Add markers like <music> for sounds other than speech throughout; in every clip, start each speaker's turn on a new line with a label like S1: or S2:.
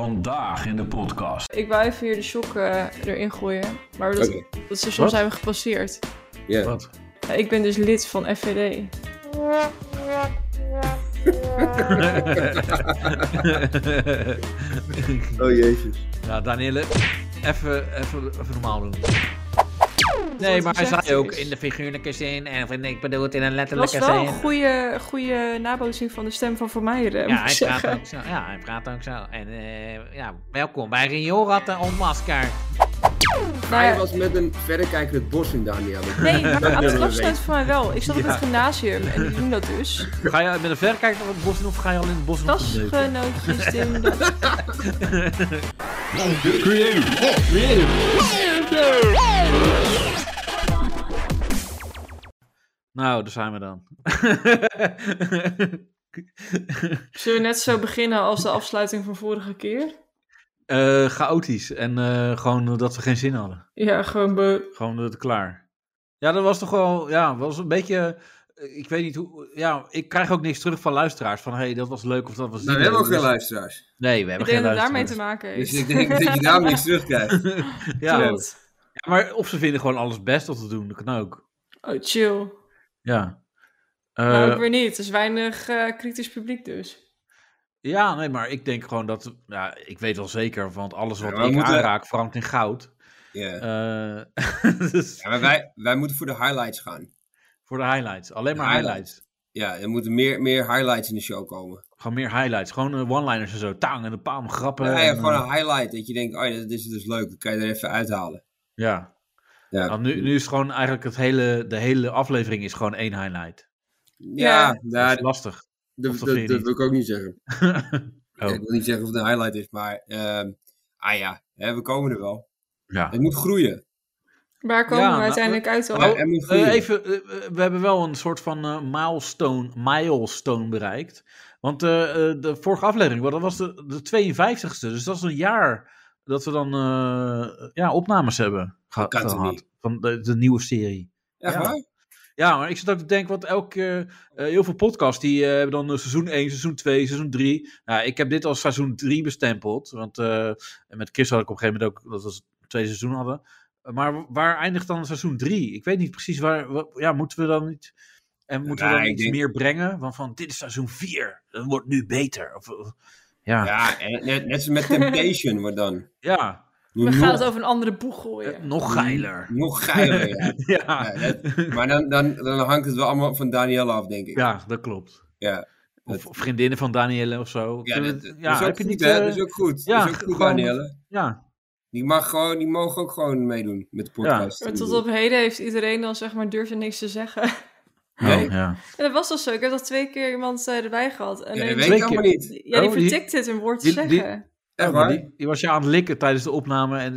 S1: Vandaag in de podcast.
S2: Ik wou even hier de shock eh, erin gooien, maar dat,
S3: Oké.
S2: dat ze
S1: Wat?
S2: soms hebben gepasseerd.
S3: Ja.
S4: <laughs>
S1: Wat?
S2: Eh, Ik ben dus lid van FVD.
S3: Oh jezus.
S4: Ja, Nou, Danielle, even, even, even normaal doen. Nee, maar hij
S2: gezegd
S4: zei ook
S2: is.
S4: in de figuurlijke zin en of in- ik bedoel het in een
S2: Dat was
S4: letterlijke
S2: wel een
S4: zin.
S2: goede, goede nabootsing van de stem van Van Meijeren,
S4: Ja,
S2: moet ik
S4: hij praat
S2: zeggen.
S4: ook zo. Ja, hij praat ook zo. En eh, ja, welkom bij Rioratten Onmasker.
S2: Nou ja,
S3: Hij was met een verrekijker het bos in, Daniel.
S2: Nee,
S3: <laughs>
S2: maar
S3: dat
S2: achteraf
S3: weet
S2: snijdt
S3: ik.
S2: het voor mij wel. Ik zat op
S4: Ja.
S2: het gymnasium en die doen dat
S3: <laughs>
S2: dus.
S4: Ga je met een verrekijker naar het bos in of ga je al in het bos in?
S2: Klasgenootjes doen
S3: <laughs>
S2: dat.
S1: Creative.
S4: Nou, daar zijn we dan. <laughs>
S2: Zullen we net zo beginnen als de afsluiting van vorige keer?
S4: Eh, chaotisch en eh, gewoon dat we geen zin hadden.
S2: Ja, gewoon be...
S4: Gewoon het klaar. Ja, dat was toch wel, ja, was een beetje, eh, ik weet niet hoe, ja, ik krijg ook niks terug van luisteraars van, hey, dat was leuk of dat was niet
S3: Nou, we hebben ook
S4: leuk. Dus-
S3: geen luisteraars.
S4: Nee, we
S2: Ik
S4: hebben
S2: denk
S4: geen
S2: dat het
S4: luisteraars.
S2: daarmee te maken heeft.
S3: Dus ik denk dat je daarom niks terugkrijgt.
S4: ja,
S3: maken
S2: Klopt.
S4: ja, maar of ze vinden gewoon alles best wat we doen, dat kan ook.
S2: Oh, chill.
S4: Ja. Eh,
S2: Maar ook weer niet. Er is weinig eh, kritisch publiek dus.
S4: ja, nee, maar ik denk gewoon dat, ja, ik weet wel zeker, want alles wat
S3: Ja, we
S4: ik
S3: moeten-
S4: aanraak verandert in goud.
S3: Ja.
S4: Eh, <laughs> dus
S3: Ja, maar wij, wij moeten voor de highlights gaan.
S4: voor de highlights, alleen
S3: De
S4: maar
S3: highlights.
S4: highlights.
S3: Ja, er moeten meer, meer highlights in de show komen.
S4: Gewoon meer highlights, gewoon eh, one-liners en zo, tang en een paar grappen.
S3: Ja, ja,
S4: en,
S3: gewoon
S4: eh,
S3: een highlight. Dat je denkt, oh ja, dit is dus leuk. Dat kan je er even uithalen.
S4: Ja.
S3: Ja.
S4: Nou, nu, nu is het gewoon eigenlijk het hele, de hele aflevering is gewoon één highlight.
S2: Ja.
S3: Ja,
S4: dat
S3: nou,
S4: is lastig.
S3: dat,
S4: of
S3: dat,
S4: dat vind je
S3: dat
S4: niet?
S3: wil ik ook niet zeggen.
S4: Oh.
S3: Ik wil niet zeggen of het een highlight is, maar... ehm, ah ja, hè, we komen er wel.
S4: ja.
S3: Het moet groeien.
S2: Waar komen
S4: Ja,
S2: we
S4: nou,
S2: uiteindelijk uit dan?
S3: Ja, het moet groeien.
S4: Eh, even, eh, eh, we hebben wel een soort van eh, milestone, milestone bereikt. Want eh, eh, de vorige aflevering, wel, dat was de, de 52ste. Dus dat is een jaar dat we dan eh, ja, opnames hebben geha-
S3: kan toch
S4: gehad.
S3: niet?
S4: Van de, de nieuwe serie.
S3: Echt
S4: Ja.
S3: waar?
S4: Ja, maar ik zit ook te denken, want elke, eh, heel veel podcasts die eh, hebben dan eh, seizoen 1, seizoen 2, seizoen 3. Nou, ik heb dit als seizoen 3 bestempeld, want eh, en met Chris had ik op een gegeven moment ook dat we twee seizoenen hadden. Eh, Maar waar eindigt dan seizoen 3? Ik weet niet precies waar, wa- ja, moeten we dan niet, en moeten
S3: Nou,
S4: we dan
S3: ik
S4: iets
S3: denk-
S4: meer brengen? Want van, dit is seizoen 4, dat wordt nu beter. Of, of- ja, ja,
S3: Ja, en net, net
S2: <laughs>
S3: zo met Temptation, maar dan.
S2: We
S3: Nog,
S2: gaan het over een andere boeg gooien.
S4: eh, nog geiler.
S3: nog geiler, ja.
S4: <laughs> Ja,
S3: Ja, dat- maar dan, dan, dan hangt het wel allemaal van Danielle af, denk ik.
S4: ja, dat klopt.
S3: ja.
S4: Of vriendinnen van Danielle of zo.
S3: Ja,
S4: Kunnen
S3: dat,
S4: we-
S3: dat is ook
S4: heb je
S3: goed,
S4: niet,
S3: hè?
S4: eh,
S3: Dat is ook goed.
S4: ja,
S3: dat is ook goed,
S4: gewoon-
S3: Danielle.
S4: Ja,
S3: Die, mag gewoon, die mogen ook gewoon meedoen met de podcast.
S2: Maar tot op heden heeft iedereen dan zeg maar durfde niks te zeggen. <laughs>
S3: Nee?
S4: Oh, ja.
S2: En dat was al zo. Ik heb al twee keer iemand eh, erbij gehad. En
S3: Ja,
S2: die-
S3: dat
S4: twee
S3: weet ik helemaal
S4: keer.
S3: niet.
S2: ja, die
S4: Oh, die-
S2: vertikte het een woord te
S4: die- die-
S2: zeggen.
S3: Echt
S4: Oh, maar
S3: waar?
S4: die, die was je aan het likken tijdens de opname. En,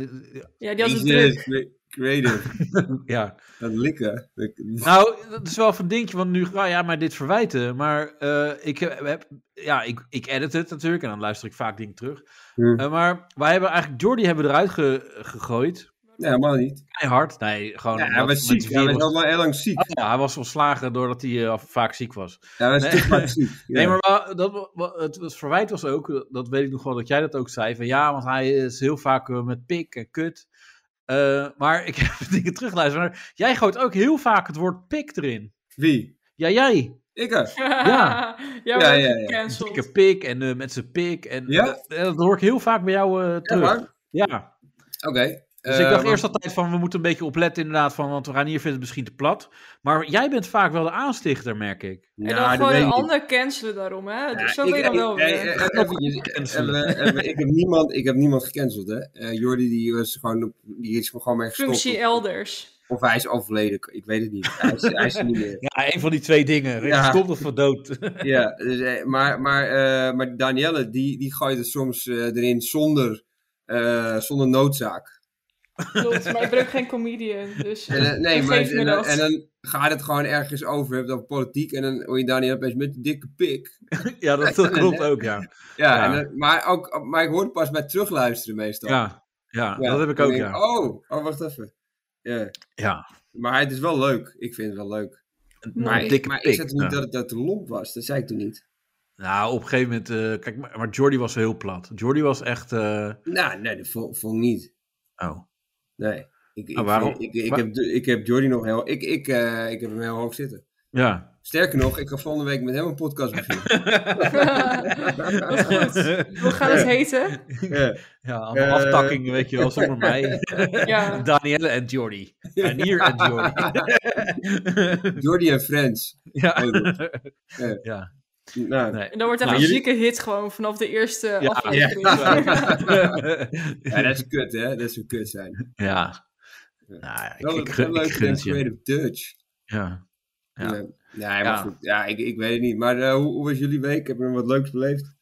S2: Ja, die had het
S3: <laughs>
S2: druk.
S3: Jezus, cre- creative.
S4: ja.
S3: Dat likken. Dat-
S4: Nou, dat is wel een dingetje, want nu ga jij mij dit verwijten. Maar eh, ik, heb, heb- ja, ik, ik edit het natuurlijk en dan luister ik vaak dingen terug.
S3: Hm.
S4: Eh, maar wij hebben eigenlijk Jordi hebben we eruit ge- gegooid.
S3: Nee, helemaal niet.
S4: Hard. Nee, gewoon.
S3: Ja, hij
S4: omdat-
S3: was
S4: omdat
S3: ziek. Hij was
S4: virus- Oh.
S3: allemaal heel lang ziek.
S4: Ja, hij was ontslagen doordat hij eh, vaak ziek was.
S3: Hij was
S4: Nee.
S3: te vaak ziek. Ja.
S4: <laughs> Nee, maar wa- dat, wa- wa- het, het verwijt was ook, eh, dat weet ik nog wel, dat jij dat ook zei. Van ja, want hij is heel vaak eh, met pik en kut. Eh, maar ik <laughs> heb dingen teruggeluisterd. Maar jij gooit ook heel vaak het woord pik erin.
S3: Wie?
S4: Ja, jij.
S3: Ik er.
S2: <laughs> ja, ja,
S3: Ja,
S2: ja,
S3: ja,
S2: ja,
S3: ja.
S4: Dikke pik en eh, met zijn pik. En
S3: Ja?
S4: dat, eh, dat hoor ik heel vaak bij jou eh,
S3: Echt
S4: terug.
S3: waar?
S4: Ja.
S3: Oké.
S4: Dus
S3: eh,
S4: ik dacht
S3: maar-
S4: eerst altijd van, we moeten een beetje opletten inderdaad. Van, want Ranier vindt het misschien te plat. Maar jij bent vaak wel de aanstichter, merk ik.
S2: En
S3: Nou,
S2: dan
S3: dat
S2: gewoon
S3: weet
S2: een
S3: ik niet.
S2: ander cancelen daarom, hè? zo
S3: Ik-
S2: ben je dan
S3: ik-
S2: wel
S3: eh,
S2: weer.
S3: eh, eventjes,
S4: Cancelen.
S3: eh, eh, eh, Ik heb niemand, ik heb niemand gecanceld, hè. Eh, Jordi die was gewoon, op- die is gewoon mee gestopt.
S2: Functie elders.
S3: <laughs> Of hij is overleden, ik weet het niet. Hij
S2: <laughs>
S3: is, hij is er niet meer.
S4: Ja, een van die twee dingen.
S3: Ja.
S4: Gestopt of verdood.
S3: Ja, dus, eh, maar, maar, eh, maar Danielle, die, die gooit het soms eh, erin zonder, eh, zonder noodzaak.
S2: Klopt, maar ik ben ook geen comedian, dus
S3: En, eh, nee,
S2: Vergeef
S3: maar
S2: me
S3: en, dan-
S2: dat.
S3: en dan gaat het gewoon ergens over, hebt over politiek, en dan hoor je Danielle opeens met die dikke pik.
S4: <laughs> ja, dat, <laughs> dat klopt ook, ja.
S3: Ja,
S4: Ja.
S3: en dan- maar, ook, maar ik hoor het pas bij terugluisteren meestal.
S4: Ja, ja,
S3: Ja,
S4: dat heb ik
S3: dan
S4: ook,
S3: denk
S4: ja.
S3: Oh, oh, wacht even. Ja.
S4: ja.
S3: Maar het is wel leuk. Ik vind het wel leuk.
S2: Nee,
S3: Maar, ik-
S4: dikke
S3: maar ik
S4: pik,
S3: zei toen niet
S4: ja.
S3: dat het dat te lomp was. Dat zei ik toen niet.
S4: Nou, op een gegeven moment... eh, kijk, maar, maar Jordi was heel plat. Jordi was echt... eh,
S3: Nou, nee, dat vond, vond ik niet.
S4: oh.
S3: Nee. Ik, ik,
S4: Maar waarom-
S3: Ik, ik, ik
S4: waar-
S3: heb, ik heb Jordi nog heel... Ik, ik, eh, ik heb hem heel hoog zitten.
S4: Ja.
S3: Sterker nog, ik ga volgende week met hem een
S4: <laughs>
S3: podcast beginnen.
S2: Dat is goed. <laughs> Hoe gaat het heten?
S3: Ja.
S4: ja, allemaal
S3: Eh.
S4: aftakkingen, weet je wel, zonder mij. <laughs>
S2: Ja.
S4: Danielle en Jordi. Danier en Jordi.
S3: Jordi en Friends.
S4: ja.
S3: Heel goed.
S4: ja.
S3: Nou,
S4: Nee. <laughs>
S2: En dan wordt echt
S4: Nou,
S2: een
S4: jullie-
S2: zieke hit gewoon vanaf de eerste
S4: Ja.
S2: aflevering.
S4: <laughs>
S2: <laughs>
S3: ja, dat is kut, hè? Dat zou kut zijn.
S4: ja. Nou, ik,
S3: Wel,
S4: ik,
S3: wel
S4: gun-
S3: leuk
S4: ik gun het
S3: met
S4: je.
S3: Creative Touch.
S4: Ja. Ja.
S3: Ja. Nee, maar
S4: Ja.
S3: goed. Ja, ik, ik weet het niet. Maar eh, hoe, hoe was jullie week? Hebben jullie wat leuks beleefd?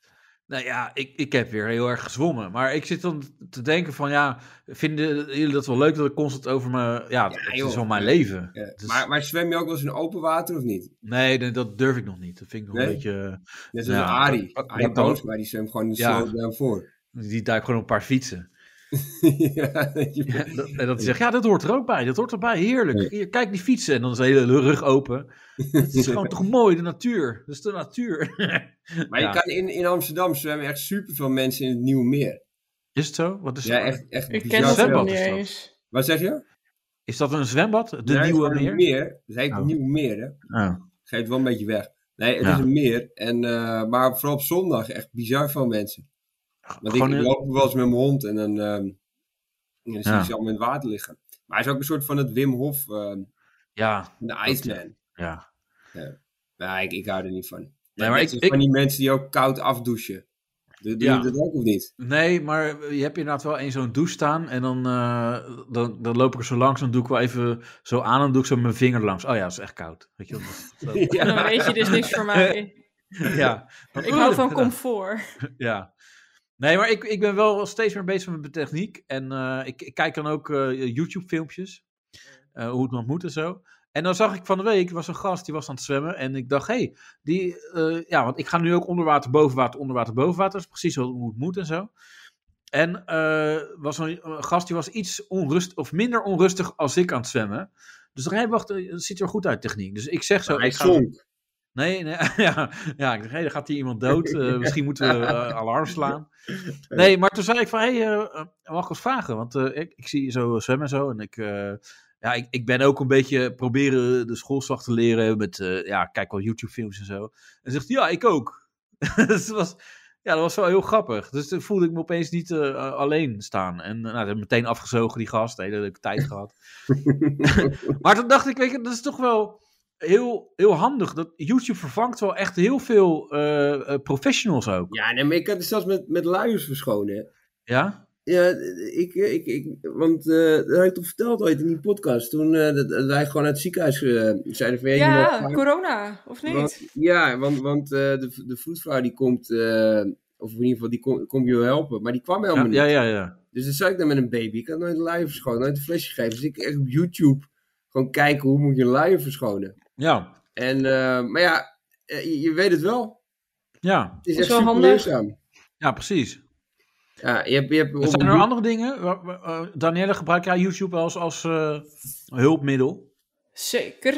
S4: Nou ja, ik, ik heb weer heel erg gezwommen. Maar ik zit dan te denken van ja, vinden jullie dat wel leuk dat ik constant over mijn... Ja, het
S3: joh.
S4: is wel mijn leven.
S3: Ja.
S4: Het is-
S3: Maar, maar zwem je ook wel eens in open water of niet?
S4: nee, nee, dat durf ik nog niet. Dat vind ik nog
S3: Nee?
S4: een beetje...
S3: Net als
S4: Ja.
S3: Ari.
S4: Dat-
S3: Ari
S4: dat kan-
S3: Boomsma, die zwemt gewoon de
S4: Ja.
S3: sloot down voor. <laughs>
S4: Die duikt gewoon op een paar fietsen.
S3: ja, weet je-
S4: Ja, dat, en dat hij zegt, ja, dat hoort er ook bij. Dat hoort erbij, heerlijk. Hier, kijk die fietsen. En dan is de hele rug
S3: <laughs>
S4: open. Het is gewoon toch mooi, de natuur. Dat is de natuur. <laughs>
S3: maar
S4: Ja.
S3: je kan in, in Amsterdam zwemmen echt super veel mensen in het Nieuwe Meer.
S4: Is het zo? Wat is,
S3: Ja, echt, echt
S2: Ik
S3: bizar
S2: ken dat
S3: veel.
S2: ook
S4: zwembad
S2: niet
S4: is dat.
S2: eens. <laughs>
S3: Wat zeg je?
S4: is dat een zwembad? De
S3: Ja, het is
S4: nieuwe
S3: gewoon
S4: meer?
S3: een meer. Het heet
S4: Oh.
S3: het Nieuwe Meer, hè?
S4: Ja.
S3: Geeft wel een beetje weg. Nee, het
S4: Ja.
S3: is een meer. En, eh, maar vooral op zondag echt bizar veel mensen. Want ik,
S4: Gewoon
S3: ik
S4: een-
S3: loop wel eens met mijn hond en dan, ehm, en dan zie
S4: Ja.
S3: ik ze allemaal in het water liggen. Maar hij is ook een soort van het Wim Hof, ehm,
S4: ja,
S3: de Iceman.
S4: ja.
S3: Nee, Nou, ik, ik hou er niet van.
S4: Nee, maar
S3: Nee, maar
S4: ik- ik-
S3: Van die mensen die ook koud afdouchen. Doe, doe
S4: Ja.
S3: je dat ook of
S4: <laughs>
S3: niet?
S4: Nee, maar je hebt inderdaad wel één zo'n douche staan. En dan, eh, dan, dan loop ik er zo langs. Dan doe ik wel even zo aan. En dan doe ik zo mijn vinger langs. Oh ja, dat is echt koud. Weet je wel. dat
S3: <laughs>
S4: is
S2: En dan weet je dus niks voor mij.
S4: zo- ja.
S2: Ik hou van
S4: kom.
S2: comfort.
S4: <laughs> Ja. Nee, maar ik, ik ben wel steeds meer bezig met mijn techniek. En eh, ik, ik kijk dan ook eh, YouTube-filmpjes. eh, hoe het dan moet en zo. En dan zag ik van de week, er was een gast die was aan het zwemmen. En ik dacht, hé, hey, die. eh, ja, want ik ga nu ook onder water, boven water, onder water, boven water. Dat is precies wat- hoe het moet en zo. En eh was een, een gast die was iets onrust of minder onrustig als ik aan het zwemmen. Dus dan hey, wacht, eh, het ziet er goed uit techniek. Dus ik zeg zo.
S3: hij
S4: ik ga-
S3: zonk.
S4: Nee, <laughs> nee ja, ja, ik dacht, hé, dan gaat hier iemand dood. eh, misschien moeten we eh, alarm slaan. Nee, maar toen zei ik van, hé, hey, mag ik wat vragen? Want eh, ik, ik zie je zo zwemmen en zo. En ik, eh, ja, ik, ik ben ook een beetje proberen de schoolslag te leren. Met, eh, ja, ik kijk wel YouTube-films en zo. En zegt, ja, ik ook. <laughs> dus dat was, ja, dat was wel heel grappig. Dus toen voelde ik me opeens niet eh, alleen staan. En eh, nou, dat heb ik meteen afgezogen, die gast. hele leuke
S3: <laughs>
S4: tijd gehad. <laughs> maar toen dacht ik, weet je, dat is toch wel heel, heel handig. Dat YouTube vervangt wel echt heel veel eh, eh, professionals ook.
S3: Ja, nee, maar ik had het zelfs met, met luiers verschonen. hè.
S4: Ja?
S3: Ja, ik, ik, ik, want eh dat had ik toen verteld ooit in die podcast. Toen eh, dat, dat wij gewoon uit het ziekenhuis eh, zeiden van... je mag-
S2: Ja, corona, of niet?
S3: Want, ja, want, want eh, de, de vroedvrouw die komt, eh, of in ieder geval die kom- komt je helpen, maar die kwam helemaal
S4: Ja,
S3: niet.
S4: ja, ja. ja.
S3: Dus dan zat ik daar met een baby. Ik had nooit een luier verschonen, nooit een flesje gegeven. Dus ik echt op YouTube gewoon kijken hoe moet je een luier verschonen.
S4: Ja,
S3: En, eh, maar ja, eh, je, je weet het wel.
S4: ja.
S3: Het is
S2: Dat
S3: echt
S2: is wel
S3: super
S2: handig.
S3: leerzaam.
S4: ja precies.
S3: Ja, je hebt, je hebt op
S4: Zijn
S3: een
S4: er
S3: boek-
S4: andere dingen? Wa- wa- eh, Danielle, gebruik jij YouTube als, als eh, hulpmiddel?
S2: Zeker.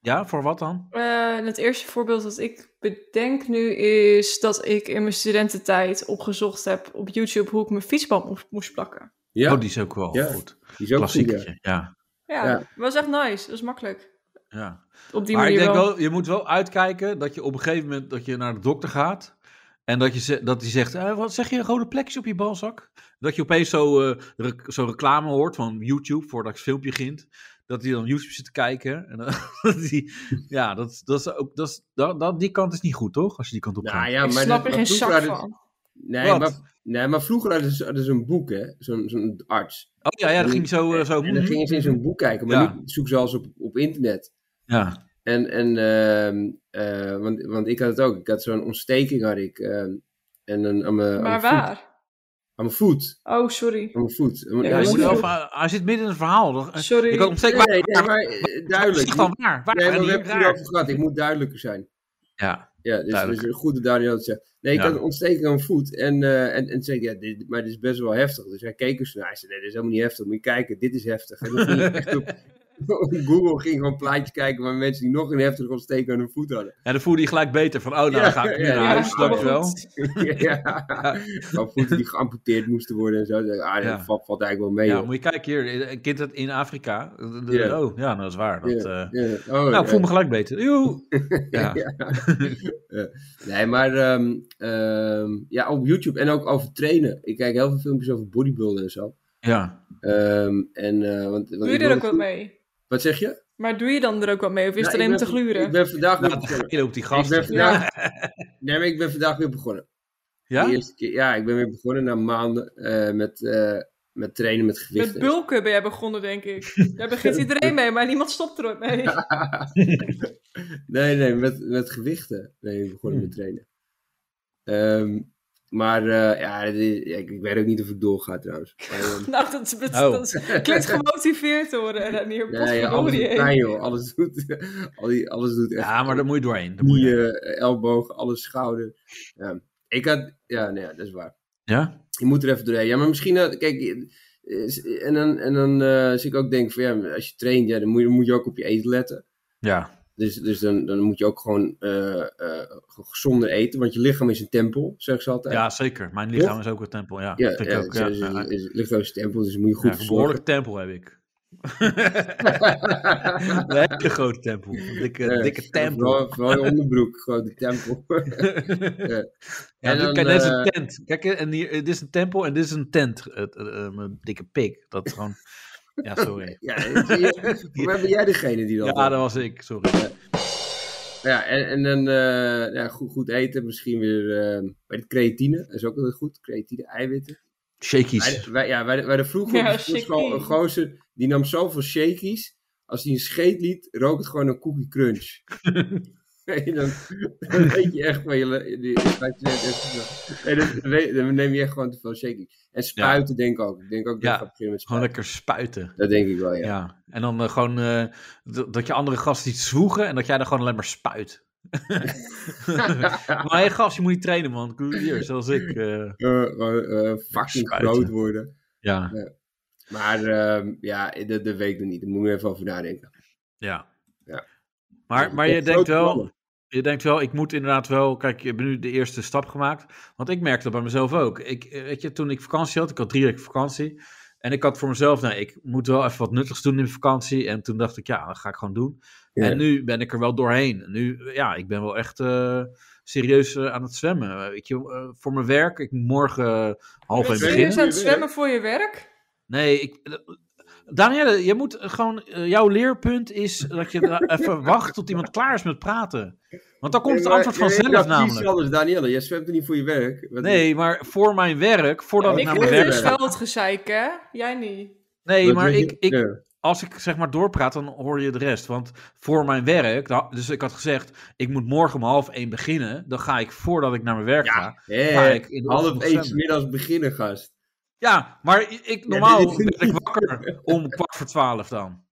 S4: Ja, voor wat dan?
S2: Eh, het eerste voorbeeld dat ik bedenk nu is dat ik in mijn studententijd opgezocht heb op YouTube hoe ik mijn fietsband moest, moest plakken.
S3: Ja,
S4: Oh, die is ook wel
S3: Ja.
S4: goed.
S3: die is ook goed, ja.
S4: Klassieketje, ja.
S2: Ja,
S3: Ja.
S2: was echt nice. Dat is makkelijk.
S4: ja.
S2: Op die
S4: maar ik
S2: manier
S4: denk
S2: wel.
S4: wel. je moet wel uitkijken dat je op een gegeven moment dat je naar de dokter gaat. En dat, je, ze- dat die zegt, eh, wat zeg je, rode plekjes op je balzak? Dat je opeens zo, eh, rec- zo'n reclame hoort van YouTube, voordat het filmpje begint. Dat die dan YouTube zit te kijken. En dan, <laughs> die, ja, dat, dat is ook, dat is, dat, dat- die kant is niet goed, toch? Als je die kant op gaat.
S3: Nou ja, maar
S2: ik snap
S3: dat-
S2: er
S3: maar
S2: geen
S3: vroeger
S2: zak
S3: hadden-
S2: van.
S3: Nee
S4: Wat?
S3: maar, nee, maar vroeger hadden ze, hadden ze een boek, hè? Zo'n zo'n arts.
S4: oh ja, ja, dat ging zo... eh, zo
S3: En dan gingen ze in zo'n boek kijken, maar
S4: Ja.
S3: nu zoeken ze alles op, op internet.
S4: ja,
S3: En, en ehm, eh, want, want ik had het ook. Ik had zo'n ontsteking had ik. ehm, en een, aan mijn
S2: Maar
S3: aan mijn voet.
S2: waar?
S3: Aan mijn voet.
S2: Oh, sorry.
S3: Aan mijn voet. Aan mijn-
S2: Ja,
S4: Ja,
S3: aan
S4: je
S2: dat
S4: moet
S3: mijn
S2: is
S4: wel
S2: goed.
S3: voet.
S4: van- hij zit midden in een verhaal. Dat-
S2: Sorry.
S4: Ik had ontzettend...
S3: Nee, nee, maar eh, duidelijk.
S4: Zeg dan waar, waar
S3: nee, maar
S4: en
S3: we
S4: hier,
S3: hebben het
S4: raar.
S3: erover gehad. Ik moet duidelijker zijn.
S4: Ja,
S3: Ja, dus,
S4: Duidelijk.
S3: dus een goede Daniel dat zegt. Nee, ik
S4: Ja.
S3: had een ontsteking aan mijn voet. En, eh, en, en zei ik, ja, dit, maar dit is best wel heftig. Dus hij keek eens naar. Hij zei, nee, dit is helemaal niet heftig. Moet je kijken, dit is heftig. En dat ging echt op, <laughs> Google ging gewoon plaatjes kijken waar mensen die nog een heftige ontsteking aan hun voet hadden. <laughs>
S4: En dan voelde hij gelijk beter van, oh, nou
S3: Ja,
S4: dan ga ik nu
S3: ja,
S4: naar
S3: ja,
S4: huis,
S2: maar <laughs>
S4: dank je wel.
S2: goed.
S3: ja. Gewoon voeten die geamputeerd moesten worden en zo. Ah, dat
S4: Ja.
S3: valt, valt eigenlijk wel mee.
S4: Ja,
S3: hoor.
S4: moet je kijken hier, een kind dat in Afrika. De- de-
S3: Ja.
S4: Oh, ja, nou, dat is waar. Dat, eh,
S3: Ja. Oh,
S4: nou, ik
S3: ja.
S4: voel
S3: <laughs>
S4: me gelijk beter. Joe. Ja.
S3: Ja. Ja. Nee, maar ehm, ehm, ja, op YouTube en ook over trainen. Ik kijk heel veel filmpjes over bodybuilden en zo.
S4: Ja.
S3: Ehm, en, eh, want, want
S2: Doe
S3: ik
S2: je
S3: wil
S2: er ook wat
S3: natuurlijk-
S2: mee?
S3: Wat zeg je?
S2: Maar doe je dan er ook wat mee? Of is
S3: Nou,
S2: het
S3: ik
S2: alleen maar te
S3: ben-
S2: gluren?
S3: Ik ben vandaag weer
S4: Nou,
S3: begonnen.
S4: dan op die
S3: Ik ben
S4: gasten.
S3: vandaag, nee, maar ik ben vandaag weer begonnen.
S4: Ja?
S3: De eerste keer, ja, ik ben weer begonnen na maanden eh, met, eh, met trainen met
S2: Met
S3: gewichten.
S2: bulken ben jij begonnen, denk ik. Daar begint iedereen mee, maar niemand stopt er ooit mee.
S3: Nee, nee, met, met gewichten ben ik begonnen
S4: Hmm.
S3: met trainen. Ehm, maar eh, ja, dit is- ik, ik weet ook niet of het
S4: <laughs>
S3: doorgaat trouwens. Maar,
S2: <laughs>
S3: ehm,
S2: Nou, dat, is- dat,
S4: Oh.
S2: dat is- klinkt gemotiveerd hoor. En dan hier
S3: Nee, ja, alles doet pijn, joh. Alles doet, al die, alles doet echt.
S4: Ja, maar daar moet je doorheen. Daar moet je...
S3: Knieën, elleboog, alles, schouder. Ja. Ik had, ja, nee, dat is waar.
S4: Ja?
S3: Je moet er even doorheen. Ja, maar misschien, had- kijk, eh, en dan, en dan eh, als ik ook denk van, ja, als je traint, ja, dan moet je, moet je ook op je eten letten.
S4: Ja.
S3: Dus, dus dan, dan moet je ook gewoon eh, eh, gezonder eten, want je lichaam is een tempel, zeggen ze altijd.
S4: ja, zeker. Mijn lichaam is ook een tempel. Ja,
S3: ja,
S4: vind ik
S3: ja,
S4: ook,
S3: het
S4: ja.
S3: is-
S4: Ja,
S3: is- is- lichaam is een tempel, dus moet je goed
S4: ja, een
S3: verzorgen.
S4: behoorlijke tempel heb ik. <laughs>
S3: <laughs>
S4: een hele grote tempel. Een dikke,
S3: Ja,
S4: dikke tempel.
S3: Vooral, vooral je onderbroek, gewoon de tempel. <laughs>
S4: Ja,
S3: En
S4: dit-
S3: dan,
S4: kijk, dit is
S3: eh,
S4: een tent. Kijk, en hier, dit is een tempel en dit is een tent. Het, eh, eh, mijn dikke pik. Dat is gewoon...
S3: <laughs>
S4: Ja, sorry.
S3: Ja, zie je, voor mij ben jij degene die dat
S4: Ja, dat was ik. Sorry.
S3: Ja, en, en dan eh, ja, goed, goed eten, misschien weer eh, bij de creatine. Dat is ook altijd goed, creatine, eiwitten. Wij,
S4: Shakies.
S3: wij, ja, wij, wij de vroeger
S2: Ja,
S3: op de sportschool
S2: shaky.
S3: een gozer, die nam zoveel shakies. Als hij een scheet liet, rook het gewoon een cookie crunch.
S4: <laughs>
S3: en dan, dan weet je echt van je... le- die- dat je net even- nee, dan, weet- dan neem je echt gewoon te veel shakies. En spuiten denk ik ook. Ik denk ook dat
S4: Ja,
S3: ik ga beginnen met
S4: Gewoon
S3: spuiten.
S4: lekker spuiten.
S3: Dat denk ik wel,
S4: Ja.
S3: ja.
S4: En dan eh, gewoon eh, d- dat je andere gasten iets zwoegen en dat jij dan gewoon alleen maar spuit. <laughs> maar hé, gast, je moet niet trainen, man. Goed Hier, zoals
S3: <laughs>
S4: ik. eh,
S3: Eh, Gewoon eh, fucking
S4: Spuiten.
S3: groot worden.
S4: ja.
S3: Maar ehm, ja, dat, dat weet ik nog niet. Daar moet ik even over nadenken.
S4: ja.
S3: Ja.
S4: Maar, maar je
S3: Grote
S4: denkt wel,
S3: plannen.
S4: je denkt wel, ik moet inderdaad wel, kijk, je hebt nu de eerste stap gemaakt. Want ik merkte dat bij mezelf ook. Ik, eh, weet je, toen ik vakantie had, ik had drie weken vakantie. En ik had voor mezelf, nou, ik moet wel even wat nuttigs doen in vakantie. En toen dacht ik, ja, dat ga ik gewoon doen.
S3: Ja.
S4: En nu ben ik er wel doorheen. Nu, ja, ik ben wel echt eh, serieus eh, aan het zwemmen. Eh, weet je, eh, voor mijn werk, ik moet morgen eh, half één
S2: Ben je
S3: begin.
S2: serieus
S4: beginnen.
S2: aan het zwemmen voor je werk?
S4: Nee, ik... eh, Danielle, je moet gewoon, eh, jouw leerpunt is dat je da-
S3: <laughs>
S4: even wacht tot iemand klaar is met praten. Want dan komt het
S3: Nee, maar-
S4: antwoord
S3: nee, ik
S4: vanzelf
S3: dacht Precies
S4: namelijk.
S3: anders, Danielle. Jij zwemt er niet voor je werk. Wat-
S4: Nee, maar voor mijn werk, voordat
S3: Ja,
S4: ik
S2: ik
S4: naar
S2: hoor
S4: mijn
S3: wil
S4: werk
S2: dus
S3: werk.
S4: ga.
S2: wel het gezeik, hè? Jij niet.
S4: Nee,
S3: wat
S4: maar
S3: wil je-
S4: ik, ik,
S3: Ja.
S4: als ik zeg maar doorpraat, dan hoor je de rest. Want voor mijn werk, nou, dus ik had gezegd, ik moet morgen om half één beginnen. Dan ga ik voordat ik naar mijn werk ga.
S3: Hé,
S4: ga ik in de
S3: half
S4: ochtend
S3: één
S4: zwemmen.
S3: 's middags beginnen, gast.
S4: Ja, maar i- ik, normaal ben ik wakker om kwart voor twaalf dan.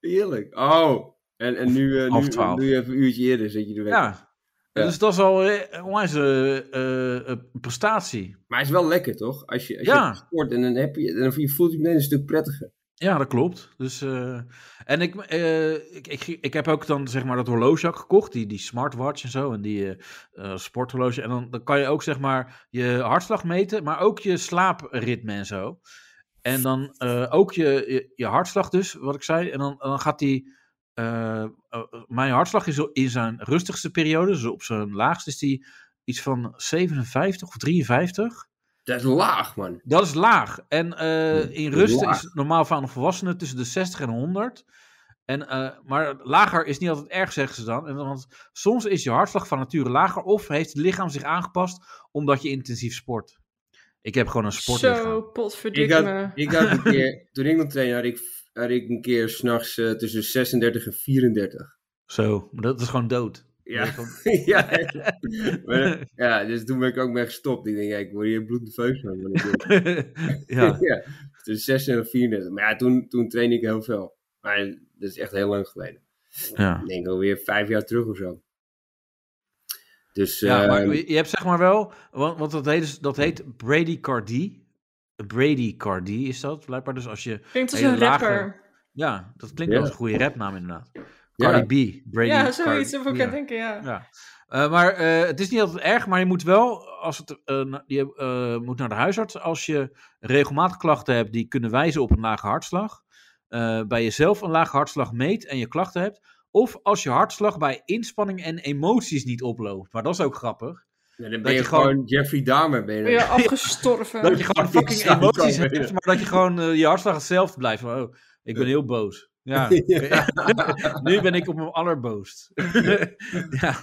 S3: Heerlijk. Oh, en, en nu, eh,
S4: Half
S3: nu
S4: twaalf.
S3: doe je even een uurtje eerder, zet je er weg.
S4: Ja.
S3: Ja.
S4: Dus dat is al eh, een onwijze eh, eh, prestatie.
S3: Maar het is wel lekker, toch? Als je, als
S4: Ja.
S3: je sport en dan, heb je, dan voel je voelt je meteen een stuk prettiger.
S4: Ja, dat klopt. Dus, eh, en ik, eh, ik, ik, ik heb ook dan zeg maar dat horloge ook gekocht, die, die smartwatch en zo, en die eh, eh, sporthorloge. En dan, dan kan je ook zeg maar je hartslag meten, maar ook je slaapritme en zo. En dan eh, ook je, je, je hartslag dus, wat ik zei. En dan, dan gaat die, eh, eh, mijn hartslag is al in zijn rustigste periode, dus op zijn laagst is die iets van 57 of 53.
S3: Dat is laag, man.
S4: Dat is laag. En eh, in
S3: Hmm, dat is
S4: rusten
S3: laag.
S4: is het normaal van een volwassene tussen de 60 en 100. En, eh, maar lager is niet altijd erg, zeggen ze dan. En, dan- want soms is je hartslag van nature lager of heeft het lichaam zich aangepast omdat je intensief sport. Ik heb gewoon een
S2: Zo,
S4: sportlichaam.
S3: Ik
S2: potverdikke me.
S3: had, ik had een
S4: <laughs>
S3: keer, toen ik nog trainde, had ik, had ik een keer s'nachts eh, tussen 36 en 34.
S4: Zo, maar dat is gewoon dood.
S3: Ja.
S4: Dat is gewoon-
S3: <laughs> ja,
S4: <laughs>
S3: maar, ja, dus toen ben ik ook mee gestopt. Ik denk, ja, ik word hier bloedneveus van. wat ik doe.
S4: ja.
S3: <laughs> ja. Dus 36 en 34. Maar ja, toen, toen trainde ik heel veel. Maar dat is echt heel lang geleden.
S4: ja.
S3: Ik denk alweer vijf jaar terug of zo. Dus,
S4: Ja,
S3: eh,
S4: maar je je hebt zeg maar wel, want, want dat, heet, dus- dat heet bradycardie. Bradycardie is dat blijkbaar. Dus als je
S2: Klinkt als
S4: hele
S2: een
S4: lage-
S2: rapper.
S4: Ja, dat klinkt
S3: Ja.
S4: als een goede rapnaam inderdaad.
S3: Ja.
S4: Cardi B. Brady
S2: ja, zoiets.
S4: Cardi-
S2: Daarvoor kan
S3: ja.
S2: ik denken, ja.
S4: Ja. Eh, maar eh, het is niet altijd erg, maar je moet wel, als het, eh, na- je eh, moet naar de huisarts, als je regelmatig klachten hebt die kunnen wijzen op een lage hartslag, eh, bij jezelf een lage hartslag meet en je klachten hebt, of als je hartslag bij inspanning en emoties niet oploopt. Maar dat is ook grappig.
S3: Ja, dan
S4: Dat
S3: ben je,
S4: je
S3: gewoon,
S4: gewoon-
S3: Jeffrey Dahmer. Ben je dan.
S2: Ben je
S3: <laughs>
S2: afgestorven?
S4: Dat je gewoon
S3: Fucking
S4: fucking
S3: psycho,
S4: emoties
S3: weet
S4: hebt,
S3: je.
S4: maar dat je gewoon eh, je hartslag hetzelfde blijft. Van, oh, ik ben heel boos. <laughs> Ja, nu ben ik op mijn allerboost. <laughs> ja.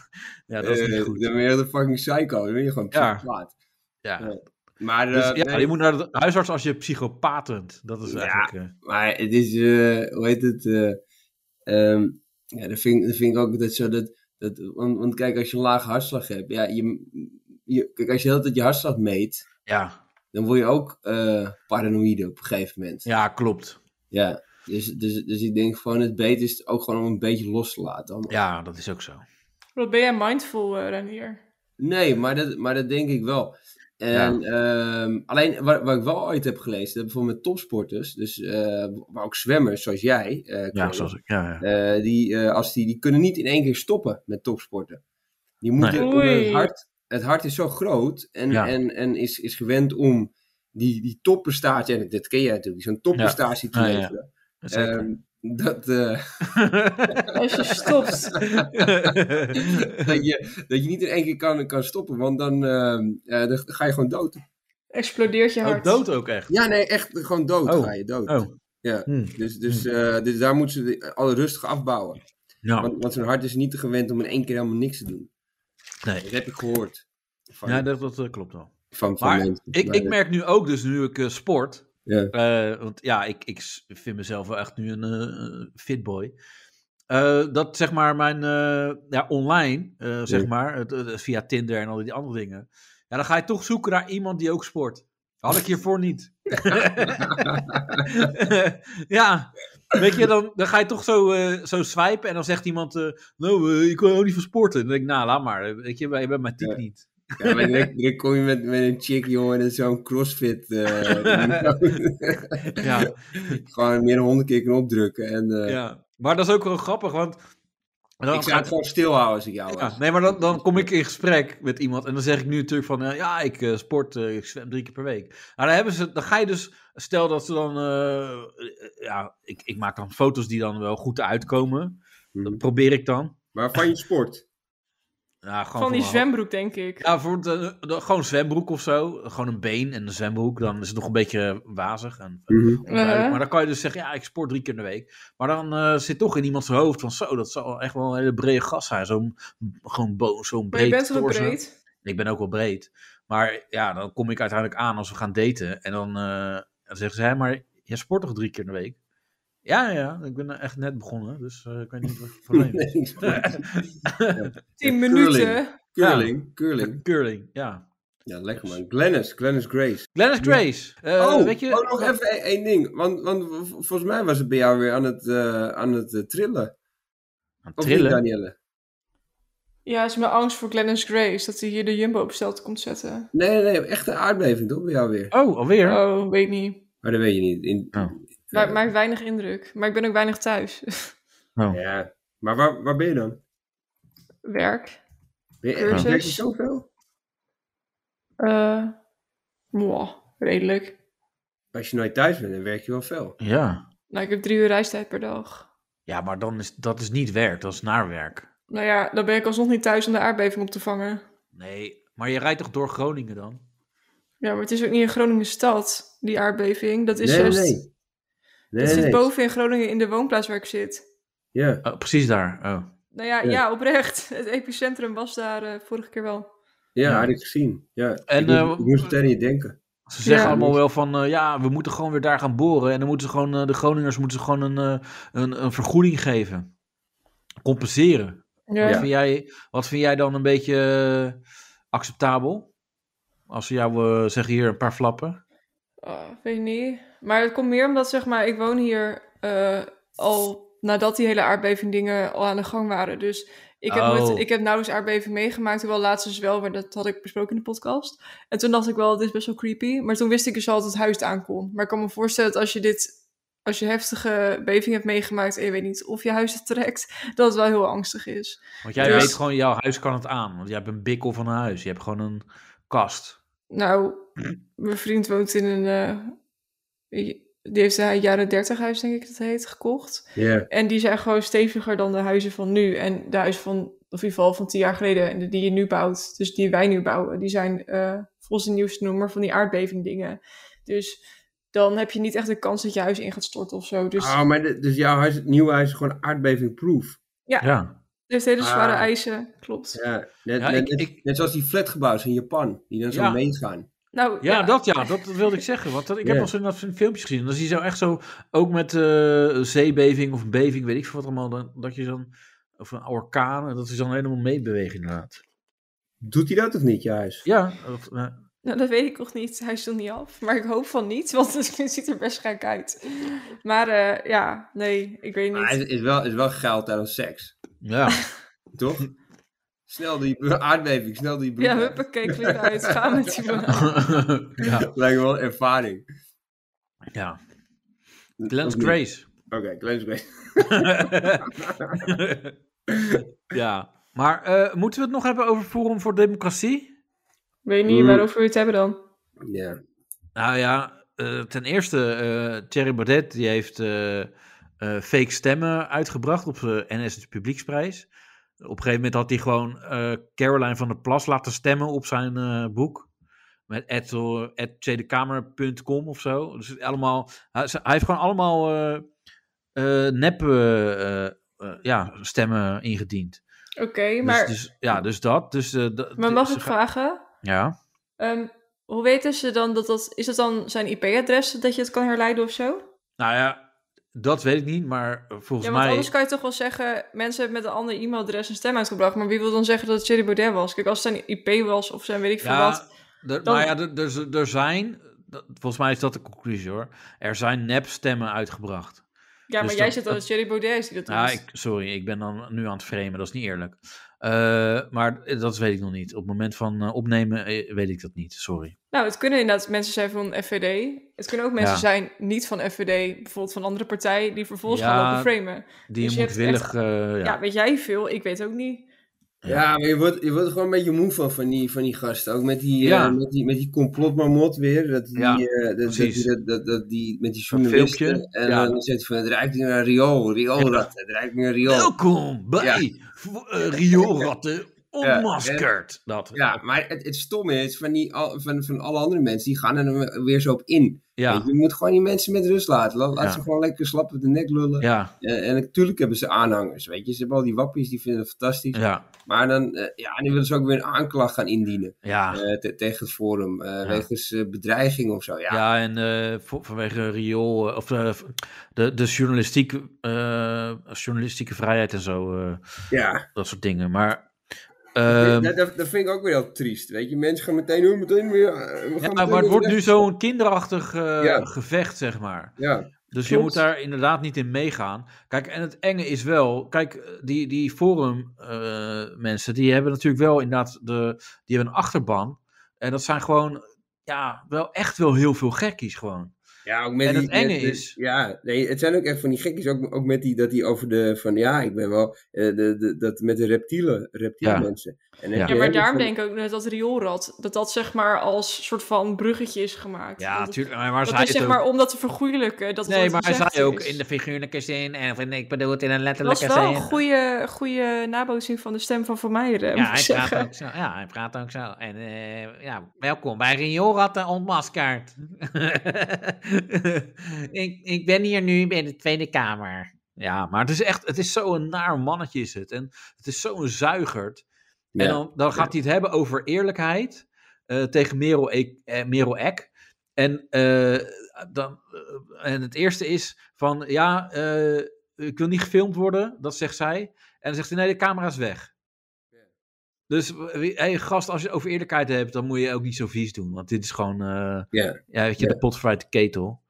S4: ja, dat is
S3: Eh,
S4: niet goed.
S3: Dan ben je een fucking psycho. Dan ben je gewoon
S4: Ja.
S3: psychopaat.
S4: Ja.
S3: Maar,
S4: Dus,
S3: eh,
S4: ja,
S3: nee,
S4: je moet naar de huisarts als je psychopaat bent. Dat is
S3: Ja.
S4: eigenlijk... eh,
S3: maar het is, eh, hoe heet het? eh, ehm, ja, dat vind, ik- dat vind ik ook altijd zo. Dat, dat, want, want kijk, als je een lage hartslag hebt. Ja, je, je, kijk, als je de hele tijd je hartslag meet.
S4: ja.
S3: Dan word je ook eh, paranoïde op een gegeven moment.
S4: ja, klopt.
S3: Ja, dus, dus, dus ik denk gewoon het beter is ook gewoon om een beetje los te laten. allemaal.
S4: Ja, dat is ook zo.
S2: Wat ben jij mindful, eh Renier?
S3: Nee, maar dat, maar dat denk ik wel. En, ehm, alleen wat, wat ik wel ooit heb gelezen, dat bijvoorbeeld met topsporters, dus, eh, maar ook zwemmers zoals jij, eh,
S4: Ja,
S3: Colin,
S4: zoals ik. Ja, ja.
S3: eh, die, eh, als die, die kunnen niet in één keer stoppen met topsporten. Die moeten
S2: Nee.
S3: omdat het
S2: Oei.
S3: hart. Het hart is zo groot en,
S4: Ja.
S3: en, en is, is gewend om die, die topprestatie, en dat ken jij natuurlijk, zo'n topprestatie
S4: Ja.
S3: te
S4: Ja, ja.
S3: leveren.
S4: Zeker.
S3: Ehm, dat, eh,
S2: Als je stopt.
S3: <laughs> dat, je, dat je niet in één keer kan, kan stoppen, want dan, ehm, eh, dan ga je gewoon dood.
S2: explodeert je
S4: <laughs> ook
S2: hart.
S4: dood ook echt.
S3: Ja, nee, echt gewoon dood
S4: Oh.
S3: ga je dood.
S4: Oh.
S3: Ja.
S4: Hm.
S3: Dus, dus, eh, dus daar moeten ze de- al rustig afbouwen.
S4: Ja,
S3: Want, want zijn hart is niet gewend om in één keer helemaal niks te doen.
S4: nee.
S3: Dat heb ik gehoord. Van,
S4: Ja, dat, dat eh, klopt wel.
S3: van, van
S4: Maar
S3: mensen.
S4: ik,
S3: Maar
S4: ik
S3: dat-
S4: merk nu ook, dus nu ik eh, sport.
S3: Ja.
S4: eh, want ja, ik, ik s- vind mezelf wel echt nu een eh, fit boy. Eh, dat zeg maar mijn eh, ja, online, eh, zeg
S3: Ja.
S4: maar, het- het- via Tinder en al die andere dingen. Ja, dan ga je toch zoeken naar iemand die ook sport. Had ik hiervoor niet. <laughs> ja, weet je, dan, dan ga je toch zo, eh zo swipen en dan zegt iemand, eh, nou, eh, ik wil ook niet van sporten. Dan denk ik, nou, laat maar, weet je, je bent mijn type
S3: Ja.
S4: niet.
S3: Ja, maar dan, dan kom je met, met een chick, jongen, en zo'n
S4: <laughs>
S3: crossfit. eh,
S4: Ja.
S3: gewoon meer dan honderd keer kunnen opdrukken. En, eh,
S4: Ja, maar dat is ook wel grappig, want... en Dan
S3: ik zou het gewoon stilhouden als ik jou was.
S4: Ja, nee, maar dan, dan kom ik in gesprek met iemand en dan zeg ik nu natuurlijk van... eh, ja, ik eh, sport, eh, ik zwem drie keer per week. Maar dan, hebben ze, dan ga je dus... Stel dat ze dan... eh, eh, ja, ik, ik maak dan foto's die dan wel goed uitkomen.
S3: Mhm.
S4: Dat probeer ik dan.
S3: Maar van je sport.
S4: Ja, gewoon
S2: Van die
S4: voor mijn-
S2: zwembroek, denk ik.
S4: Ja, voor het, eh, dan gewoon een zwembroek of zo. Gewoon een been en een zwembroek. Dan is het nog een beetje wazig en onduidelijk.
S2: Eh.
S4: Maar dan kan je dus zeggen, ja, ik sport drie keer in de week. Maar dan eh, zit toch in iemands hoofd van, zo, dat zal echt wel een hele brede gast zijn. Zo'n gewoon bo- zo'n
S2: Maar
S4: breed
S2: je bent wel
S4: torso.
S2: breed.
S4: Ik ben ook wel breed. Maar ja, dan kom ik uiteindelijk aan als we gaan daten. En dan, eh, dan zeggen ze, hé, maar jij sport toch drie keer in de week? Ja, ja, ik ben echt net begonnen, dus eh, ik weet niet wat het probleem is.
S3: <laughs> Nee, ik sport.
S2: 10
S3: curling.
S2: minuten.
S3: Curling, curling.
S4: Curling, ja.
S3: Ja, lekker man. Glennis, Glennis Grace.
S4: Glennis Grace. Dus- eh,
S3: oh,
S4: weet je,
S3: oh, nog even één- één ding. Want, want v- volgens mij was het bij jou weer aan het, eh, aan het eh, trillen.
S4: Aan het
S3: Of
S4: trillen.
S3: niet, Danielle?
S2: Ja, is mijn angst voor Glennis Grace. Dat hij hier de Jumbo op stelte komt zetten.
S3: Nee, nee, nee, echt een aardbeving toch bij jou weer?
S4: Oh, alweer?
S2: Oh, weet niet.
S3: Maar dat weet je niet. In,
S4: Oh.
S2: Maar, maakt weinig indruk. Maar ik ben ook weinig thuis. <laughs>
S4: Oh.
S3: Ja. Maar waar, waar ben je dan?
S2: Werk.
S3: Ben je,
S2: Cursus.
S3: werk je zoveel?
S2: Eh mwah, redelijk.
S3: Als je nooit thuis bent, dan werk je wel veel.
S4: Ja.
S2: Nou, ik heb drie uur reistijd per dag.
S4: Ja, maar dan is, dat is niet werk, dat is naar werk.
S2: Nou ja, dan ben ik alsnog niet thuis om de aardbeving op te vangen.
S4: Nee, maar je rijdt toch door Groningen dan?
S2: Ja, maar het is ook niet in Groningen stad, die aardbeving. Dat is
S3: nee,
S2: juist...
S3: nee.
S2: dat
S3: Nee,
S2: zit
S3: nee.
S2: boven in Groningen in de woonplaats waar ik zit.
S3: Ja.
S4: Oh, precies daar. Oh.
S2: Nou ja,
S3: Ja.
S2: ja. oprecht. <laughs> Het epicentrum was daar eh, vorige keer wel.
S3: Ja,
S4: Ja.
S3: had ik gezien. Ja.
S4: En,
S3: ik, moest,
S4: eh,
S3: ik moest meteen aan je denken.
S4: Ze zeggen
S2: Ja.
S4: allemaal wel van, eh, ja, we moeten gewoon weer daar gaan boren. En dan moeten ze gewoon, eh, de Groningers moeten ze gewoon een, eh, een, een vergoeding geven. Compenseren.
S2: Ja.
S4: Wat, vind jij, wat vind jij dan een beetje eh, acceptabel? Als ze jou eh, zeggen, hier een paar flappen.
S2: Ah, weet ik niet. Maar het komt meer omdat, zeg maar, ik woon hier eh, al nadat die hele aardbeving dingen al aan de gang waren. Dus ik heb,
S4: Oh.
S2: nooit, ik heb nauwelijks aardbeving meegemaakt. Hoewel laatst dus wel, maar dat had ik besproken in de podcast. En toen dacht ik wel, dit is best wel creepy. Maar toen wist ik dus al dat het huis het aankomt. Maar ik kan me voorstellen dat als je dit als je heftige beving hebt meegemaakt en je weet niet of je huis het trekt, <laughs> dat het wel heel angstig is.
S4: Want jij
S2: Dus-
S4: weet gewoon, jouw huis kan het aan. Want jij hebt een bikkel van een huis. Je hebt gewoon een kast.
S2: Nou, mijn vriend woont in een. eh, die heeft een jaren 30 huis, denk ik dat heet, gekocht.
S3: Ja.
S2: En die zijn gewoon steviger dan de huizen van nu. En de huizen van, of in ieder geval van tien jaar geleden, en de- die je nu bouwt, dus die wij nu bouwen, die zijn eh, volgens de nieuwste nummer van die aardbevingdingen. Dus dan heb je niet echt de kans dat je huis in gaat storten of zo. Dus
S3: Ah, maar de- dus jouw huis, het nieuwe huis is gewoon aardbevingproof.
S4: Ja.
S2: het heeft hele zware
S3: Ah.
S2: eisen, klopt.
S3: Ja, net,
S4: Ja,
S3: net,
S4: ik-
S3: net-
S4: ik-
S3: net zoals die flatgebouwen in Japan, die dan zo
S4: Ja.
S3: meegaan.
S2: Nou,
S4: Ja, dat ja, dat wilde ik zeggen. Want dat, ik heb
S3: Ja.
S4: al zo'n dat zo'n filmpjes gezien. Dan zie je zo echt zo, ook met eh, zeebeving of beving, weet ik veel wat allemaal. dan- dat je dan, of een orkaan, dat is dan helemaal meebewegen inderdaad.
S3: Doet hij dat of niet, je huis?
S4: Ja, dat, eh,
S2: Nou, dat weet ik nog niet. Hij is nog niet af. Maar ik hoop van niet, <laughs> want het ziet er best gek uit. Maar eh, ja, nee, ik weet
S3: Maar
S2: niet.
S3: het is wel, het is wel geil tijdens seks,
S4: ja. <laughs>
S3: toch? snel die aardbeving, snel die broek.
S2: Ja,
S3: uit.
S2: huppakee, klink uit. Ga met
S3: <laughs>
S2: die banaan.
S4: ja.
S3: Lijkt me wel ervaring.
S4: ja. Glenn's
S3: Of niet?
S4: Grace.
S3: Oké, Glenn's Grace.
S4: <laughs> ja. Maar eh, moeten we het nog hebben over Forum voor Democratie?
S2: Weet niet,
S3: Mm.
S2: waarover we het hebben dan?
S3: Ja.
S4: Nou ja, eh, ten eerste, eh Thierry Baudet die heeft eh, eh, fake stemmen uitgebracht op eh, de NS Publieksprijs. Op een gegeven moment had hij gewoon eh, Caroline van der Plas laten stemmen op zijn eh, boek. Met at, eh, at tweedekamer.com of zo. Dus het allemaal, hij, hij heeft gewoon allemaal eh eh, nep eh, eh, eh, ja, stemmen ingediend.
S2: Oké,
S4: dus,
S2: maar,
S4: dus- ja, dus dat. Dus, eh, dat-
S2: maar mag
S4: ze
S2: ik
S4: ga-
S2: vragen?
S4: Ja.
S2: Ehm, hoe weten ze dan dat dat... Is dat dan zijn IP-adres dat je het kan herleiden of zo?
S4: Nou ja, dat weet ik niet, maar eh, volgens
S2: Ja, want
S4: mij...
S2: anders kan je toch wel zeggen... Mensen hebben met een ander e-mailadres een stem uitgebracht. Maar wie wil dan zeggen dat het Thierry Baudet was? Kijk, als het zijn IP was of zijn weet ik veel wat...
S4: er-
S2: Dan-
S4: maar nou ja, er, er, er zijn, dat- volgens mij is dat de conclusie hoor, er zijn nepstemmen uitgebracht.
S2: Ja, maar
S4: dus
S2: jij
S4: dat-
S2: zegt dat het Thierry Baudet is die dat
S4: Ja,
S2: was.
S4: ik, sorry, ik ben dan nu aan het framen, dat is niet eerlijk. Eh, maar dat weet ik nog niet. Op het moment van eh, opnemen eh, weet ik dat niet, sorry.
S2: Nou, het kunnen inderdaad mensen zijn van FVD. Het kunnen ook mensen
S4: Ja.
S2: zijn niet van FVD, bijvoorbeeld van andere partijen, die vervolgens
S4: Ja,
S2: gaan lopen framen.
S4: Die
S2: Dus je hebt
S4: moedwillig,
S2: echt-
S4: eh,
S2: Ja.
S4: ja.
S2: weet jij veel? Ik weet ook niet.
S3: Ja, maar je wordt, je wordt er gewoon een beetje moe van, van die, van die gasten. Ook met die, eh,
S4: Ja.
S3: met die, met die complotmarmot weer. Dat die,
S4: Ja,
S3: eh, dat, dat,
S4: precies.
S3: die- dat, dat, dat die, met die
S4: Dat
S3: journalisten.
S4: filmpje,
S3: En
S4: ja.
S3: dan zegt hij van, het ruikt nu naar riool, rioolrat. Het ruikt nu naar riool.
S4: Welkom bij ja. rioolratten
S3: Ja,
S4: onmaskerd. Dat.
S3: Ja, maar het, het stomme is, van, die, al- van, van alle andere mensen, die gaan er dan weer zo op in.
S4: Ja,
S3: Weet je, je moet gewoon die mensen met rust laten. Laat, laat
S4: Ja.
S3: ze gewoon lekker slap op de nek lullen.
S4: ja,
S3: Eh, en natuurlijk hebben ze aanhangers, weet je. Ze hebben al die wappies, die vinden het fantastisch.
S4: ja,
S3: Maar dan, eh, ja, dan willen ze ook weer een aanklacht gaan indienen.
S4: ja.
S3: eh, te- tegen het forum. eh, Wegens eh, bedreiging of zo. Ja, ja.
S4: Ja, en eh, vo- vanwege riool, eh, of eh, de, de journalistiek, eh, journalistieke vrijheid en zo, eh, dat soort dingen. Maar, ehm,
S3: dat, dat, dat vind ik ook weer heel triest. Weet je, mensen gaan meteen, oh, meteen weer. eh, We
S4: ja,
S3: gaan meteen
S4: maar het
S3: weer
S4: wordt nu
S3: recht-
S4: zo'n kinderachtig eh,
S3: Ja.
S4: gevecht, zeg maar.
S3: Ja,
S4: Dus je
S2: Klopt.
S4: moet daar inderdaad niet in meegaan. Kijk, en het enge is wel, kijk, eh, die, die forum eh, mensen, die hebben natuurlijk wel inderdaad, de, die hebben een achterban. En dat zijn gewoon, ja, wel echt wel heel veel gekkies gewoon.
S3: ja, ook met
S4: En het
S3: die,
S4: enge
S3: met de-
S4: is-
S3: Ja, nee, het zijn ook echt van die gekkies. Ook, ook met die, dat die over de. Van ja, ik ben wel. eh, de, de, dat met de reptielen. Reptiele
S4: Ja.
S3: mensen. En
S4: Ja.
S2: Ja, maar daarom denk ik ook net dat rioolrad, dat dat zeg maar als soort van bruggetje is gemaakt.
S4: Ja,
S2: Want het-
S4: natuurlijk. Maar, maar
S2: Dat
S4: zij
S2: is
S4: het
S2: zeg
S4: ook-
S2: maar om dat te vergoeilijken. Dat
S4: Nee,
S2: het
S4: maar hij
S2: gezegd
S4: zei ook
S2: is.
S4: in de figuurlijke zin. En of in, ik bedoel het in een
S2: Dat was
S4: letterlijke
S2: wel een
S4: zin.
S2: goede, goede nabootsing van de stem van Van
S4: ja,
S2: Meijeren, moet ik
S4: hij praat
S2: zeggen.
S4: ook zo. Ja, hij praat ook zo. En eh, ja, welkom bij Rioolratten ontmaskerd. <laughs> ik, ik ben hier nu in de Tweede Kamer. Ja, maar het is echt, het is zo'n naar mannetje is het. En het is zo'n zuigerd. En dan, dan gaat hij het hebben over eerlijkheid eh, tegen Merel, E- eh, Merel Eck. En, eh, dan, eh, en het eerste is van, ja, eh, ik wil niet gefilmd worden, dat zegt zij. En dan zegt hij, nee, de camera is weg. Dus wie- hey, gast, als je het over eerlijkheid hebt, dan moet je ook niet zo vies doen. Want dit is gewoon, eh,
S3: Ja.
S4: ja, weet je,
S3: Ja.
S4: de potfried ketel.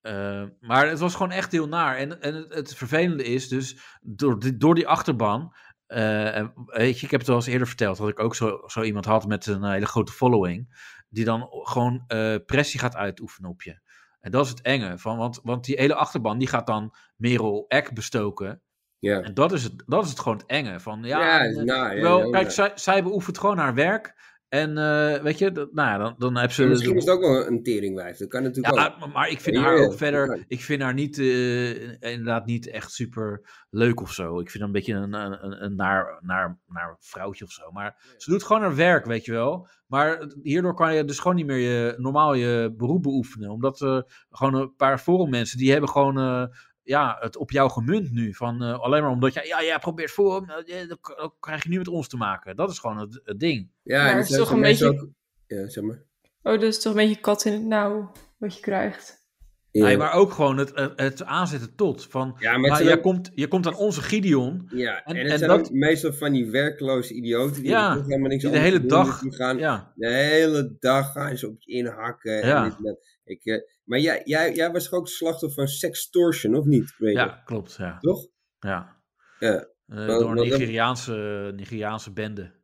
S4: Eh, maar het was gewoon echt heel naar. En, en het, het vervelende is dus, door die, door die achterban, eh, en weet je, ik heb het wel eens eerder verteld dat ik ook zo, zo iemand had met een hele grote following, die dan gewoon eh, pressie gaat eh, uitoefenen op je. En dat is het enge. Van, want, want die hele achterban die gaat dan Merel Eck bestoken.
S3: Ja.
S4: En dat is het, dat is het gewoon het enge. Van, ja, en, eh,
S3: nou, ja,
S4: terwijl,
S3: ja,
S4: kijk,
S3: ja.
S4: zij, zij beoefent gewoon haar werk. En eh, weet je, dat, nou ja, dan, dan heb ze...
S3: Misschien is het ook wel een teringwijf. Dat kan natuurlijk ook.
S4: Ja, maar, maar ik vind
S3: Ja,
S4: haar
S3: ja,
S4: ook
S3: ja.
S4: verder. Ik vind haar niet, eh, inderdaad, niet echt super leuk of zo. Ik vind haar een beetje een, een, een naar, naar, naar vrouwtje of zo. Maar ze doet gewoon haar werk, weet je wel. Maar hierdoor kan je dus gewoon niet meer je, normaal je beroep beoefenen. Omdat eh, gewoon een paar forummensen die hebben gewoon. eh, ja, het op jou gemunt nu. Van, eh, alleen maar omdat jij, ja, jij probeert forum, eh, eh, dan k- dan krijg je nu met ons te maken. Dat is gewoon het, het ding.
S3: Ja,
S2: Maar
S3: en
S2: het is
S3: zijn
S2: toch een
S3: mensen
S2: beetje-
S3: ook- Ja, zeg maar.
S2: Oh, dat is toch een beetje kat in het nauw wat je krijgt.
S3: Ja,
S4: Nee, maar ook gewoon het, het, het aanzetten tot. Van,
S3: ja, maar het
S4: Maar
S3: zijn
S4: jij
S3: ook-
S4: komt, je komt aan onze Gideon.
S3: Ja, en,
S4: En-
S3: het
S4: en
S3: zijn
S4: dat-
S3: ook meestal van die werkloze idioten die
S4: Ja,
S3: toch helemaal niks
S4: die de
S3: anders
S4: hele
S3: doen,
S4: dag-
S3: Die gaan
S4: Ja,
S3: de hele dag gaan ze op je inhakken. En
S4: Ja.
S3: dit en dat. Ik, eh, maar jij, jij, jij was toch ook slachtoffer van sextortion, of niet? Peter?
S4: ja klopt. Ja.
S3: Toch? <laughs>
S4: Ja.
S3: Ja.
S4: Eh,
S3: Maar-
S4: door
S3: maar
S4: een
S3: dat-
S4: Nigeriaanse, Nigeriaanse bende.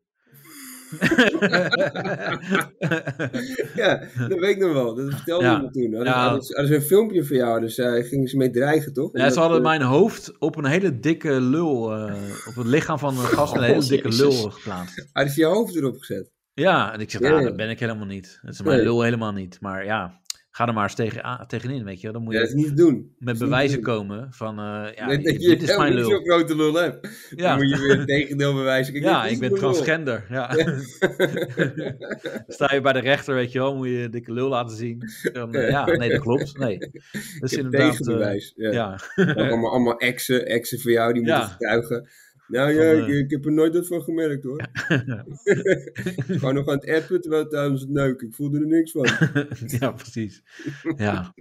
S3: <laughs> Ja, dat weet ik nog wel. Dat vertelde
S4: Ja.
S3: je me toen. Hadden,
S4: Ja.
S3: hadden, ze- hadden ze een filmpje van jou, dus eh gingen ze mee dreigen, toch?
S4: ja, ze hadden
S3: Omdat, eh,
S4: mijn hoofd op een hele dikke lul, eh, op het lichaam van
S3: <laughs>
S4: een gast, een hele
S3: Oh,
S4: dikke
S3: Jezus.
S4: lul geplaatst.
S3: eh, Hadden ze je hoofd erop gezet?
S4: Ja, en ik zeg,
S3: Ja,
S4: ja,
S3: ja.
S4: dat ben ik helemaal niet. Dat is mijn
S3: Nee.
S4: lul helemaal niet. Maar ja, ga er maar eens tegen, aan- tegenin, weet je. wel. Dan moet
S3: Ja,
S4: je
S3: dat is niet te doen.
S4: met
S3: niet
S4: bewijzen
S3: doen.
S4: komen van, eh, ja,
S3: dat, dat je
S4: dit is
S3: helemaal
S4: mijn
S3: niet zo'n
S4: lul.
S3: grote lul hebt. Dan
S4: Ja.
S3: moet je weer het tegendeel bewijzen. Kijk,
S4: Ja,
S3: dit is
S4: ik ben
S3: mijn lul.
S4: transgender. Ja. <laughs> Sta je bij de rechter, weet je wel, moet je je dikke lul laten zien. Dan, eh, ja, nee, dat klopt.
S3: <laughs>
S4: Nee. Dat is
S3: Ik heb
S4: inderdaad. eh,
S3: tegenbewijs. ja.
S4: ja. <laughs>
S3: Ook allemaal, allemaal exen, exen voor jou, die
S4: Ja.
S3: moeten getuigen. Nou
S4: Van,
S3: ja, ik,
S4: eh,
S3: ik heb er nooit wat van
S4: <laughs>
S3: gemerkt hoor. Gewoon nog aan het appen terwijl tijdens het neuken. Ik voelde er niks
S4: <laughs>
S3: van.
S4: ja, precies. Ja,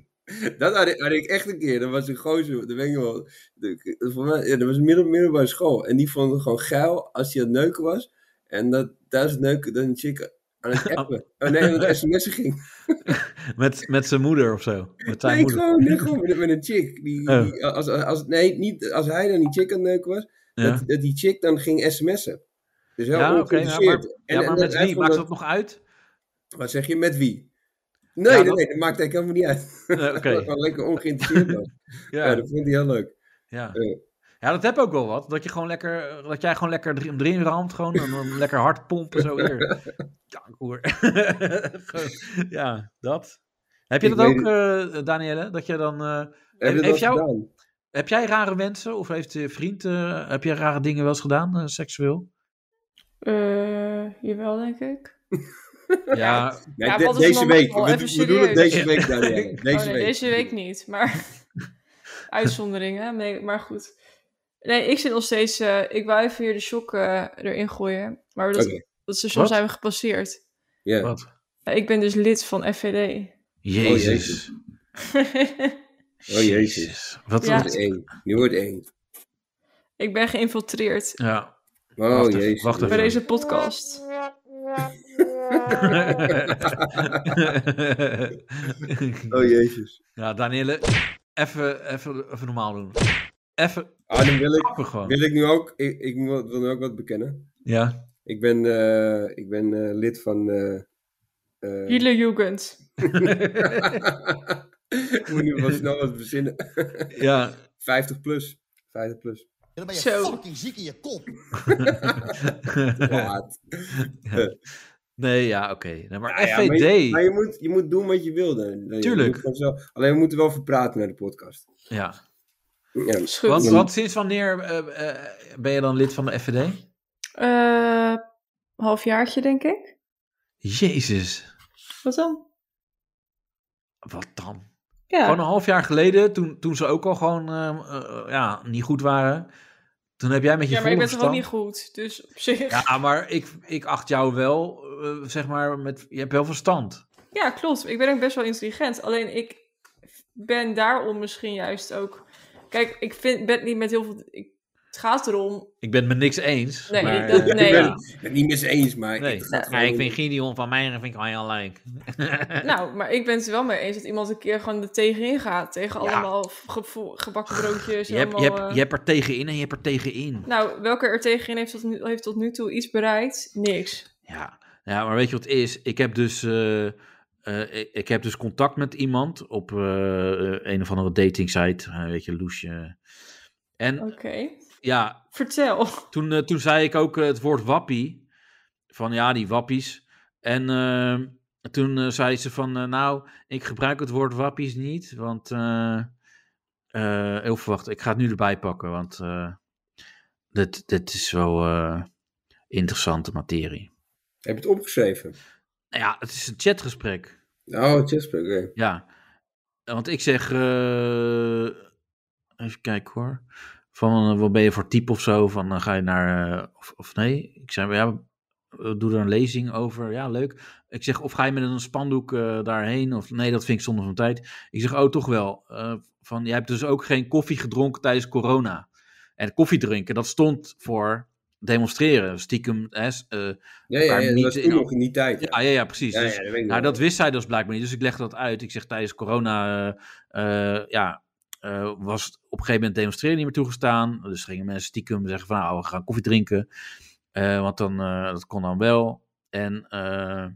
S3: Dat had ik, had ik echt een keer. Dat was een gozer, dat weet ik nog wel. De- Voor mij, ja, dat was middel, middelbare school. En die vond het gewoon geil als hij aan het neuken was. En dat tijdens het neuken dan een chick aan
S4: <laughs>
S3: het appen. Oh nee, aan het sms'en ging.
S4: met, met zijn moeder of zo. Met zijn
S3: Nee,
S4: moeder.
S3: gewoon, nee, gewoon met, met een chick. Die,
S4: Oh.
S3: die- als, als, als- nee, niet, als hij dan die chick aan het neuken was.
S4: Ja,
S3: Dat, dat die chick dan ging sms'en. Dus heel
S4: ja oké. ja, maar,
S3: ongeïnteresseerd. En-
S4: ja,
S3: en
S4: maar
S3: dat
S4: met
S3: hij
S4: wie?
S3: vond
S4: Maakt
S3: dat-
S4: dat nog
S3: <laughs>
S4: uit?
S3: Wat zeg je, met wie? Nee,
S4: Ja,
S3: nee,
S4: dat-
S3: nee, dat maakt eigenlijk helemaal niet uit.
S4: Eh, Oké.
S3: Dat was gewoon lekker ongeïnteresseerd was. ja.
S4: Ja,
S3: dat vond hij heel leuk.
S4: ja.
S3: eh.
S4: Ja, dat heb ook wel wat. Dat, je gewoon lekker, dat jij gewoon lekker drie- hem erin ramt. Gewoon en dan lekker hard pompen zo
S3: <laughs>
S4: hier. Ja, hoer. <laughs> Gewoon, ja, dat. Heb je
S3: Ik
S4: dat ook,
S3: weet
S4: eh, Danielle? Dat je dan... eh,
S3: Heb je dat
S4: heeft jou-
S3: gedaan?
S4: Heb jij rare wensen of heeft je vriend, eh, heb jij rare dingen wel eens gedaan, eh, seksueel?
S2: Eh, jawel, denk ik.
S4: Ja,
S3: Nee,
S2: Ja,
S3: de-
S2: wat is
S3: deze
S2: dan
S3: week.
S2: wel
S3: We,
S2: Oh, even
S3: we doen het
S2: serieus?
S3: deze week, Daniel. Deze
S2: <laughs> oh, nee,
S3: week.
S2: deze week niet, maar <laughs> uitzonderingen. Nee, maar goed. Nee, ik zit nog steeds. eh, ik wou even weer de shock eh, erin gooien, maar dat,
S3: Oké.
S2: dat station
S4: Wat?
S2: zijn we gepasseerd.
S3: Ja. Oh,
S4: wat?
S2: Eh, ik ben dus lid van FVD.
S4: Jezus.
S3: jezus. Oh, jezus.
S4: Wat ja.
S2: Ja.
S3: Nu wordt het eng. Nu wordt het eng.
S2: <laughs> ik ben geïnfiltreerd
S3: <laughs>
S4: ja.
S3: Oh,
S4: Wacht even,
S3: jezus.
S4: wacht
S2: bij
S4: even.
S2: deze podcast.
S3: Oh, jezus.
S4: <laughs> ja, Danielle, even, even, even normaal doen. Even
S3: Ah, dan wil ik,
S4: kappen gewoon.
S3: wil ik nu ook... Ik, ik wil wil nu ook wat bekennen.
S4: Ja.
S3: Ik ben, eh, ik ben eh, lid van... eh eh,
S2: Hele Jugend.
S3: ik <laughs> moet nu wel snel wat verzinnen. <laughs>
S4: ja.
S3: 50 plus. 50
S4: <laughs>
S3: plus.
S5: Dan ben je
S2: Zo.
S5: fucking ziek in je kop.
S3: <laughs> Kwaad.
S4: Nee, ja, oké. Nee, maar
S3: Ja, ja, maar
S4: FVD.
S3: je- Maar je moet, je moet doen wat je wil. Dan. Je
S4: Tuurlijk.
S3: moet gewoon zo- alleen we moeten wel verpraten naar de podcast.
S4: ja.
S3: Ja.
S2: Is goed.
S4: Want,
S3: Ja.
S4: want sinds wanneer eh, eh, ben je dan lid van de FVD?
S2: Eh, halfjaartje, denk ik.
S4: Jezus,
S2: Wat dan?
S4: wat dan?
S2: Ja.
S4: Gewoon een half jaar geleden, toen, toen ze ook al gewoon eh, eh, ja, niet goed waren. Toen heb jij met je
S2: ja, maar ik ben toch ook
S4: volle
S2: niet goed, dus op zich. Ja,
S4: verstand- Ja, maar ik, ik acht jou wel, eh, zeg maar, met, je hebt wel verstand.
S2: klopt. Ik ben ook best wel intelligent. Alleen ik ben daarom misschien juist ook. Kijk, ik vind, ben niet met heel veel. Ik, het gaat erom.
S4: Ik ben het met niks eens.
S2: Nee,
S4: maar,
S2: dat-
S4: eh,
S2: nee.
S3: Ik ben het ben het niet met ze eens, maar...
S4: nee.
S3: het gaat
S4: Nee, ik
S3: gewoon-
S4: vind Gideon van Meijeren vind ik wel heel leuk. Eh.
S2: Nou, maar ik ben het er wel mee eens dat iemand een keer gewoon er tegenin gaat. Tegen
S4: Ja.
S2: allemaal gevo- gebakken broodjes.
S4: Je hebt, je,
S2: allemaal,
S4: hebt,
S2: eh,
S4: je hebt er tegenin en je hebt er tegenin.
S2: Nou, welke er tegenin heeft tot, nu, heeft tot nu toe iets bereikt? Niks.
S4: Ja. ja, maar weet je wat het is? Ik heb dus eh, eh, ik, ik heb dus contact met iemand op eh, een of andere dating site, eh, weet je, Loesje. En
S2: Oké.
S4: ja,
S2: Vertel.
S4: toen, eh, toen zei ik ook eh, het woord wappie. Van ja, die wappies. En eh, toen eh, zei ze van eh, nou, ik gebruik het woord wappies niet. Want eh eh, heel verwacht, ik ga het nu erbij pakken. Want eh, dit, dit is wel eh, interessante materie.
S3: Heb je het opgeschreven?
S4: Nou ja, het is een chatgesprek.
S3: Oh, Chesper, oké.
S4: Ja, want ik zeg, eh, even kijken hoor, van eh, wat ben je voor type of zo, van dan ga je naar, eh, of, of nee, ik zei, ja, eh, doe er een lezing over, ja leuk. Ik zeg, of ga je met een spandoek eh, daarheen, of nee, dat vind ik zonde van tijd. Ik zeg, oh toch wel, Eh, van, jij hebt dus ook geen koffie gedronken tijdens corona. En koffie drinken, dat stond voor demonstreren, stiekem, hè, s- eh,
S3: Ja, ja,
S4: Maar
S3: ja, dat
S4: niet
S3: was
S4: in
S3: toen
S4: al-
S3: nog in die tijd.
S4: ja, ja, ja, precies.
S3: Ja,
S4: Dus-
S3: ja, dat weet ik
S4: nou,
S3: nog.
S4: dat wist zij dus blijkbaar niet. Dus ik leg dat uit. Ik zeg tijdens corona eh, eh, ja, eh, was het op een gegeven moment demonstreren niet meer toegestaan. Dus gingen mensen stiekem zeggen van nou, we gaan koffie drinken. Eh, want dan, eh, dat kon dan wel. En eh,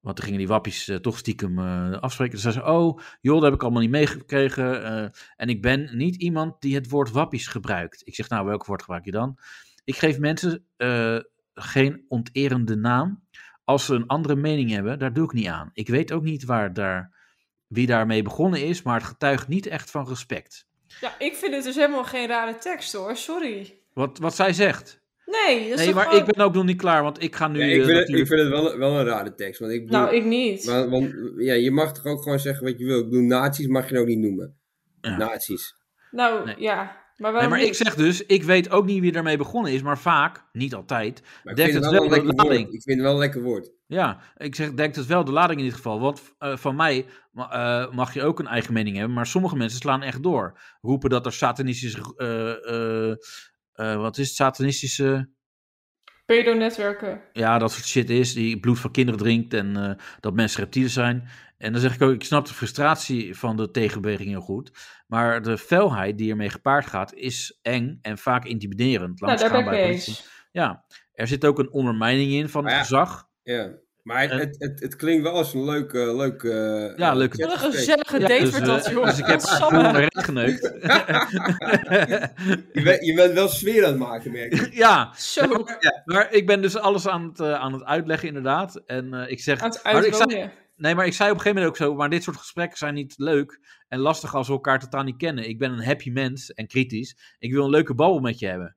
S4: want dan gingen die wappies eh, toch stiekem eh, afspreken. Dus zei ze, oh joh, dat heb ik allemaal niet meegekregen. eh, en ik ben niet iemand die het woord wappies gebruikt. Ik zeg nou, welk woord gebruik je dan? Ik geef mensen eh, geen onterende naam als ze een andere mening hebben, daar doe ik niet aan. Ik weet ook niet waar daar, wie daarmee begonnen is, maar het getuigt niet echt van respect.
S2: Ja, ik vind het dus helemaal geen rare tekst hoor. Sorry.
S4: Wat, wat zij zegt.
S2: Nee, dat is
S4: Nee,
S2: toch
S4: maar
S2: gewoon-
S4: ik ben ook nog niet klaar, want ik ga nu.
S3: Ja, ik,
S4: eh,
S3: vind het, ik
S4: natuurlijk-
S3: vind het wel, wel een rare tekst. Want ik bedoel,
S2: Nou, ik niet.
S3: want, want, ja, je mag toch ook gewoon zeggen wat je wil. Ik bedoel, nazi's mag je ook niet noemen.
S4: Ja.
S3: Nazi's.
S2: Nou,
S4: Nee.
S2: ja. Maar
S4: Nee,
S2: waarom
S4: maar ik
S2: niet?
S4: zeg dus, ik weet ook niet wie daarmee begonnen is, maar vaak, niet altijd,
S3: Maar ik
S4: dekt het
S3: vind het
S4: wel
S3: wel
S4: de
S3: een lekker woord.
S4: lading.
S3: Ik vind het wel een lekker woord.
S4: Ja, ik zeg, dekt het wel de lading in dit geval. Want eh, van mij ma- eh, mag je ook een eigen mening hebben, maar sommige mensen slaan echt door. Roepen dat er satanistische. eh, eh, eh, wat is het? Satanistische.
S2: Pedo-netwerken.
S4: ja, dat soort shit is, die bloed van kinderen drinkt en eh, dat mensen reptielen zijn. En dan zeg ik ook, ik snap de frustratie van de tegenbeweging heel goed, maar de felheid die ermee gepaard gaat is eng en vaak intimiderend.
S2: Nou,
S4: Laat
S2: daar
S4: gaan
S2: ben ik mee eens.
S4: Ja, er zit ook een ondermijning in van het
S3: Maar ja,
S4: gezag.
S3: Ja. Maar het,
S4: En-
S3: het, het, het klinkt wel als een leuk... eh, leuk eh,
S4: Ja, leuke-
S2: Wat een
S3: chatgesprek.
S2: gezellige
S4: Ja,
S2: date
S4: dus,
S2: wordt
S4: eh,
S2: dat, joh.
S4: dus ik heb
S2: Godsamme.
S4: gewoon recht
S3: <laughs>
S4: geneukt. <laughs>
S3: Je, bent, je bent wel sfeer aan het maken, merk ik.
S4: ja,
S2: Zo,
S4: maar ik ben dus alles aan het, eh, aan het uitleggen inderdaad. En eh, ik zeg,
S2: aan het
S4: Maar ik zei-
S2: uitwonen.
S4: Nee, maar ik zei op een gegeven moment ook zo, maar dit soort gesprekken zijn niet leuk en lastig als we elkaar totaal niet kennen. Ik ben een happy mens en kritisch. Ik wil een leuke babbel met je hebben.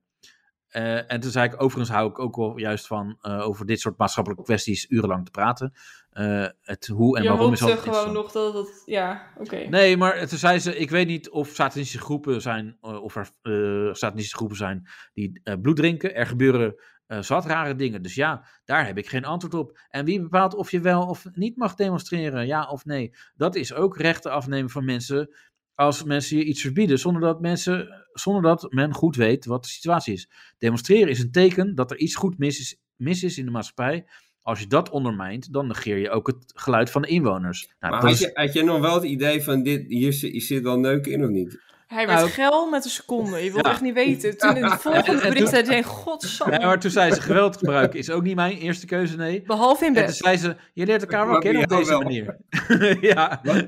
S4: Eh, en toen zei ik, overigens hou ik ook wel juist van eh, over dit soort maatschappelijke kwesties urenlang te praten. Eh, het hoe en
S2: Je
S4: waarom is
S2: hoopte
S4: altijd
S2: gewoon
S4: interessant.
S2: nog dat het... Ja, oké.
S4: Nee, maar toen zei ze, ik weet niet of satanistische groepen zijn, eh, of er eh, satanistische groepen zijn die eh, bloed drinken. Er gebeuren eh, zat rare dingen. Dus ja, daar heb ik geen antwoord op. En wie bepaalt of je wel of niet mag demonstreren, ja of nee? Dat is ook rechten afnemen van mensen als mensen je iets verbieden, zonder dat, mensen, zonder dat men goed weet wat de situatie is. Demonstreren is een teken dat er iets goed mis is, mis is in de maatschappij. Als je dat ondermijnt, dan negeer je ook het geluid van de inwoners. Nou, dat
S3: Maar had,
S4: is-
S3: je, had jij nog wel het idee van, dit, hier, zi- hier zit wel neuken in of niet?
S2: Hij
S4: Nou,
S2: werd geil met een seconde. Je wilde
S4: ja.
S2: echt niet weten. Toen in het
S4: En-
S2: volgende
S4: en
S2: bericht
S4: toen-
S2: zei hij, godsamme.
S4: Nee, maar toen zei ze, geweld gebruiken is ook niet mijn eerste keuze, nee.
S2: Behalve in
S4: En toen
S2: bed.
S4: zei ze, je leert elkaar wel
S3: Maar
S4: kennen op
S3: jou
S4: deze
S3: wel.
S4: manier. <laughs> ja. <laughs>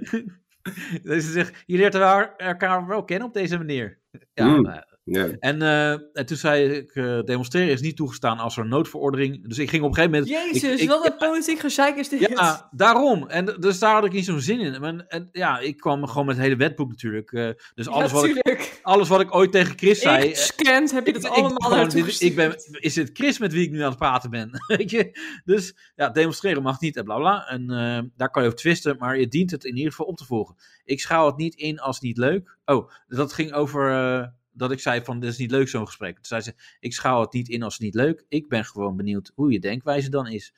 S4: Dus ze zegt, je leert elkaar- elkaar wel kennen op deze manier. Ja,
S3: Mm.
S4: nou,
S3: Nee.
S4: en, eh, en toen zei ik, eh, demonstreren is niet toegestaan als er noodverordening. Dus ik ging op een gegeven moment... ik-
S2: Jezus,
S4: ik-
S2: wat een politiek gezeik is dit.
S4: ja, daarom. En d- dus daar had ik niet zo'n zin in. En, en ja, ik kwam gewoon met het hele wetboek natuurlijk. eh, dus alles, wat ik,
S2: Natuurlijk.
S4: alles wat ik ooit tegen Chris zei... eh,
S2: Scant, heb je dat
S4: ik- ik dacht
S2: allemaal
S4: gewoon,
S2: naartoe
S4: dit- ik ben,
S2: gestuurd?
S4: Is het Chris met wie ik nu aan het praten ben? <laughs> Weet je? Dus ja, demonstreren mag niet en bla bla. En eh, daar kan je over twisten, maar je dient het in ieder geval op te volgen. Ik schaal het niet in als niet leuk. Oh, dat ging over eh, dat ik zei van dit is niet leuk zo'n gesprek. Toen zei ze, ik schaal het niet in als niet leuk. Ik ben gewoon benieuwd hoe je denkwijze dan is.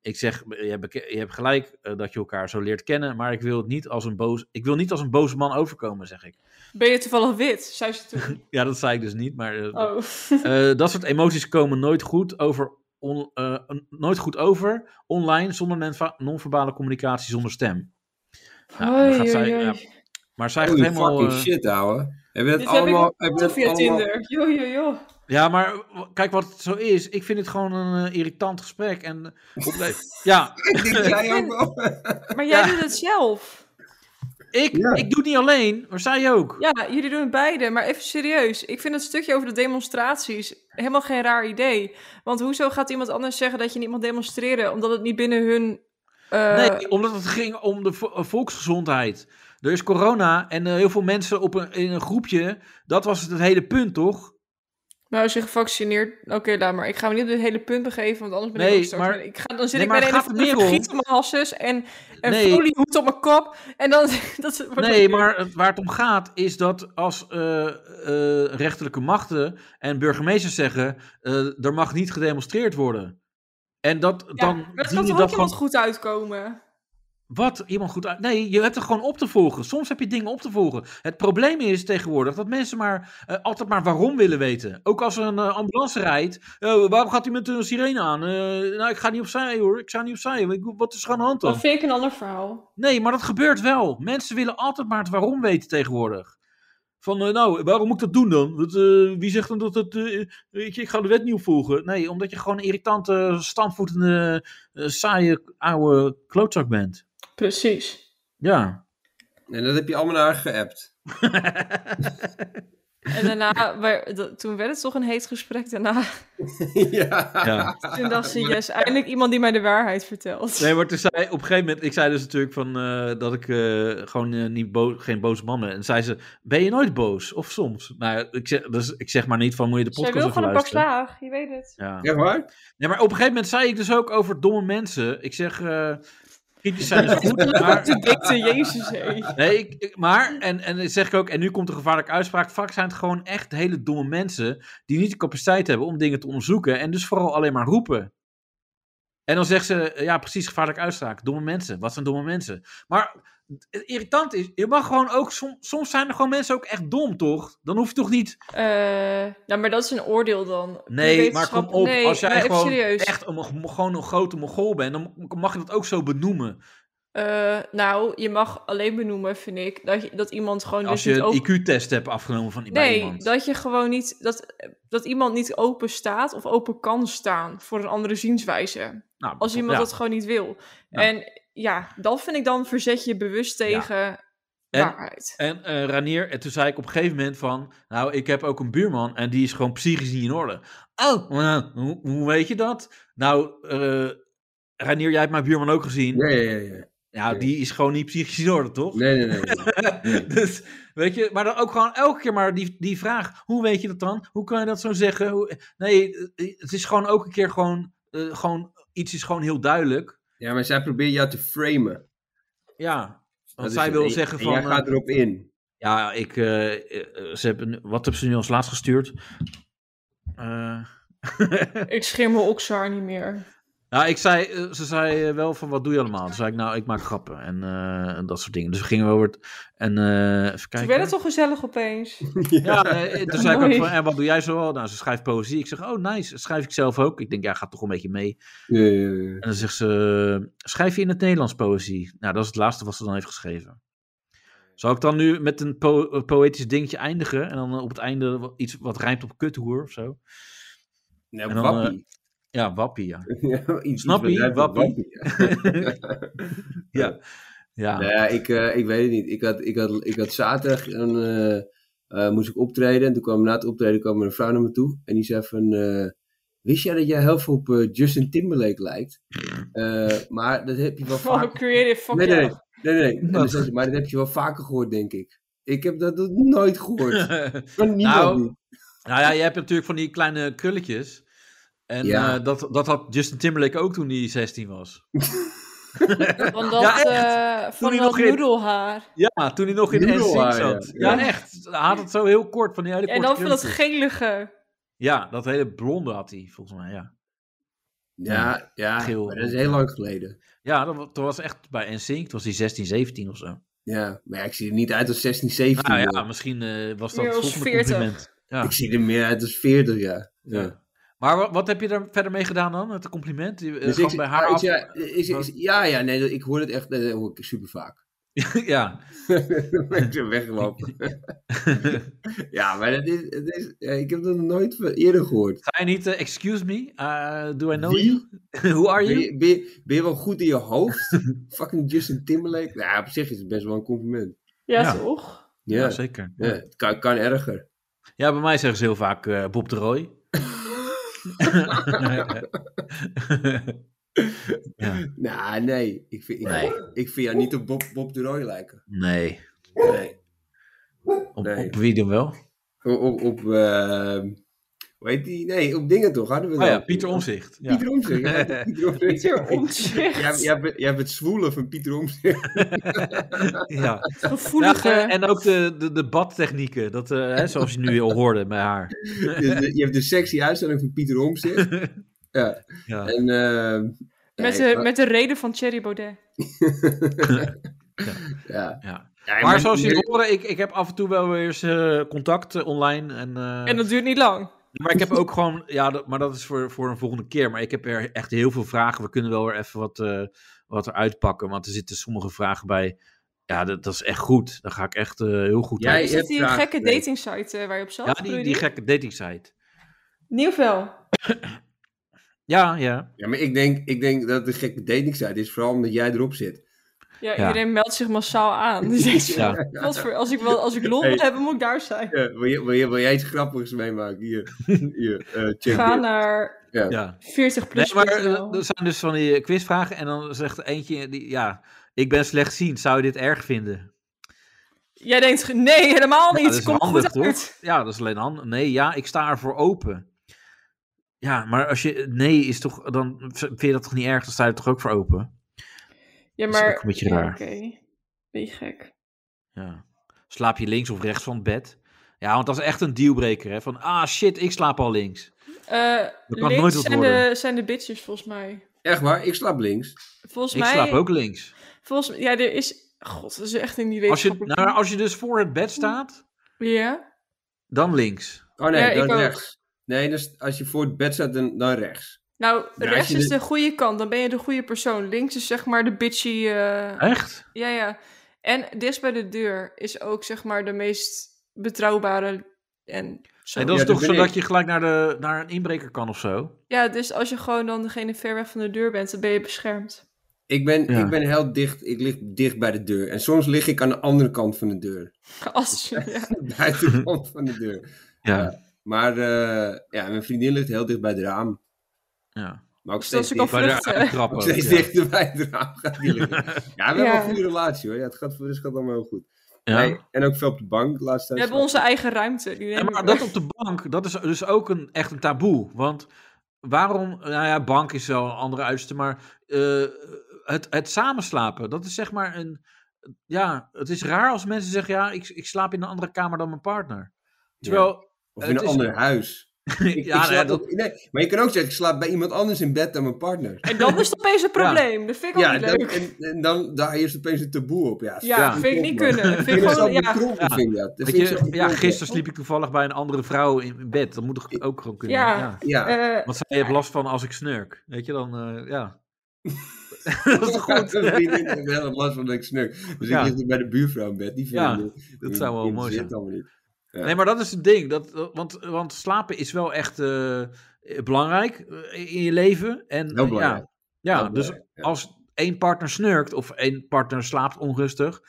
S4: Ik zeg, je hebt, je hebt gelijk eh, dat je elkaar zo leert kennen, maar ik wil het niet als een boos, ik wil niet als een boze man overkomen, zeg ik.
S2: Ben je toevallig wit? Zei ze toen.
S4: Ja, <laughs> dat zei ik dus niet, maar eh,
S2: Oh.
S4: eh, dat soort emoties komen nooit goed over. on- eh, nooit goed over online zonder non- non-verbale communicatie zonder stem. Nou, en dan
S2: Oei,
S4: gaat zij-
S2: oei, oei.
S4: ja, maar zij gaat
S3: Holy
S4: helemaal.
S3: fucking
S4: eh,
S3: shit, ouwe. Heb je dat
S2: Dit heb ik
S3: allemaal...
S2: ook
S3: je dat
S2: via
S3: allemaal-
S2: Tinder. Jo, jo, jo.
S4: Ja, maar w- kijk wat het zo is. Ik vind het gewoon een eh, irritant gesprek. En, eh,
S3: <laughs>
S4: ja,
S3: <laughs> Ik denk jij ook wel.
S2: Maar jij
S4: Ja.
S2: doet het zelf.
S4: ik,
S3: Ja.
S4: ik doe het niet alleen, maar zij ook.
S2: Ja, jullie doen het beide. Maar even serieus. Ik vind het stukje over de demonstraties helemaal geen raar idee. Want hoezo gaat iemand anders zeggen dat je niet mag demonstreren? Omdat het niet binnen hun... eh,
S4: Nee, omdat het ging om de vo- eh, volksgezondheid. Er is corona en eh, heel veel mensen op een, in een groepje. Dat was het, het hele punt, toch?
S2: Nou, als je gevaccineerd... Oké, laat maar. Ik ga me niet op dit hele punt begeven, want anders ben
S4: Nee,
S2: ik ook straks-
S4: maar-
S2: Ik ga, dan zit
S4: Nee,
S2: ik
S4: maar
S2: met een
S4: het
S2: of
S4: gaat er
S2: andere
S4: meer om.
S2: giet op mijn hasses en, en
S4: Nee.
S2: foliehoed op mijn kop. En dan... <laughs> dat wordt
S4: Nee,
S2: ook-
S4: maar het- waar het om gaat is dat als eh, eh, rechterlijke machten en burgemeesters zeggen... eh, er mag niet gedemonstreerd worden. En dat
S2: Ja,
S4: dan...
S2: maar het
S4: dien
S2: kan
S4: je
S2: toch ook
S4: dat
S2: iemand
S4: gewoon-
S2: goed uitkomen?
S4: Wat? Iemand goed uit? Nee, je hebt er gewoon op te volgen. Soms heb je dingen op te volgen. Het probleem is tegenwoordig dat mensen maar eh, altijd maar waarom willen weten. Ook als er een eh, ambulance rijdt. eh, waarom gaat hij met een sirene aan? Eh, nou, ik ga niet opzij hoor. Ik sta niet opzij. Ik- Wat is er aan de hand dan?
S2: vind ik een ander verhaal.
S4: Nee, maar dat gebeurt wel. Mensen willen altijd maar het waarom weten tegenwoordig. Van, eh, nou, waarom moet ik dat doen dan? Dat, eh, wie zegt dan dat dat... eh, ik, ik ga de wet niet opvolgen. Nee, omdat je gewoon een irritante, stampvoetende, eh, saaie, oude klootzak bent.
S2: Precies.
S4: Ja.
S3: En dat heb je allemaal naar haar geappt. <laughs>
S2: En daarna, waar- dat- toen werd het toch een heet
S4: <laughs>
S2: gesprek daarna.
S3: ja.
S4: Ja.
S2: Toen dacht ze, yes, eindelijk iemand die mij de waarheid vertelt.
S4: Nee, maar toen zei op een gegeven moment, ik zei dus natuurlijk van, eh, dat ik eh, gewoon eh, niet bo- geen boze man ben. En zei ze, ben je nooit boos? Of soms? Nou, ik zeg, dus, ik zeg maar niet van, moet je de
S2: Zij
S4: podcast
S2: wil
S4: even
S2: gewoon een pak
S4: luisteren.
S2: slaag, je weet <laughs> het.
S4: Ja.
S3: Echt waar?
S4: Nee, maar op een gegeven moment zei ik dus ook over domme mensen. Ik zeg, eh kritisch zijn is goed, maar...
S2: Toen dikte Jezus, hé.
S4: <laughs> Nee, ik, ik- maar, en, en dat zeg ik ook, en nu komt de gevaarlijke uitspraak. Vaak zijn het gewoon echt hele domme mensen die niet de capaciteit hebben om dingen te onderzoeken en dus vooral alleen maar roepen. En dan zegt ze, eh, ja precies, gevaarlijke uitspraak. Domme mensen, wat zijn domme mensen? Maar het irritant is, je mag gewoon ook, som- soms zijn er gewoon mensen ook echt dom, toch? Dan hoef je toch niet,
S2: Eh, nou, maar dat is een oordeel dan.
S4: nee, maar
S2: Wetenschap-
S4: kom op.
S2: nee,
S4: als
S2: maar
S4: jij
S2: even
S4: gewoon
S2: serieus.
S4: echt een, mo- gewoon een grote mongool bent, dan mag je dat ook zo benoemen.
S2: Eh, nou, je mag alleen benoemen, vind ik, dat, je, dat iemand gewoon
S4: Als
S2: dus
S4: je
S2: niet open...
S4: een IQ-test hebt afgenomen van bij
S2: Nee,
S4: iemand.
S2: dat je gewoon niet... Dat, dat iemand niet open staat of open kan staan voor een andere zienswijze.
S4: Nou,
S2: Als iemand
S4: ja.
S2: dat gewoon niet wil.
S4: Ja.
S2: En ja, dan vind ik dan verzet je bewust tegen
S4: En-
S2: waarheid.
S4: En eh Ranier, en toen zei ik op een gegeven moment van... Nou, ik heb ook een buurman en die is gewoon psychisch niet in orde. Oh, eh, hoe, hoe weet je dat? Nou, eh Ranier, jij hebt mijn buurman ook gezien.
S3: Ja, ja, ja, ja.
S4: Nou, die is gewoon niet psychisch in orde, toch?
S3: Nee, nee, nee.
S4: <laughs>
S3: nee.
S4: dus, weet je, maar dan ook gewoon elke keer maar die, die vraag... Hoe weet je dat dan? Hoe kan je dat zo zeggen? Hoe, nee, eh, het is gewoon ook een keer gewoon... eh, gewoon iets is gewoon heel duidelijk.
S3: Ja, maar zij probeert jou te framen.
S4: Ja,
S3: Dat
S4: want
S3: is
S4: zij
S3: het.
S4: wil
S3: En-
S4: zeggen
S3: en
S4: van...
S3: jij
S4: eh,
S3: gaat erop in.
S4: Ja, ik, eh, eh, ze hebben, wat hebben ze nu als laatst gestuurd? Eh,
S2: Ik scheer mijn oksaar niet meer.
S4: nou, ik zei, eh, ze zei eh, wel van wat doe je allemaal? Toen zei ik, nou, ik maak grappen en, eh, en dat soort dingen. Dus we gingen wel weer... En, eh, even
S2: Toen
S4: kijken.
S2: werd het toch
S4: <laughs>
S2: gezellig opeens.
S4: Ja, nee, toen zei ik ook
S2: Mooi.
S4: van, en wat doe jij zo? Nou, ze schrijft poëzie. Ik zeg, oh, nice. Schrijf ik zelf ook. Ik denk, ja, gaat toch een beetje mee.
S3: Ja, ja, ja.
S4: En dan zegt ze, "Eh, schrijf je in het Nederlands poëzie? Nou, dat is het laatste wat ze dan heeft geschreven. Zal ik dan nu met een po- eh, poëtisch dingetje eindigen? En dan eh, op het einde wa- iets wat rijmt op kuthoer of zo?
S3: Nou,
S4: En dan, eh,
S3: wappie.
S4: Ja, wappie, ja. <laughs>
S3: <laughs> Ja, iets-
S4: Snap
S3: iets
S4: je?
S3: met
S4: Wappie.
S3: ja.
S4: ja. ja.
S3: Nou ja, ik, eh, ik weet het niet. Ik had, ik had, ik had zaterdag een, eh, eh, moest ik optreden. En toen kwam na het optreden kwam er een vrouw naar me toe. En die zei van... eh, Wist jij dat jij heel veel op eh, Justin Timberlake lijkt? Eh, maar dat heb je wel
S2: Van
S3: vaak...
S2: creative fuck
S3: Nee, nee, nee.
S2: yeah.
S3: nee, nee.
S4: <laughs>
S3: En
S4: Nou.
S3: dan zei ze, maar dat heb je wel vaker gehoord, denk ik. Ik heb dat nog nooit
S4: <laughs>
S3: gehoord. Van niemand
S4: Nou,
S3: niet.
S4: nou ja, je hebt natuurlijk van die kleine krulletjes. En
S3: Ja.
S4: eh, dat, dat had Justin Timberlake ook toen hij 16 was.
S2: Van dat,
S4: Ja, echt.
S2: eh, van
S4: hij
S2: dat
S4: nog in-
S2: noedelhaar.
S4: Ja, toen hij nog in
S3: Noodle
S4: NSYNC
S3: Eye,
S4: zat.
S3: ja.
S4: Ja, echt. Hij had het zo heel kort, van die hele
S2: En
S4: korte
S2: dan van dat
S4: krulletjes.
S2: gelige.
S4: Ja, dat hele blonde had hij, volgens mij, ja.
S3: Ja, ja
S4: Geel.
S3: maar dat is heel lang geleden.
S4: Ja, dat, wa- toen was echt bij NSYNC, toen was hij 16, 17 of zo.
S3: Ja, maar ja, ik zie er niet uit als 16, 17.
S4: Nou ja,
S3: joh.
S4: misschien eh, was dat
S2: Meer
S4: het
S2: als
S4: volgende
S2: 40.
S4: compliment. Ja.
S3: Ik zie er meer uit als 40, ja. ja.
S4: Ja. Maar wat, wat heb je daar verder mee gedaan dan, het compliment? Je, eh,
S3: Dus
S4: gewoon
S3: ik-
S4: bij haar
S3: ah, ik
S4: af...
S3: zei- is- is- ja, ja, nee, dat- ik hoor het echt eh, dat hoor ik super vaak.
S4: <laughs> ja.
S3: ben <laughs> zo weggelopen. <laughs> ja, maar dat is, het is, ja, ik heb dat nog nooit van eerder gehoord.
S4: Ga je niet, eh, excuse me, uh, do I know
S3: Wie?
S4: you? <laughs> Who are
S3: Ben
S4: you?
S3: je, ben, je, ben je wel goed in je hoofd? <laughs> Fucking Justin Timberlake. Nou, op zich is het best wel een compliment.
S2: Ja,
S4: Ja.
S2: toch?
S3: Ja,
S4: Ja, zeker.
S3: ja, het kan, kan erger.
S4: Ja, bij mij zeggen ze heel vaak eh, Bob de
S3: <laughs>
S4: Roy. <laughs> ja,
S3: Nou, nee. Ik vind, ik, ik vind jou niet op Bob, Bob de Roy lijken.
S4: nee.
S3: Nee.
S4: Op,
S3: Nee.
S4: op wie dan wel? Oh
S3: Op, op, op, eh, hoe heet die? Nee, op dingen toch? Hadden we het
S4: Oh ja,
S3: al.
S4: Pieter Omzicht. Ja.
S3: Pieter Omtzigt,
S4: <laughs>
S3: ja, Pieter Omtzigt.
S2: Pieter Omtzigt.
S3: Jij, jij, bent, jij bent zwoelen van Pieter Omtzigt.
S4: ja.
S2: Gevoelige.
S4: Ja, en ook de, de, de badtechnieken, dat, eh, hè, zoals je nu al hoorde bij haar.
S3: Je, je- je hebt de sexy uitstelling van Pieter Omtzigt. Ja.
S4: Ja.
S3: En, ehm,
S2: met,
S3: nee,
S2: de, met de reden van Thierry Baudet.
S3: ja.
S4: Ja.
S3: Ja,
S4: Maar zoals jullie horen, ik, ik heb af en toe wel weer eens eh, contact eh, online. En, eh,
S2: En dat duurt niet lang.
S4: Maar ik heb ook gewoon, ja, dat, maar dat is voor, voor een volgende keer. Maar ik heb er echt heel veel vragen. We kunnen wel weer even wat, eh, wat eruit pakken. Want er zitten sommige vragen bij. Ja, dat, dat is echt goed. Daar ga ik echt eh, heel goed
S3: Jij-
S4: uit.
S2: Is
S3: hebt
S2: dat die
S3: vragen
S2: gekke
S3: gekregen.
S2: datingsite eh, waar je op zat?
S4: Ja,
S2: bedoel
S4: die,
S2: je
S4: die gekke dating site.
S2: Nieuwvel.
S4: Ja, ja.
S3: Ja, maar ik denk, ik denk dat de gekke datingsite is vooral omdat jij erop zit.
S2: Ja,
S4: Ja.
S2: iedereen meldt zich massaal aan. <laughs> Die zegt zo,
S4: Ja.
S2: wat voor, als ik, wel, als ik lol wil
S3: Hey.
S2: hebben, moet ik daar zijn.
S3: Ja, Eh, wil, je, wil, je, wil jij iets grappigs meemaken? Hier, hier eh, check
S2: Ga
S3: dit.
S2: naar
S3: Ja.
S4: ja.
S2: 40
S4: Nee,
S2: plus.
S4: maar eh, er zijn dus van die eh, quizvragen. En dan zegt eentje, die, ja, ik ben slechtziend. Zou je dit erg vinden?
S2: Jij denkt, ge- nee, helemaal
S4: Ja,
S2: niet.
S4: dat is
S2: Kom
S4: handig,
S2: goed uit.
S4: toch? Ja, dat is alleen handig. Nee, ja, ik sta ervoor open. Ja, maar als je nee is toch, dan vind je dat toch niet erg? Dan sta je er toch ook voor open?
S2: Ja,
S4: Dat is
S2: maar...
S4: ook een beetje
S2: ja,
S4: raar.
S2: Oké, beetje gek.
S4: Ja. Slaap je links of rechts van het bed? Ja, want dat is echt een dealbreaker, hè? Van, ah shit, ik slaap al links.
S2: Eh
S4: Dat kan
S2: links
S4: nooit wat
S2: zijn, de,
S4: worden.
S2: zijn de bitches, volgens mij.
S3: Echt waar, ik slaap links.
S2: Volgens
S4: Ik
S2: mij...
S4: slaap ook links.
S2: Volgens mij... Ja, er is... God, dat is echt in die
S4: Als je,
S2: wetenschappelijke...
S4: nou, als je dus voor het bed staat,
S2: Ja?
S4: dan links.
S3: Oh nee,
S2: Ja, ik
S3: dan
S2: ook.
S3: rechts. Nee, dus als je voor het bed staat, dan, dan rechts.
S2: Nou,
S3: Ja, als
S2: rechts
S3: je
S2: is
S3: de-
S2: de goede kant. Dan ben je de goede persoon. Links is zeg maar de bitchy... eh,
S4: Echt?
S2: Ja, ja. En dicht bij de deur is ook zeg maar de meest betrouwbare en zo.
S4: En dat is
S3: Ja, dat
S4: toch
S3: ben
S4: zodat
S3: ik.
S4: je gelijk naar, de, naar een inbreker kan of zo?
S2: Ja, dus als je gewoon dan degene ver weg van de deur bent, dan ben je beschermd. <laughs>
S3: Ik ben,
S4: Ja.
S3: ik ben heel dicht, ik lig dicht bij de deur. En soms lig ik aan de andere kant van de deur. <laughs>
S4: <laughs>
S2: Als je, ja.
S3: De buitenkant van de deur.
S4: Ja.
S3: Maar eh, ja, mijn vriendin ligt heel dicht bij het raam.
S4: ja.
S3: Maar ook
S2: Dus dat
S3: steeds
S2: is ook al
S3: dicht.
S4: Bij de
S2: Vluchten.
S4: uittrap
S3: Ook
S4: ook,
S3: steeds
S4: ja.
S3: dichter bij het raam gaat die
S4: <laughs>
S3: liggen. Ja, we hebben
S2: Ja.
S3: een goede relatie hoor. Ja, het gaat, het gaat allemaal heel goed.
S4: Ja.
S3: Nee, en ook veel op de bank de laatste
S2: We
S3: tijd.
S2: hebben onze eigen ruimte. Die
S4: Ja,
S2: nemen
S4: maar
S2: we.
S4: dat op de bank, dat is dus ook een, echt een taboe. Want waarom, nou ja, bank is wel een andere uitste, maar eh, het, het samenslapen, dat is zeg maar een, ja, het is raar als mensen zeggen, ja, ik, ik slaap in een andere kamer dan mijn partner. Terwijl,
S3: Of in
S4: het
S3: een
S4: is-
S3: ander huis.
S4: ja,
S3: <laughs> Ik, ik
S4: nou ja,
S3: slaap
S4: dat,
S3: ook- nee, maar je kan ook zeggen, ik slaap bij iemand anders in bed dan mijn partner.
S2: En dan is het
S4: <laughs>
S2: opeens een probleem. Dat vind ik ook
S3: Ja,
S2: niet
S3: dat-
S2: leuk.
S3: en, en dan daar is opeens een taboe op. Ja,
S2: Ja,
S4: ja,
S2: dat vind ik niet
S3: man.
S2: kunnen. Dat
S3: Ik
S2: vind
S3: vind
S2: ik
S3: dat zo
S2: gewoon, ja.
S3: bekrompen,
S4: Ja.
S3: vind ik dat. Dat
S4: weet
S3: vind ik
S4: je,
S3: zo
S4: ja,
S3: bekrompen.
S4: gisteren sliep ik toevallig bij een andere vrouw in, in bed. Dat moet toch ook gewoon kunnen?
S2: Ja.
S4: Ja.
S3: Ja,
S2: eh,
S4: Want zij heeft last van als ik snurk. Weet je, dan, eh,
S3: <laughs>
S4: ja. <laughs> dat is toch goed?
S3: Mijn vriendin heeft heel erg last van dat ik snurk. Dus
S4: Ja.
S3: ik lig bij de buurvrouw in bed. Die vind
S4: Ja,
S3: ik-
S4: dat zou wel
S3: die
S4: mooi zijn.
S3: interesseert allemaal niet. Ja.
S4: Nee, maar dat is het ding. Dat, dat- want, want slapen is wel echt eh, belangrijk eh, in je leven. En, eh,
S3: Heel belangrijk.
S4: Ja, ja
S3: Heel
S4: dus
S3: belangrijk, ja.
S4: als één partner snurkt of één partner slaapt onrustig,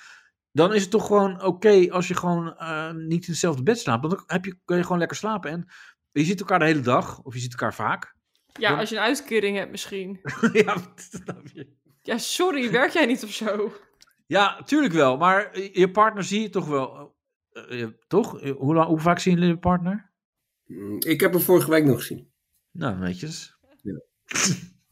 S4: dan is het toch gewoon oké als je gewoon eh, niet in hetzelfde bed slaapt. Want dan heb je, kun je gewoon lekker slapen. En je ziet elkaar de hele dag, of je ziet elkaar vaak. <laughs>
S2: ja, als je een uitkering hebt misschien.
S4: ja, dat snap je.
S2: Ja, sorry, werk jij niet of zo?
S4: ja, tuurlijk wel. Maar je partner zie je toch wel. eh, eh, toch? Eh, Hoe, lang, hoe vaak zien jullie je partner?
S3: Mm, Ik heb hem vorige week nog gezien.
S4: Nou, netjes.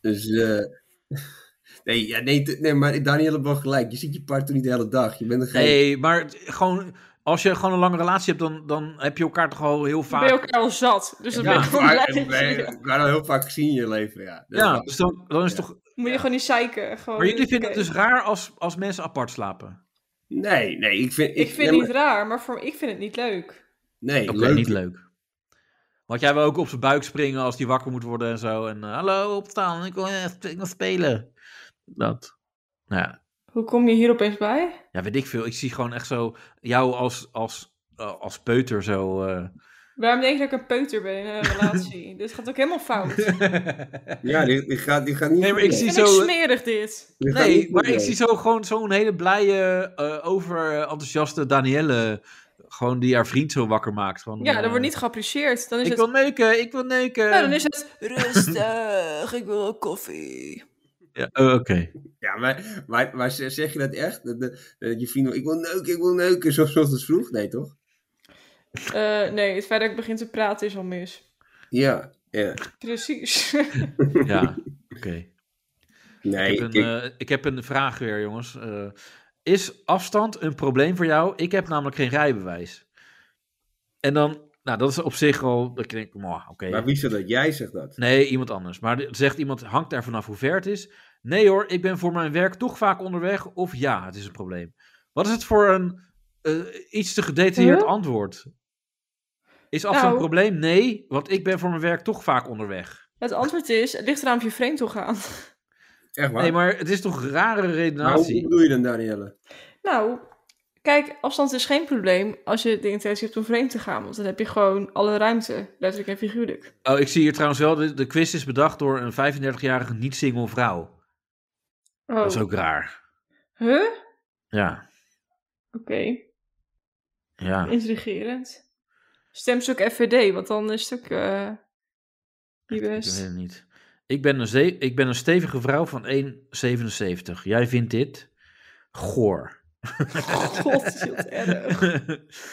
S3: Dus, eh, <laughs> nee, ja, nee, te- nee, maar Daniel heeft wel gelijk. Je ziet je partner niet de hele dag. Je bent er geen...
S4: Nee, maar het- gewoon, als je gewoon een lange relatie hebt, dan, dan heb je elkaar toch al heel
S2: Dan ben je
S4: vaak.
S2: elkaar al zat. Dus dan
S4: Ja,
S2: ben je
S3: Maar-
S2: gewoon blij.
S3: en
S2: dat je-
S3: wij- we waren al heel vaak gezien in je leven, ja. Dat
S4: Ja,
S3: was-
S4: dus dan, dan is het
S3: Ja.
S4: toch.
S2: Moet je gewoon niet zeiken. Gewoon,
S4: Maar jullie vinden het
S2: Oh, oké.
S4: dus raar als, als mensen apart slapen.
S3: Nee, nee, ik vind...
S2: Ik vind
S3: nee,
S2: het niet raar, maar voor, ik vind het niet leuk.
S3: maar- Nee,
S4: Oké,
S3: leuk.
S4: niet leuk. Want jij wil ook op zijn buik springen als die wakker moet worden en zo. En eh, hallo, opstaan, ik wil, echt- ik wil spelen. Dat. Nou ja,
S2: Hoe kom je hier opeens bij?
S4: Ja, weet ik veel. Ik zie gewoon echt zo jou als, als, eh, als peuter zo. eh.
S2: Waarom denk je dat ik een peuter ben in
S4: <laughs>
S2: een relatie? dit gaat ook helemaal fout. Ik
S4: eh,
S3: <laughs> Ja, die, die, gaat, die gaat niet.
S4: Nee, maar ik
S3: goed,
S4: zie-
S2: vind
S4: zo,
S2: ik
S4: eh,
S2: smerig dit.
S3: die gaat niet
S4: nee,
S3: goed,
S4: maar ik
S3: nee.
S4: zie zo gewoon zo'n hele blije, eh, overenthousiaste Danielle. Gewoon die haar vriend zo wakker maakt. Van,
S2: Ja,
S4: eh,
S2: dat wordt niet geappreciëerd. Dan is
S4: Ik
S2: het...
S4: wil eh, neuken, ik wil neuken.
S2: Ja, dan is het rustig, ik wil ook koffie.
S4: Ja, eh, Oké.
S3: Ja, maar, maar, maar zeg zeg je dat echt? Dat, dat, dat je vriend, ik wil neuken, ik wil neuken, zoals ochtends vroeg? Nee, toch?
S2: Eh, nee, het feit dat ik begin te praten is al mis.
S3: Ja, ja.
S2: Precies. <laughs>
S4: Ja, oké.
S3: Nee,
S4: Ik, heb
S3: ik,
S4: een, eh, ik heb een vraag weer, jongens. Eh, is afstand een probleem voor jou? Ik heb namelijk geen rijbewijs. En dan, nou, dat is op zich al, dat ik denk, "Mwah, oké.
S3: maar wie zou dat? Jij zegt dat.
S4: Nee, iemand anders. Maar d- zegt iemand, hangt daar vanaf hoe ver het is? Nee hoor, ik ben voor mijn werk toch vaak onderweg. Of ja, het is een probleem. Wat is het voor een eh, iets te gedetailleerd
S2: Huh?
S4: antwoord? Is afstand
S2: Nou.
S4: een probleem? Nee, want ik ben voor mijn werk toch vaak onderweg.
S2: het antwoord is, het ligt eraan of je vreemd wil gaan.
S3: Echt waar?
S4: Nee, maar het is toch een rare
S3: Maar hoe- hoe
S4: redenatie?
S3: bedoel je dan, Danielle?
S2: Nou, kijk, afstand is geen probleem als je de intentie hebt om vreemd te gaan. Want dan heb je gewoon alle ruimte, letterlijk en figuurlijk.
S4: Oh, ik zie hier trouwens wel, de, de quiz is bedacht door een 35-jarige niet-single vrouw.
S2: Oh.
S4: Dat is ook raar.
S2: Huh?
S4: Ja,
S2: Oké,
S4: ja.
S2: intrigerend. Stem ze ook FVD, want dan is het ook... eh, die
S4: Ik weet
S2: best.
S4: het niet. Ik ben een, ze- ik ben een stevige vrouw van 1,77. Jij vindt dit goor.
S2: <laughs> God, dat is heel erg.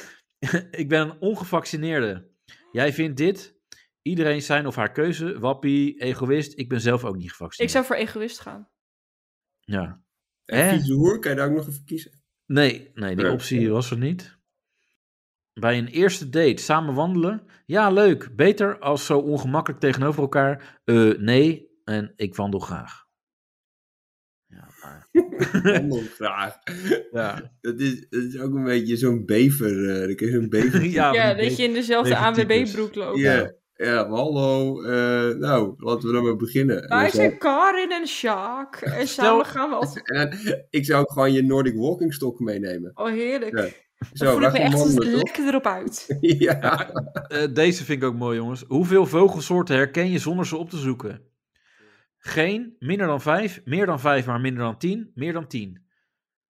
S4: <laughs> ik ben een ongevaccineerde. Jij vindt dit. Iedereen zijn of haar keuze. Wappie, egoïst. Ik ben zelf ook niet
S2: Ik
S4: gevaccineerd.
S2: zou voor egoïst gaan.
S4: Ja. Hè?
S3: En vieze hoer, kan je daar ook nog even
S4: <laughs>
S3: kiezen?
S4: Nee, nee, die
S3: Nee.
S4: optie was er niet. Bij een eerste date samen wandelen. Ja, leuk. Beter als zo ongemakkelijk tegenover elkaar. Eh, nee, en ik wandel graag. Ja, maar...
S3: Wandel graag.
S4: Ja,
S3: Dat is, dat is ook een beetje zo'n bever. eh, dan kun je zo'n
S4: <laughs>
S3: bever...
S4: ja,
S2: ja,
S4: maar
S2: dat je in dezelfde
S4: deze types.
S2: ANWB-broek loopt.
S3: Ja, ja, hallo. eh, nou, laten we dan maar beginnen. En
S2: Wij
S3: dan zou-
S2: zijn Karin en Sjaak.
S3: <laughs>
S2: En
S4: Stel-
S2: samen gaan we altijd...
S3: en dan- ik zou ook gewoon je Nordic walking stok meenemen.
S2: Oh, heerlijk.
S3: Ja.
S2: Dan voel ik
S3: wij
S2: me
S3: gaan
S2: echt
S3: wandelen, toch? <laughs>
S2: lekker erop uit.
S3: Ja.
S4: eh, deze vind ik ook mooi, jongens. Hoeveel vogelsoorten herken je zonder ze op te zoeken? Geen, minder dan vijf, meer dan vijf, maar minder dan tien, meer dan tien.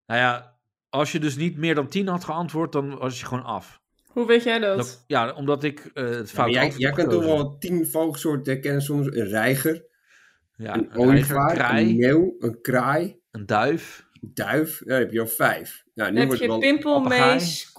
S4: Nou ja, als je dus niet meer dan tien had geantwoord, dan was je gewoon af.
S2: Hoe weet jij dat?
S3: Nou,
S4: Dat- ja, omdat ik eh, het
S3: Maar
S4: fout
S3: jij,
S4: antwoord
S3: jij
S4: had
S3: kan toch
S4: gekozen.
S3: wel tien vogelsoorten herkennen, soms een reiger,
S4: Ja, een
S3: een
S4: reiger, een
S3: ooievaar, een
S4: kraai,
S3: meeuw, een kraai,
S4: een duif.
S3: een duif. Daar heb je al vijf. Nou, nu
S2: heb
S3: wordt
S2: je
S3: het wel-
S2: pimpelmees,
S3: nu wordt het was een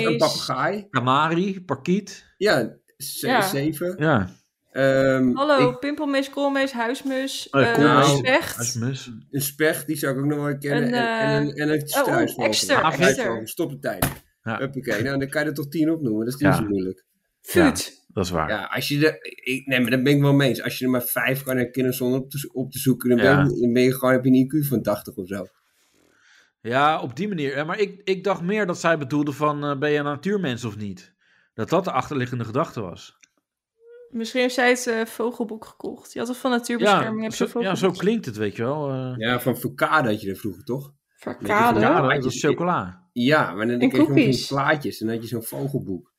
S2: koolmees,
S3: papegaai.
S4: Kamari, parkiet.
S3: Ja, ze-
S2: Ja.
S3: zeven.
S4: Ja,
S3: Ehm,
S2: hallo,
S3: ik-
S2: pimpelmees, koolmees, huismus,
S4: Oh ja,
S2: eh,
S3: koolmees.
S2: specht,
S4: huismus.
S3: een specht, die zou ik ook nog wel herkennen.
S2: Een,
S3: En, en, een- en een
S2: oh,
S3: struisvogel.
S2: ekster,
S3: Een
S4: ekster.
S3: struisvogel. Stop de tijd.
S4: Ja.
S3: Huppakee. Nou, dan kan je er toch tien opnoemen. Dat is niet
S4: Ja.
S3: zo moeilijk.
S2: vuut.
S4: Dat is waar.
S3: Ja, als je er, ik, nee, maar dat ben ik wel mee eens. Als je er maar vijf kan herkennen zonder op te, zo- op te zoeken, dan,
S4: Ja.
S3: ben je, dan ben je gewoon, heb je een IQ van 80 of zo.
S4: Ja, op die manier. Eh, Maar ik, ik dacht meer dat zij bedoelde van, eh, ben je een natuurmens of niet? Dat dat de achterliggende gedachte was.
S2: Misschien heeft zij het eh, vogelboek gekocht. Je had het van natuurbescherming.
S4: Ja
S2: heb je
S4: zo, ja, zo klinkt het, weet je wel. eh.
S3: Ja, van Foucault had je er vroeger, toch?
S4: ja,
S2: Verkade.
S3: Ja,
S4: dat is
S3: je-
S4: chocola.
S3: Ja, maar dan
S2: En
S3: kreeg je nog
S2: cookies.
S3: zo'n plaatjes en dan had je zo'n vogelboek.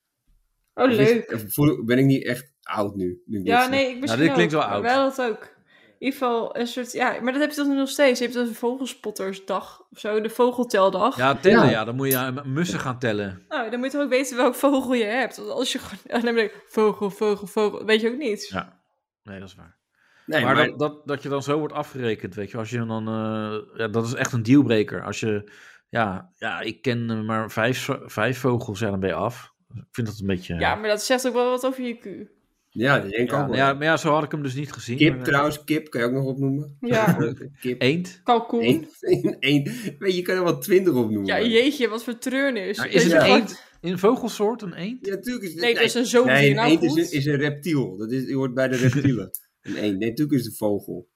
S2: Oh,
S3: Dat is-
S2: leuk.
S3: voel- ben ik niet echt oud nu? nu ik dit
S2: Ja,
S3: zeg.
S2: nee, ik misschien
S4: dit klinkt
S2: ook.
S4: wel oud.
S2: Wij hadden dat ook. In ieder geval een soort... Ja, maar dat heb je toch nu nog steeds. Je hebt dus een vogelspottersdag of zo. De vogelteldag.
S4: Ja, tellen, ja.
S3: Ja.
S4: dan moet je eh, mussen gaan tellen.
S2: Nou, dan moet je toch ook weten welk vogel je hebt. Want als je gewoon... Oh, Dan ben ik vogel, vogel, vogel. Weet je ook niet.
S4: Ja. Nee, dat is waar.
S3: Nee,
S4: maar
S3: maar-
S4: dat, dat, dat je dan zo wordt afgerekend, weet je. Als je dan, eh, ja, dat is echt een dealbreaker. Als je, ja, ja ik ken eh, maar vijf, zo- vijf vogels, ja, dan ben je af. Ik vind dat een beetje...
S2: Ja, maar dat zegt ook wel wat over je Q.
S3: ja, dat denk ik
S4: Ja,
S3: ook
S4: nou
S3: wel.
S4: ja, maar ja, zo had ik hem dus niet gezien.
S3: Kip
S4: maar, eh,
S3: trouwens, kip kan je ook nog
S4: <laughs>
S3: opnoemen.
S2: Ja,
S3: Kip.
S4: Eend.
S2: <laughs> kalkoen.
S3: Eén. Eén. Weet je, je kan er wel twintig opnoemen.
S2: Ja, jeetje, wat voor treurnis.
S4: Maar is
S2: Dat
S4: een
S2: je
S3: het
S2: gewoon-
S4: eend een vogelsoort, een eend?
S3: Ja, natuurlijk is het-
S2: Nee, dat is een zoogdier.
S3: Nee, een
S2: nou
S3: eend
S2: goed.
S3: is een, is een reptiel. Dat is, die hoort bij de
S4: <laughs>
S3: reptielen. een eend. Nee, natuurlijk is het een vogel.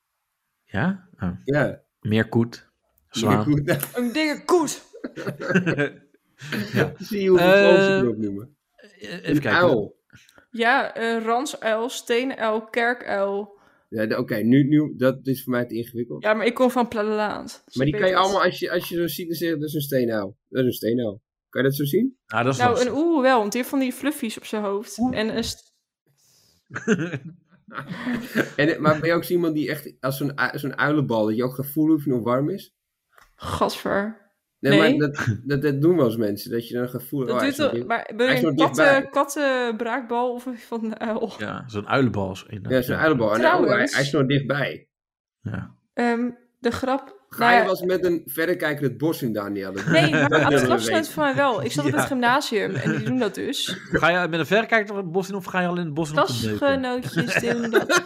S4: Ja? Oh.
S3: Ja.
S4: Meerkoet. Zwaan. <laughs>
S3: Goed, <laughs> nou,
S2: Een dikke koet.
S3: zie je hoeveel
S4: Eh,
S3: vogels je kan opnoemen.
S4: Eh,
S3: Een
S4: Even kijken.
S3: uil.
S2: Ja, eh ransuil, steenuil, kerkuil,
S3: Ja, de- Oké, nu, nu, dat is voor mij te ingewikkeld.
S2: Ja, maar ik kom van Plalaland. Dus
S3: maar
S2: ik weet
S3: die kan je
S2: het.
S3: allemaal, als je, als je zo ziet, dan zeg je dat is een steenuil. Dat is een steenuil. Kan je dat zo zien?
S4: Nou, dat is
S2: Nou,
S4: lastig.
S2: een oeh wel, want die heeft van die fluffies op zijn hoofd.
S4: Oeh.
S2: En een st-
S3: En, maar ben je ook zo iemand die echt, als zo'n ui- zo'n uilenbal, dat je ook gaat voelen of je nog warm is?
S2: gasver.
S3: Nee,
S2: Nee.
S3: maar dat, dat, dat doen wel eens mensen, dat je dan gaat voelen.
S2: Dat
S3: oh, hij
S2: doet
S3: is nog
S2: wel,
S3: in-
S2: maar ben
S3: hij
S2: je
S3: is
S2: een
S3: nog dichtbij.
S2: katten, kattenbraakbal of een van de uil?
S4: ja, zo'n uilenbals. inderdaad.
S3: Ja, zo'n uilenbal. En,
S2: Trouwens.
S3: oh, hij, hij is nog dichtbij.
S4: Ja.
S2: Ehm, de grap...
S3: Ga
S2: nou
S3: je
S2: ja,
S3: wel eens met een verrekijker het bos in, Danielle? <laughs>
S2: Nee, maar
S3: willen we
S2: abstractiestunt
S3: weten.
S2: voor mij wel. Ik zat op
S4: Ja.
S2: het gymnasium en die doen dat dus.
S4: Ga je met een verrekijker het bos in of ga je al in het bos in op te neuken?
S2: Klasgenootjes doen dat.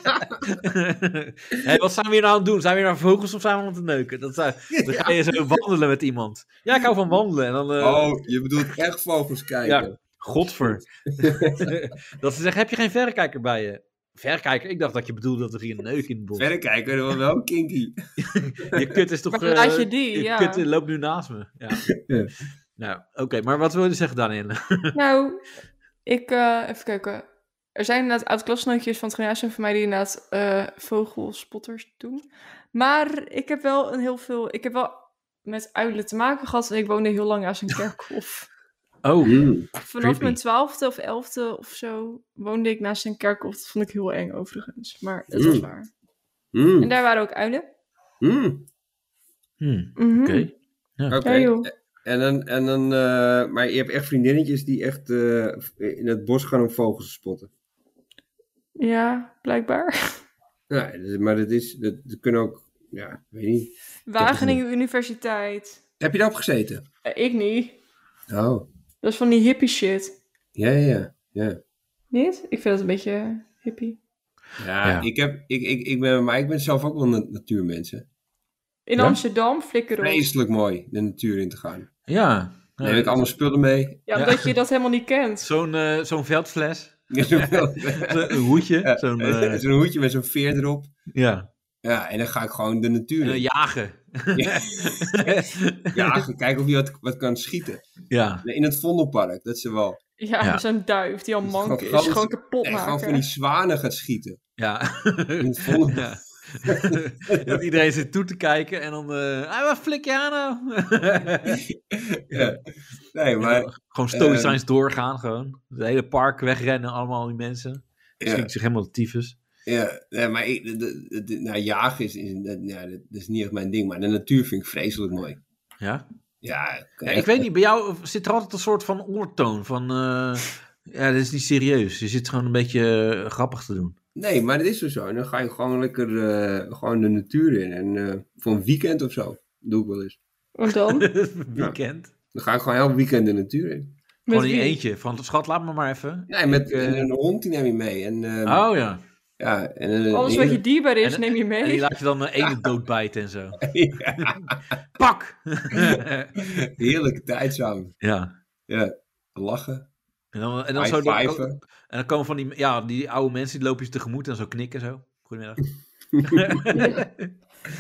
S4: Hé, wat zijn we hier nou aan het doen? Zijn we hier naar vogels of zijn we aan het neuken? Dat
S3: <laughs>
S4: zou, dan ga je zo wandelen met iemand. Ja, ik hou van wandelen. En dan, eh,
S3: Oh, je bedoelt echt vogels kijken. <laughs>
S4: Godver. dat ze zeggen, heb je geen verrekijker bij je? Verrekijker? Ik dacht dat je bedoelde dat er hier een neuk in het bos
S3: Verrekijker, dat was wel kinky.
S4: Je kut is toch...
S2: Maar
S4: eh,
S2: laat je die, ja.
S4: kut eh, loopt nu naast me. Ja.
S3: <laughs> Ja.
S4: Nou, oké. maar wat wil je zeggen, Daniel?
S2: Nou, ik... eh, even kijken. Er zijn inderdaad oud-klasgenootjes van het gymnasium van mij die inderdaad eh, vogelspotters doen. Maar ik heb wel een heel veel... Ik heb wel met uilen te maken gehad en ik woonde heel lang naast een kerkhof.
S4: Oh,
S3: Hmm.
S2: Vanaf
S4: Creepy.
S2: mijn twaalfde of elfde of zo woonde ik naast een kerkhof. Dat vond ik heel eng overigens, maar dat was
S3: Mm.
S2: waar.
S3: Mm,
S2: En daar waren ook uilen.
S3: mm.
S4: hmm,
S2: Mhm.
S4: oké.
S3: Oké.
S2: Ja, joh.
S3: En dan, en dan eh, maar je hebt echt vriendinnetjes die echt eh, in het bos gaan om vogels te spotten.
S2: Ja, blijkbaar.
S3: Ja, dat is- maar dat is, dat, dat kunnen ook, ja, weet niet.
S2: Wageningen Universiteit.
S3: Heb je daarop gezeten?
S2: Eh, ik niet.
S3: Oh,
S2: Dat is van die hippie shit.
S3: ja, ja, ja. Ja,
S2: Niet? Ik vind dat een beetje hippie.
S4: Ja.
S3: Ik, heb, ik, ik, ik ben, maar ik ben zelf ook wel een nat- natuurmens. hè.
S2: In
S4: Ja?
S2: Amsterdam flikker op.
S3: Vreselijk mooi de natuur in te gaan.
S4: Ja.
S3: Dan heb ik allemaal spullen
S4: <laughs>
S3: mee.
S2: Ja,
S4: Ja.
S2: omdat je dat helemaal niet kent.
S4: Zo'n eh, zo'n
S3: <laughs>
S4: veldfles.
S3: Zo'n
S4: Zo- Een hoedje.
S3: <laughs>
S4: Zo'n, eh,
S3: hoedje met zo'n veer erop.
S4: ja.
S3: Ja, en dan ga ik gewoon de natuur
S4: Eh,
S3: in.
S4: jagen.
S3: <laughs> Ja. Ja, kijken of je wat, wat kan schieten.
S4: <laughs> ja.
S3: In het Vondelpark, dat ze wel.
S2: Ja,
S4: Ja.
S2: zo'n duif die al mank is.
S3: Gewoon
S2: Gewoon kapot
S3: En gewoon van die
S2: maken.
S3: zwanen gaat schieten.
S4: Ja.
S3: In het <laughs> Vondelpark.
S4: <laughs> ja. dat iedereen zit toe te kijken en dan... eh ah, wat flik je aan nou?
S3: Ja. Nee,
S4: <laughs>
S3: maar
S4: gewoon stoïcijns doorgaan gewoon. Het hele park wegrennen, allemaal die mensen.
S3: Ja.
S4: Schiet zich helemaal de tyfus.
S3: Ja, nee, maar ik, de, de- de- nou, jagen is, is, dat, ja, dat is niet echt mijn ding, maar de natuur vind ik vreselijk mooi.
S4: Ja?
S3: Ja, kan
S4: Ja, ik
S3: echt-
S4: weet niet, bij jou zit er altijd een soort van ondertoon van... eh, ja, dit is niet serieus. Je zit gewoon een beetje eh, grappig te doen.
S3: Nee, maar dat is dus zo. Dan ga je gewoon lekker eh, gewoon de natuur in. En eh, voor een weekend of zo doe ik wel eens.
S2: En dan? Met
S4: Weekend.
S3: Dan ga ik gewoon heel weekend de natuur in.
S4: Gewoon in
S2: wie?
S4: je eentje. Van, schat, laat me maar even.
S3: Nee, met
S4: Ik, eh,
S3: en een hond die neem je mee. En, eh,
S4: Oh ja.
S3: ja, en, eh,
S2: Alles wat je dierbaar is,
S4: En-
S2: neem je
S4: En die
S2: mee.
S4: laat je dan een ene doodbijten en zo.
S3: <laughs> ja,
S4: Pak! <laughs>
S3: heerlijke tijd samen.
S4: ja.
S3: Ja, lachen,
S4: En dan, en dan, zo dan, en
S3: high-fiven.
S4: dan komen van die, ja, die oude mensen, die lopen je tegemoet en zo knikken zo. Goedemiddag.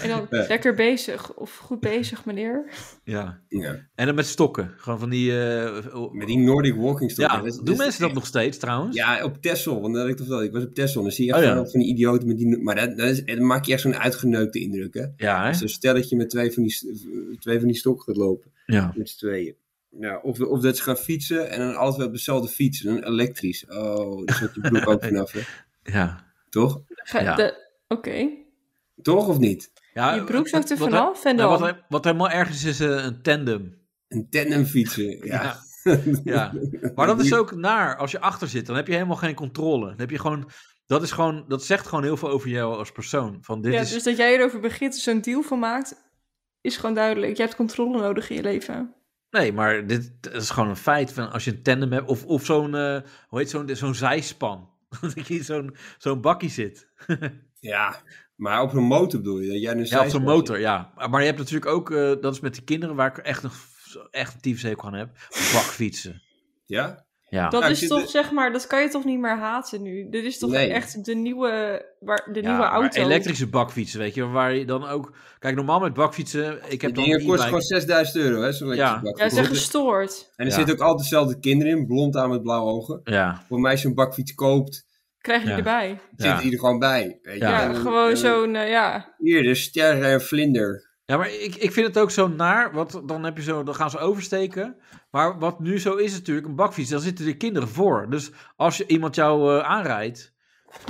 S2: En dan
S3: Ja.
S2: lekker bezig. Of goed bezig, meneer.
S4: ja.
S3: <laughs> Ja,
S4: En dan met stokken. Gewoon van die... eh, oh,
S3: met die Nordic
S4: ja,
S3: walking stokken. Dat is-
S4: doen
S3: dat is
S4: mensen dat nog steeds trouwens?
S3: Ja, op Texel. Want dat had ik toch wel. Ik was op Texel. en Dan zie je echt
S4: Oh, ja.
S3: gewoon van die idioten met die... Maar dat, dat, is, dat maak je echt zo'n uitgeneukte indruk, hè?
S4: Ja, hè?
S3: Zo'n stelletje met twee van die, st- twee van die stokken gaat lopen.
S4: Ja.
S3: Met z'n tweeën. Ja, of, of dat ze gaan fietsen en dan altijd wel op dezelfde fiets. Een elektrisch. Oh, daar zit je broek ook vanaf,
S4: <laughs>
S3: hè?
S4: Ja.
S3: Toch?
S2: Ga-
S4: Ja.
S2: de- Oké.
S3: Toch of niet?
S4: ja
S2: Je broek zakt er
S4: wat-
S2: vanaf en
S4: wat-
S2: dan...
S4: Wat, wat helemaal erg is, is eh, een tandem.
S3: Een tandem fietsen. Ja.
S4: Ja.
S3: <laughs>
S4: Ja. Maar dat is ook naar. Als je achter zit, dan heb je helemaal geen controle. Dan heb je gewoon... Dat, is gewoon, dat zegt gewoon heel veel over jou als persoon. Van dit
S2: ja,
S4: is,
S2: Dus dat jij erover begint en zo'n deal van maakt, is gewoon duidelijk. Je hebt controle nodig in je leven.
S4: Nee, maar dit dat is gewoon een feit. Van als je een tandem hebt, of, of zo'n, eh, hoe heet zo'n, zo'n zijspan. <laughs> Dat ik in zo'n, zo'n bakkie zit.
S3: Ja. Maar op een motor bedoel je? dat Jij een
S4: Ja, op zo'n
S3: zijspan
S4: motor, ja. Maar maar je hebt natuurlijk ook, eh, dat is met die kinderen waar ik echt nog echt een tyfushekel aan heb, bakfietsen.
S3: zit? Ja?
S4: Ja.
S2: Dat
S3: Nou, ik
S2: is
S3: vind
S2: toch,
S3: het-
S2: zeg maar, dat kan je toch niet meer haten nu? Dit is toch
S3: Nee.
S2: echt de nieuwe, waar, de
S4: Ja,
S2: nieuwe
S4: maar
S2: auto?
S4: elektrische bakfietsen, weet je, waar je dan ook... Kijk, normaal met bakfietsen, ik heb
S3: Die
S4: dan
S3: dingen
S4: een
S3: kost
S4: e-bike.
S3: gewoon 6000 euro, hè? Zo'n
S4: Ja.
S2: Ja, ze
S3: elektrische
S2: zijn
S3: bak.
S2: gestoord.
S3: En er
S4: Ja.
S3: zitten ook altijd dezelfde kinderen in. Blond aan met blauwe ogen.
S4: Ja,
S3: voor mij zo'n bakfiets koopt
S2: krijg je
S4: Ja.
S2: erbij.
S4: Ja.
S3: Zit hier gewoon bij. Weet je.
S2: Ja,
S4: Ja.
S3: En,
S2: gewoon
S3: eh,
S2: zo'n, eh, ja.
S3: Hier, de sterren en vlinder.
S4: Ja, maar ik, ik vind het ook zo naar, want dan, heb je zo, dan gaan ze oversteken. Maar wat nu zo is natuurlijk, een bakfiets, daar zitten de kinderen voor. Dus als je, iemand jou eh, aanrijdt,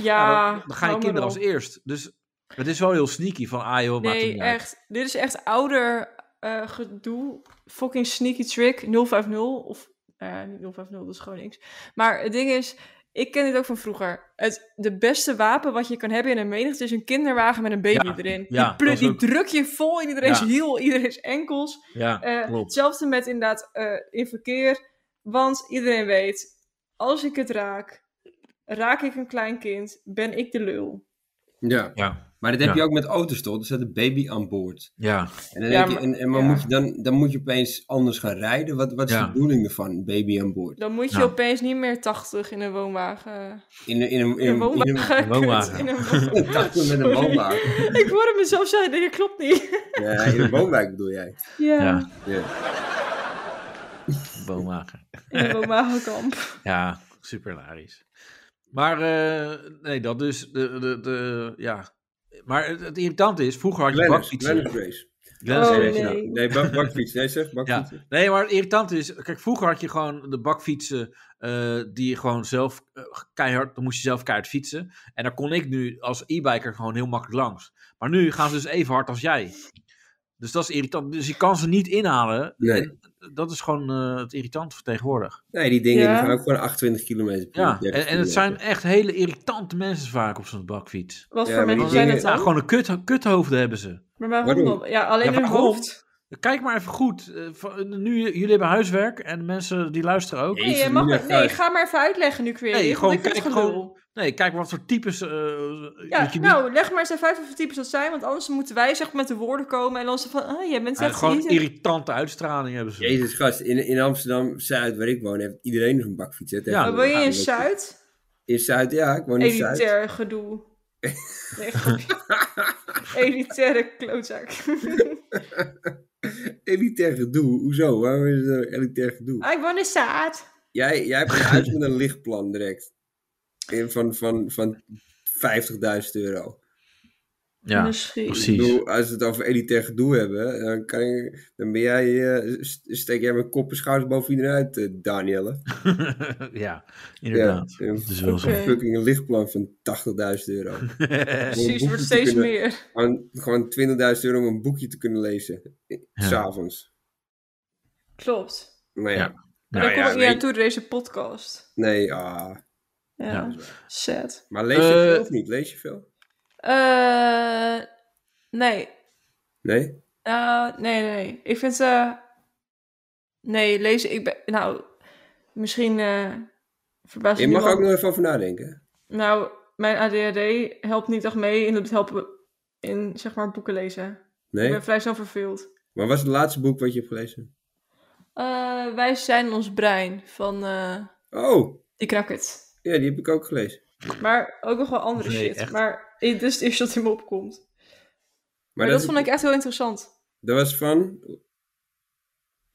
S4: ja,
S2: Ja,
S4: dan, dan gaan je
S2: hou maar
S4: kinderen
S2: op.
S4: als eerst. Dus het is wel heel sneaky van, ah joh, maakt het
S2: Nee,
S4: niet uit.
S2: echt. Dit is echt ouder eh, gedoe. Fucking sneaky trick 050. Of eh, niet 050, dat is gewoon niks. Maar het ding is, ik ken dit ook van vroeger. Het de beste wapen wat je kan hebben in een menigte is een kinderwagen met een baby
S4: Ja,
S2: erin.
S4: ja,
S2: die, plu-
S4: dat is
S2: die
S4: ook-
S2: druk je vol in iedereen's
S4: Ja.
S2: hiel, iedereen's enkels.
S4: Ja,
S2: Eh,
S4: klopt.
S2: hetzelfde met inderdaad eh, in verkeer. Want iedereen weet, als ik het raak, raak ik een klein kind, ben ik de lul.
S3: Ja,
S4: Ja,
S3: maar dat heb
S4: Ja.
S3: je ook met auto's toch? Er staat een baby aan boord.
S4: ja.
S3: En dan,
S2: Ja,
S3: denk je, en, en maar
S2: ja.
S3: moet je dan, dan moet je opeens anders gaan rijden. Wat, wat is
S4: Ja.
S3: de bedoeling ervan, een baby aan boord?
S2: Dan moet je
S4: Ja.
S2: opeens niet meer 80 in een woonwagen.
S3: In, een- in,
S2: <laughs> In
S3: een- in,
S2: een
S3: een- in
S2: woonwagen.
S4: een woonwagen.
S2: kut, in een woonwagen.
S3: een taxi <laughs> met een
S2: Sorry.
S3: woonwagen.
S2: <laughs> Ik hoorde mezelf zeggen, nee, dat klopt niet.
S3: Ja, in een woonwijk bedoel jij.
S2: Ja,
S4: Ja.
S3: Ja.
S4: Boomwagen.
S2: in een woonwagenkamp.
S4: Ja, super hilarisch. Maar eh, nee, dat dus. De, de, de, ja. Maar het, het irritante is, vroeger had je
S3: <laughs> Glennis,
S4: bakfietsen.
S3: Glennis Race.
S4: Glennis
S2: Oh,
S4: Race,
S2: nee.
S4: ja.
S3: Nee, bak, bakfiets. Nee, zeg,
S4: Ja,
S3: bakfiets.
S4: nee, maar het irritante is, kijk, vroeger had je gewoon de bakfietsen eh, die je gewoon zelf eh, keihard, dan moest je zelf keihard fietsen. En daar kon ik nu als e-biker gewoon heel makkelijk langs. Maar nu gaan ze dus even hard als jij. Dus dat is irritant. Dus je kan ze niet inhalen.
S3: Nee.
S4: En dat is gewoon eh, het irritant voor tegenwoordig.
S3: Nee, die dingen
S2: Ja.
S3: die gaan ook gewoon 28 kilometer per
S4: Ja,
S3: uur, 30
S4: en, en het
S3: kilometer.
S4: zijn echt hele irritante mensen vaak op zo'n bakfiets.
S2: Wat
S3: Ja,
S2: voor
S3: maar die
S2: mensen zijn
S3: dingen-
S2: het dan?
S4: Ja, nou, gewoon een kut, kuthoofden hebben ze.
S2: Maar waarom,
S3: Waarom?
S2: dan? Ja, alleen
S4: Ja,
S2: hun
S4: waarom?
S2: hoofd.
S4: Kijk maar even goed. Eh, van- nu, jullie hebben huiswerk en de mensen die luisteren ook.
S2: Nee,
S3: Jezus,
S2: je mag
S3: niet
S2: maar-
S3: echt
S2: nee,
S3: uit.
S2: ga maar even uitleggen nu, Queer.
S4: Nee,
S2: Nee,
S4: gewoon
S2: gewoon, ik vind het
S4: kijk,
S2: gelul.
S4: gewoon- Nee, kijk wat voor types. eh,
S2: Ja,
S4: dat je niet-
S2: nou, leg maar eens even uit wat voor types dat zijn, want anders moeten wij zeg maar met de woorden komen en dan ze van, ah, jij bent
S4: Ja,
S2: echt...
S4: gewoon
S2: niet-
S4: irritante uitstraling hebben ze.
S3: Jezus, gast, in, in Amsterdam, Zuid, waar ik woon, heeft iedereen nog een bakfiets. hè,
S2: Maar
S3: tegenwoordig.
S2: woon je in
S3: Dat-
S2: Zuid?
S3: In Zuid, ja, ik woon in Zuid.
S2: Elitair
S4: <laughs>
S2: gedoe. Nee, grapje. Elitaire klootzak. <laughs>
S3: Elitair gedoe, hoezo? Waarom is het nou elitair gedoe?
S2: Ah, ik woon in Zuid.
S3: Jij, jij hebt een huis met een lichtplan direct. In van, van, van 50.000 euro.
S4: Ja,
S2: Misschien.
S3: Ik
S4: precies.
S3: bedoel, als we het over elitair gedoe hebben, dan, kan ik, dan ben jij, eh, st- steek jij mijn kop en schouders boven iedereen uit, eh, Danielle.
S4: <laughs> ja, inderdaad.
S3: Ja,
S4: Dat is wel zo.
S2: Oké.
S3: Fucking een lichtplan van 80.000 euro.
S4: <laughs>
S2: Precies, het wordt
S3: boeken te
S2: steeds
S3: kunnen-
S2: meer.
S3: Gewoon, gewoon 20.000 euro om een boekje te kunnen lezen.
S4: Ja.
S3: S'avonds.
S2: Klopt.
S3: Maar ja,
S4: Ja.
S2: Maar
S4: Nou
S2: daar kom
S3: ja,
S2: ik niet
S3: weet-
S2: aan toe door deze podcast.
S3: nee, ah.
S2: Ja,
S4: Ja.
S2: sad.
S3: Maar lees je
S4: Eh,
S3: veel of niet? Lees je veel?
S2: Eh, nee.
S3: Nee?
S2: Eh, nee, nee. Ik vind... eh nee, lezen... Ik ben, nou, misschien eh verbaast
S3: Je
S2: het
S3: mag er ook
S2: niemand.
S3: nog even over nadenken.
S2: Nou, mijn ADHD helpt niet echt mee in het helpen in, zeg maar, boeken lezen. Ik
S3: Nee?
S2: ben vrij snel verveeld.
S3: Maar wat is het laatste boek wat je hebt gelezen?
S2: Eh, wij zijn ons brein van eh
S3: Oh,
S2: die krakket.
S3: ja, die heb ik ook gelezen.
S2: Maar ook nog wel andere
S4: Nee,
S2: shit.
S4: echt.
S2: Maar eh, dit is het eerste dat in me opkomt. Maar, dat,
S3: is-
S2: vond ik echt heel interessant.
S3: dat was van...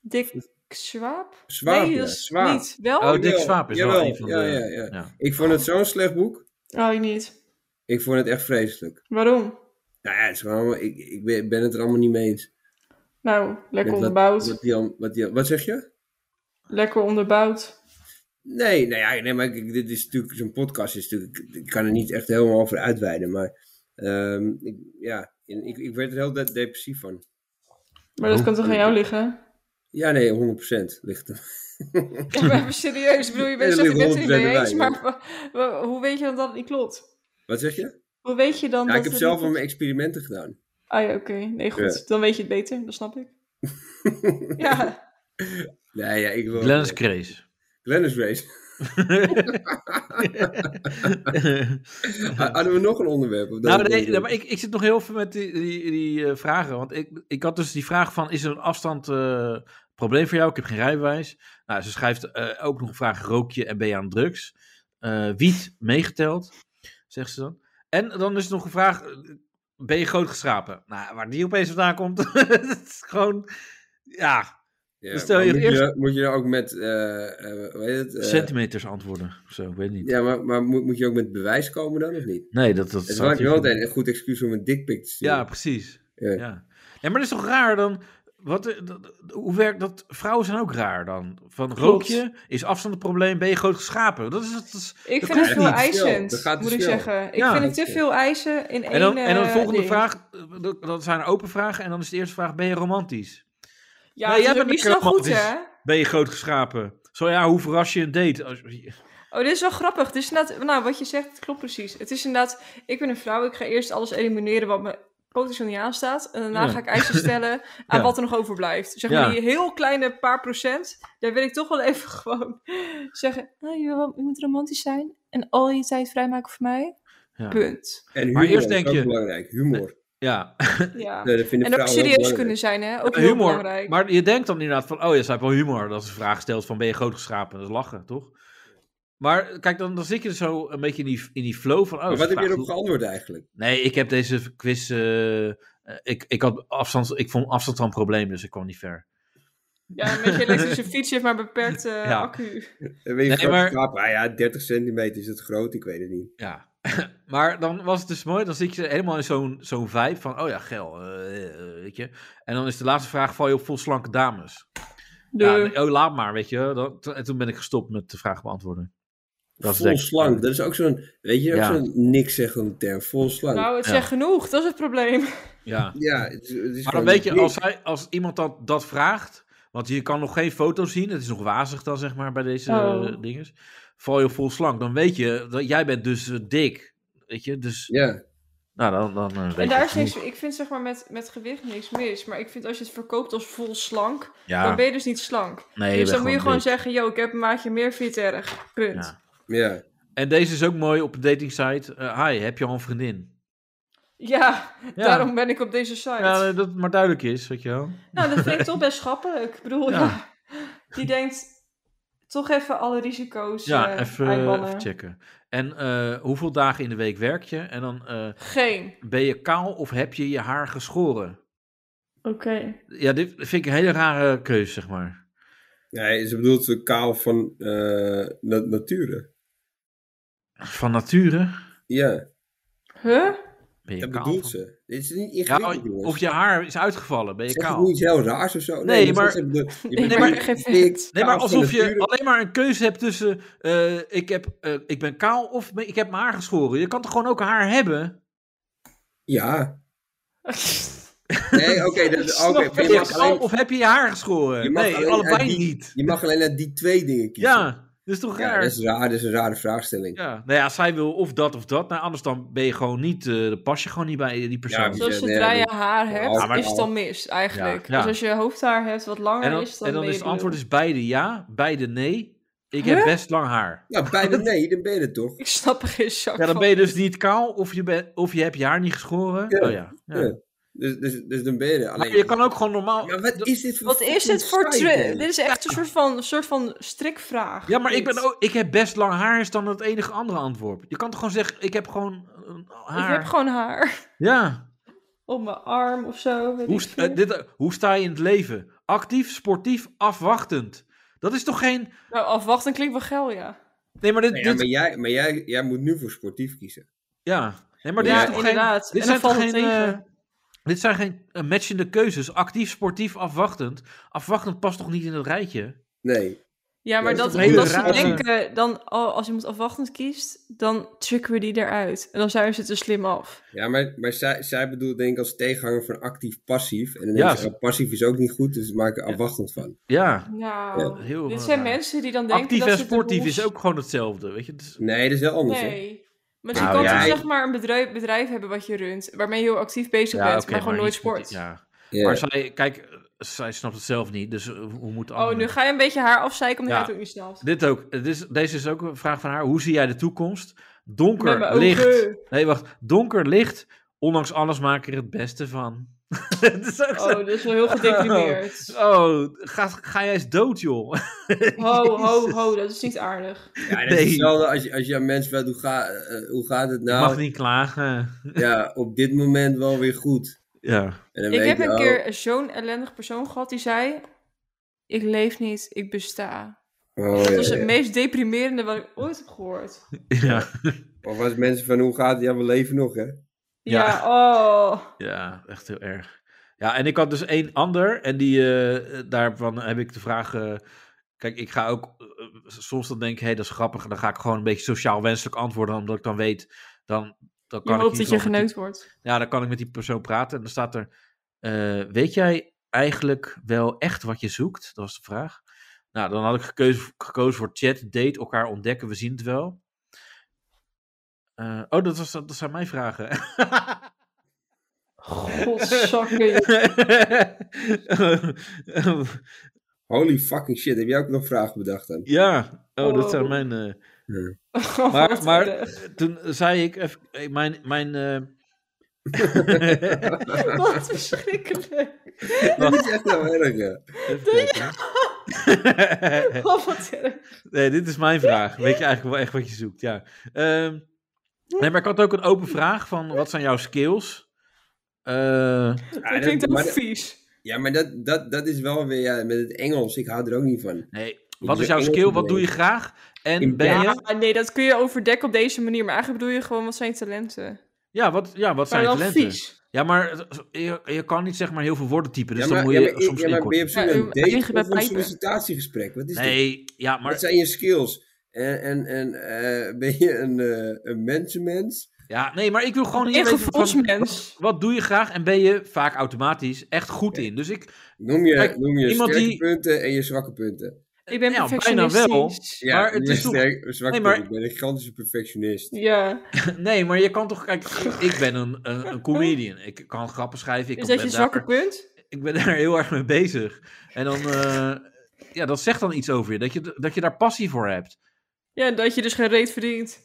S2: Dick Swaap?
S3: Zwaap,
S2: nee,
S3: ja,
S2: dat is
S3: Zwaap.
S2: niet. Wel?
S4: Oh,
S2: Oh,
S4: Dick
S3: Jawel,
S4: Swaap is wel
S3: jawel,
S4: een van de...
S3: ja, ja, ja. Ik vond het zo'n slecht boek.
S2: ik Oh, niet.
S3: Ik vond het echt vreselijk.
S2: Waarom?
S3: Nou ja, het is gewoon allemaal- ik, ik ben, ben het er allemaal niet mee eens.
S2: Nou, lekker
S3: Met wat,
S2: onderbouwd.
S3: wat, die, al- wat, die al- wat zeg je?
S2: Lekker onderbouwd.
S3: Nee, nee, ja, nee maar ik- dit is natuurlijk, zo'n podcast is natuurlijk, ik kan er niet echt helemaal over uitweiden, maar ehm, ik, ja, en ik, ik werd er heel de- depressief van.
S2: Maar dat
S4: Oh.
S2: kan toch aan jou liggen?
S3: Ja, nee, 100% ligt er.
S2: Ja, maar even serieus. Ik bedoel, je bent
S3: Ja,
S2: zegt, ik
S3: liggen
S2: ben het er niet mee eens.
S3: honderd
S2: Maar wa- wa- hoe weet je dan dat het niet klopt?
S3: Wat zeg je?
S2: Hoe weet je dan
S3: Ja,
S2: dat
S3: ik heb
S2: het
S3: zelf
S2: niet
S3: al
S2: klopt?
S3: mijn experimenten gedaan.
S2: Ah ja, oké. Nee, goed. Dan weet je het beter. Dat snap
S3: <laughs>
S2: ik. ja.
S3: Nee, ja, ik wil...
S4: Glennis Grace.
S3: <laughs> Glennis
S4: <laughs>
S3: Race. Ha- Hadden we nog een onderwerp? Of
S4: Nou,
S3: dat-
S4: nee, maar ik, ik zit nog heel veel met die, die, die eh, vragen. Want ik, ik had dus die vraag van, is er een afstand eh, probleem voor jou? Ik heb geen rijbewijs. Nou, ze schrijft eh, ook nog een vraag, rook je en ben je aan drugs? Eh, wiet meegeteld, zegt ze dan. En dan is er nog een vraag, eh, <laughs> ben je grootgeschrapen? Nou, waar die opeens vandaan komt, het is gewoon, ja...
S3: Ja,
S4: Dus stel
S3: maar
S4: je
S3: moet,
S4: eerst-
S3: je, moet je dan ook met, eh, eh, hoe heet het? eh,
S4: Centimeters antwoorden of zo, ik weet niet.
S3: ja, maar, maar moet, moet je ook met bewijs komen dan, of niet?
S4: Nee, dat, dat
S3: Het is
S4: staat
S3: wel
S4: hier
S3: wel
S4: voor-
S3: een goed excuus om een dikpik te sturen.
S4: Ja, precies.
S3: Ja.
S4: Ja. Nee, maar dat is toch raar dan? Wat, dat- dat- hoe werkt dat? Vrouwen zijn ook raar dan. Van rook je, is afstand een probleem, ben je groot geschapen. Dat is, dat is...
S2: Ik
S4: Dat
S2: vind
S4: gaat
S2: het veel
S3: niet snel.
S2: eisend,
S3: Dat gaat te
S2: moet ik
S3: snel.
S2: zeggen. Ik
S4: Ja.
S2: vind het te veel eisen in
S4: En dan,
S2: één
S4: en dan de
S2: eh,
S4: volgende
S2: ding.
S4: vraag, eh, dat- dat zijn open vragen. En dan is de eerste vraag, ben je romantisch?
S2: Ja,
S4: Nou, jij
S2: dat is
S4: bent
S2: ook niet zo
S4: lekker
S2: goed,
S4: romantisch.
S2: hè?
S4: Ben je groot geschapen? Zo ja, hoe verras je een date? Als-
S2: Oh, dit is wel grappig. Dit is inderdaad, nou, wat je zegt, klopt precies. Het is inderdaad, ik ben een vrouw, ik ga eerst alles elimineren wat me potentieel niet aanstaat. En daarna
S4: Ja.
S2: ga ik eisen
S4: <laughs>
S2: stellen aan
S4: Ja.
S2: wat er nog overblijft. Zeg
S4: Ja.
S2: maar die heel kleine paar procent, daar wil ik toch wel even <laughs> gewoon zeggen. "Ah, je, wil- je moet romantisch zijn en al je tijd vrijmaken voor mij.
S4: Ja. <laughs>
S2: Punt.
S3: En humor
S4: Maar eerst denk
S3: is ook
S4: je-
S3: belangrijk, humor.
S4: Ja,
S2: Ja.
S3: Nee, dat
S2: En
S3: vinden
S2: ook
S3: vrouwen heel
S2: serieus
S3: belangrijk.
S2: kunnen zijn, hè? Ook heel
S4: humor.
S2: belangrijk.
S4: Maar je denkt dan inderdaad van, oh ja, ze heeft wel humor. Dat ze een vraag stelt van, ben je groot geschapen? Dat is lachen, toch? Maar kijk, dan, dan zit je zo een beetje in die, in die flow van... Oh,
S3: Maar
S4: ze
S3: wat heb je
S4: vraagt
S3: erop
S4: hoe-
S3: geantwoord eigenlijk?
S4: Nee, ik heb deze quiz. eh, eh, ik, ik, had afstand, ik vond afstand al een probleem, dus ik kwam niet ver.
S2: Ja,
S4: <laughs>
S2: met je elektrische fiets je hebt maar beperkt eh,
S4: Ja.
S2: accu.
S3: Ben je
S4: Nee,
S3: groot
S4: maar-
S3: geschapen? Ah ja, 30 centimeter is het groot, ik weet het niet.
S4: Ja. <laughs> maar dan was het dus mooi, dan zit je helemaal in zo'n zo'n vibe van: oh ja, geil. eh, eh, weet je. En dan is de laatste vraag: val je op vol slanke dames?
S2: De...
S4: Ja, nee, oh, laat maar, weet je. Dan, to- en toen ben ik gestopt met de vraag beantwoorden. Dat is
S3: vol
S4: denk ik-
S3: slank, dat is ook zo'n, weet je, ook
S4: Ja.
S3: zo'n niks zeggen term, vol slank.
S2: nou, het
S4: Ja.
S2: zegt genoeg. Dat is het probleem.
S4: <laughs> Ja.
S3: ja, het is, het is
S4: Maar dan
S3: gewoon
S4: weet je,
S3: niks.
S4: als, hij, als iemand dat, dat vraagt, want je kan nog geen foto zien, het is nog wazig dan zeg maar bij deze
S2: Oh.
S4: eh, dinges, val je vol slank, dan weet je, dat, jij bent dus eh, dik, weet je, dus,
S3: Ja,
S4: nou dan, dan eh, weet
S2: En daar
S4: je
S2: is
S4: genoeg.
S2: niks, ik vind zeg maar met, met gewicht niks mis. Maar ik vind als je het verkoopt als vol slank, dan
S4: Ja,
S2: ben je dus niet slank.
S4: nee, je
S2: dus
S4: bent
S2: dan moet je gewoon
S4: dik.
S2: zeggen, yo, ik heb een maatje meer, vind je het erg. Punt.
S4: Ja.
S2: Ja.
S3: ja.
S4: En deze is ook mooi op een dating site, Eh, hi, heb je al een
S2: <laughs>
S4: vriendin?
S2: daarom ben ik op deze site.
S4: Ja, nee, dat het maar duidelijk is, weet je wel.
S2: Nou, dat vind ik toch best schappelijk. Ik bedoel,
S4: Ja.
S2: ja. Die denkt, toch even alle risico's
S4: Ja,
S2: eh,
S4: even,
S2: einbannen.
S4: even checken. En eh, hoeveel dagen in de week werk je? En dan eh,
S2: Geen.
S4: ben je kaal of heb je je haar geschoren?
S2: Oké.
S4: Ja, dit vind ik een hele rare keuze, zeg maar.
S3: Nee, ze bedoelt de kaal van eh na- nature.
S4: Van nature
S3: Ja,
S2: Huh?
S4: ben je
S3: dat
S4: kaal
S3: bedoelt
S4: van-
S3: ze. Dit is niet
S4: Ja, oh,
S3: ingewikkeld, jongens.
S4: of je haar is uitgevallen, ben je
S3: Zeg het
S4: kaal.
S3: niet iets heel raars of zo.
S4: Nee,
S3: dat is
S4: maar-
S3: wat ze bedoelt. Je bent
S2: Nee,
S4: maar-
S2: maar geen
S3: dik,
S2: vet.
S4: Nee, maar
S3: kaal van
S4: alsof je
S3: nature.
S4: alleen maar een keuze hebt tussen eh, ik, heb, eh, ik ben kaal of me- ik heb mijn haar geschoren. Je kan toch gewoon ook haar hebben?
S3: Ja. Nee, oké. dat-
S2: Snap
S3: oké,
S2: ik.
S3: maar
S4: Ben <laughs>
S3: je,
S4: je
S3: mag
S4: kaal
S3: alleen,
S4: of heb je je haar geschoren?
S3: Je mag
S4: nee,
S3: alleen
S4: allebei
S3: uit die-
S4: niet.
S3: je mag alleen uit die twee dingen kiezen.
S4: Ja, dat is toch
S3: Ja,
S4: raar?
S3: dat is raar. Dat is een rare vraagstelling.
S4: Ja, nou ja, zij wil of dat of dat. Nou, anders dan ben je gewoon niet, eh, dan pas je gewoon niet bij die persoon.
S3: Ja,
S2: Dus
S3: nee,
S2: zodra
S3: nee.
S2: je haar hebt,
S3: Ja, maar-
S2: is het dan mis eigenlijk.
S4: Ja, ja.
S2: Dus als je hoofdhaar hebt wat langer
S4: en dan,
S2: is, dan,
S4: en dan
S2: ben
S4: is
S2: je
S4: het antwoord
S2: lul.
S4: is beide ja, beide nee. Ik heb
S2: Huh?
S4: best lang haar. <laughs>
S3: Nou, bijna nee, dan ben je het toch.
S2: Ik snap er geen zak
S4: Ja, dan
S2: van.
S4: ben je dus niet kaal of je, bent of je hebt je haar niet geschoren.
S3: Ja,
S4: Oh ja. ja.
S3: ja. Dus, dus, dus dan ben je er.
S4: Maar
S3: Alleen,
S4: je kan ook gewoon normaal.
S3: Maar wat is dit voor
S2: Wat is
S3: fucking
S2: dit voor...
S3: site,
S2: tri-
S3: man?
S2: Dit is echt een soort van, soort van strikvraag.
S4: Ja, maar ik,
S2: Dit.
S4: ben ook, ik heb best lang haar is dan het enige andere antwoord. Je kan toch gewoon zeggen, ik heb gewoon eh, haar.
S2: Ik heb gewoon haar. <laughs>
S4: Ja.
S2: Op mijn arm of zo. Weet
S4: Hoe,
S2: ik
S4: st-
S2: veel.
S4: eh, dit, eh, hoe sta je in het leven? Actief, sportief, afwachtend. Dat is toch geen...
S2: Nou, afwachten klinkt wel geil, ja.
S4: Nee, maar dit...
S3: Nee,
S4: dit-
S3: Nou ja,
S4: Ja,
S3: maar jij, maar jij, jij moet nu voor sportief kiezen.
S4: Nee, maar dit
S2: ja,
S4: is toch geen...
S2: inderdaad.
S4: Dit
S2: en dan
S4: zijn toch
S2: valt het
S4: geen...
S2: tegen.
S4: eh, dit zijn geen eh, matchende keuzes. Actief, sportief, afwachtend. Afwachtend past toch niet in het rijtje?
S3: Nee.
S2: ja, maar
S3: ja,
S2: dat,
S3: dat is een
S2: omdat
S4: hele
S2: ze
S4: rare-
S2: denken, dan, oh, als iemand afwachtend kiest, dan tricken we die eruit. En dan zijn ze te slim af.
S3: Ja, maar, maar zij, zij bedoelt denk ik als tegenhanger van actief-passief. En dan
S4: Ja,
S3: denk
S4: ze-
S3: je, oh, passief is ook niet goed, dus maak er afwachtend van.
S4: Ja.
S2: Nou,
S4: Heel
S2: dit
S4: eh,
S2: zijn
S4: raar.
S2: mensen die dan denken
S4: Actief
S2: dat
S4: en
S2: ze de
S4: sportief
S2: rules-
S4: is ook gewoon hetzelfde, weet je. Het is-
S3: Nee, dat is wel anders, hè?
S2: Nee. Maar je
S4: Nou,
S2: kan
S4: ja,
S2: toch
S3: ik-
S2: zeg maar een bedrijf, bedrijf hebben wat je runt, waarmee je heel actief bezig bent,
S4: oké,
S2: maar gewoon nooit
S4: niet sportief,
S2: sport.
S4: Ja.
S3: Ja.
S4: Maar zij, kijk, eh, zij snapt het zelf niet, dus eh, hoe moet
S2: Oh, nu ga je een beetje haar afzeiken omdat
S4: Ja.
S2: jij het ook niet snapt.
S4: Dit ook. eh, Dit is, deze is ook een vraag van haar. Hoe zie jij de toekomst?
S2: Met mijn
S4: Donker,
S2: ogen.
S4: licht. Nee, wacht. Donker, licht. Ondanks alles maak ik er het beste van. <laughs> Het is ook
S2: Oh,
S4: zo-
S2: dat is wel heel <laughs> gedeprimeerd.
S4: Oh, ga, ga jij eens dood, joh.
S2: Ho, ho, ho, dat is niet aardig.
S3: Ja, dat
S4: Nee.
S3: is hetzelfde als je, als je aan mensen vraagt, hoe, ga, eh, hoe gaat het nou?
S4: Mag niet klagen.
S3: Ja, op dit moment wel weer goed.
S4: Ja.
S3: En dan
S2: Ik
S3: weet
S2: heb
S3: je,
S2: een
S3: oh,
S2: keer zo'n ellendig persoon gehad die zei: Ik leef niet, ik besta.
S3: Oh,
S2: Dat
S3: ja,
S2: was
S3: ja.
S2: het meest deprimerende wat ik ooit heb gehoord.
S4: Ja,
S3: Of als mensen van hoe gaat het? Ja, we leven nog, hè?
S2: Ja,
S4: Ja.
S2: oh.
S4: ja, echt heel erg. Ja, en ik had dus één ander en die, eh, daarvan heb ik de vraag... eh, kijk, ik ga ook eh, eh, soms dan denken, hé, hey, dat is grappig. En dan ga ik gewoon een beetje sociaal wenselijk antwoorden, omdat ik dan weet, dan, dan
S2: Je
S4: kan ik
S2: hoopt dat
S4: niet
S2: je geneukt wordt.
S4: Ja, dan kan ik met die persoon praten. En dan staat er: eh, Weet jij eigenlijk wel echt wat je zoekt? Dat was de vraag. Nou, dan had ik gekozen, gekozen voor chat, date, elkaar ontdekken, we zien het wel. Eh, oh, dat, was, dat zijn mijn vragen. <laughs>
S2: Godzakken. joh.
S3: Holy fucking shit, heb jij ook nog vragen bedacht dan?
S4: <laughs> ja, oh, dat zijn
S2: Oh.
S4: mijn. eh,
S2: Oh,
S4: Maar,
S2: wat
S4: maar
S2: erg.
S4: eh, toen zei ik: even, eh, Mijn. mijn
S2: <laughs>
S4: eh,
S2: Wat verschrikkelijk.
S3: <laughs> Dat is echt wel erg, ja.
S4: Even kijken.
S2: Oh, wat erg.
S4: <laughs> Nee, dit is mijn vraag. Weet je eigenlijk wel echt wat je zoekt? Ja. Ehm, nee, maar ik had ook een open vraag van wat zijn jouw skills? Eh,
S2: Dat klinkt ook
S3: maar-
S2: vies.
S3: Ja, maar dat, dat, dat is wel weer ja, met het Engels. Ik hou er ook niet van.
S4: nee, wat is jouw skill? Wat doe je graag? En
S3: In
S4: ben je...
S2: Ah, nee, dat kun je overdekken op deze manier. Maar eigenlijk bedoel je gewoon, wat zijn je talenten?
S4: Ja, wat, ja, wat zijn je
S2: maar dan
S4: talenten?
S2: vies.
S4: Ja, maar het- je, je kan niet zeg maar heel veel woorden typen, dus
S3: ja, maar,
S4: dan moet
S3: ja,
S4: je
S3: maar,
S4: soms
S3: ja, maar ben je op
S4: inkorten.
S2: Ja,
S3: zoek naar
S2: u-
S3: een
S2: eindigen bij
S3: date of een
S2: pijpen.
S3: sollicitatiegesprek? Wat is dit?
S4: Nee, ja,
S3: Wat
S4: maar...
S3: zijn je skills? En, en, en eh, ben je een, eh, een mensenmens?
S4: Ja, nee, maar ik wil gewoon
S2: Een
S4: hier weten van...
S2: gevoelsmens.
S4: Wat doe je graag en ben je vaak automatisch echt goed in? Dus ik, <laughs>
S3: Noem je,
S4: Kijk,
S3: noem je
S4: iemand
S3: sterke
S4: die-
S3: punten en je zwakke punten.
S2: Ik ben
S4: ja, bijna wel.
S2: perfectionistisch.
S3: Ja,
S4: Maar het
S3: je
S4: is toch-
S3: sterke- zwakke
S4: Nee, maar-
S3: punten. Ik ben een gigantische perfectionist.
S2: Ja,
S4: Nee, maar je kan toch... Kijk, ik ben een, een, een comedian. Ik kan grappen schrijven. Ik
S2: is
S4: kan-
S2: dat je
S4: ben
S2: zwakke
S4: daar-
S2: punt?
S4: Ik ben daar heel erg mee bezig. En dan... eh, ja, dat zegt dan iets over je. Dat je, dat je daar passie voor hebt.
S2: Ja, dat je dus geen reet verdient.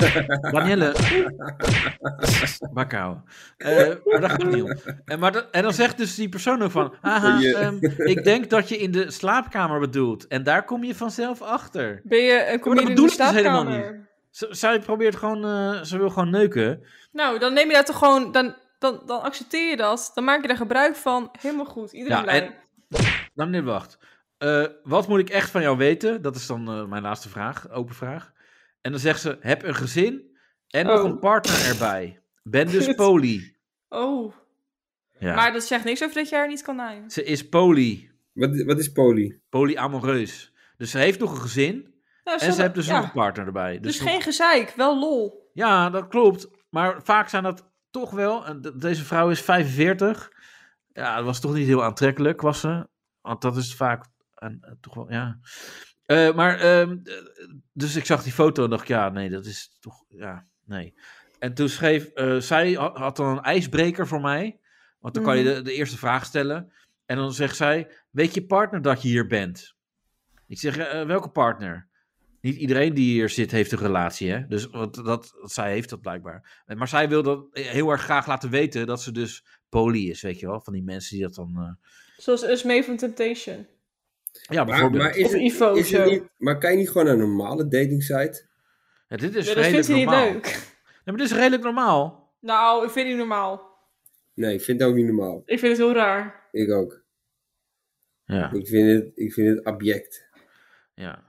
S2: <laughs>
S4: Danielle... Bakkou. Eh maar dat gaat het niet om. En, maar dat- en dan zegt dus die persoon ook van... Haha,
S3: Je-
S4: ehm, ik denk dat je in de slaapkamer bedoelt. En daar kom je vanzelf achter.
S2: Ben je een comedian in
S4: bedoel
S2: de
S4: ik dus helemaal
S2: slaapkamer?
S4: Z- zij probeert gewoon... eh, ze wil gewoon neuken.
S2: Nou, dan neem je dat toch gewoon... Dan, dan, dan accepteer je dat. Dan maak je daar gebruik van. Helemaal goed. Iedereen
S4: Ja,
S2: blij.
S4: en- Nou, meneer Wacht. Eh, wat moet ik echt van jou weten? Dat is dan eh, mijn laatste vraag, open vraag. En dan zegt ze: heb een gezin en nog
S2: Oh.
S4: een partner erbij. Ben dus
S2: Kut.
S4: poly.
S2: Oh,
S4: Ja.
S2: maar dat zegt niks over dat je haar niet kan naaien.
S4: Ze is poly,
S3: Wat, wat is poly?
S4: polyamoreus. Dus ze heeft nog een gezin
S2: Nou,
S4: en
S2: stel
S4: ze
S2: dat-
S4: heeft dus
S2: ja,
S4: nog een partner erbij. Dus,
S2: Dus
S4: nog-
S2: geen gezeik, wel lol.
S4: Ja, dat klopt. Maar vaak zijn dat toch wel. en de- Deze vrouw is 45. Ja, dat was toch niet heel aantrekkelijk, was ze. Want dat is vaak. En, eh, toch wel, ja. Eh, maar, ehm, eh, dus ik zag die foto en dacht, ja, nee, dat is toch. Ja, nee. En toen schreef. eh, zij ha- had dan een ijsbreker voor mij. Want dan kan je
S2: Mhm.
S4: de, de eerste vraag stellen. En dan zegt zij: Weet je partner dat je hier bent? Ik zeg: "Eh, Welke partner? Niet iedereen die hier zit heeft een relatie, hè? Dus wat, dat, wat zij heeft dat blijkbaar. Maar zij wil dat eh, heel erg graag laten weten dat ze dus poly is, weet je wel? Van die mensen die dat dan. eh,
S2: Zoals Usme van Temptation.
S4: Ja,
S3: Maar,
S4: bijvoorbeeld.
S3: maar, is
S2: Of
S3: het,
S2: Ivo of
S3: is het
S2: zo.
S3: niet, maar kan je niet gewoon naar een normale datingsite?
S4: Ja, dit is
S2: Ja, dat
S4: redelijk
S2: vindt hij niet
S4: normaal.
S2: leuk.
S4: Ja, maar dit is redelijk normaal.
S2: Nou, ik vind die normaal.
S3: Nee, ik vind het ook niet normaal.
S2: Ik vind het heel raar.
S3: Ik ook.
S4: Ja,
S3: Ik vind het, ik vind het abject.
S4: ja.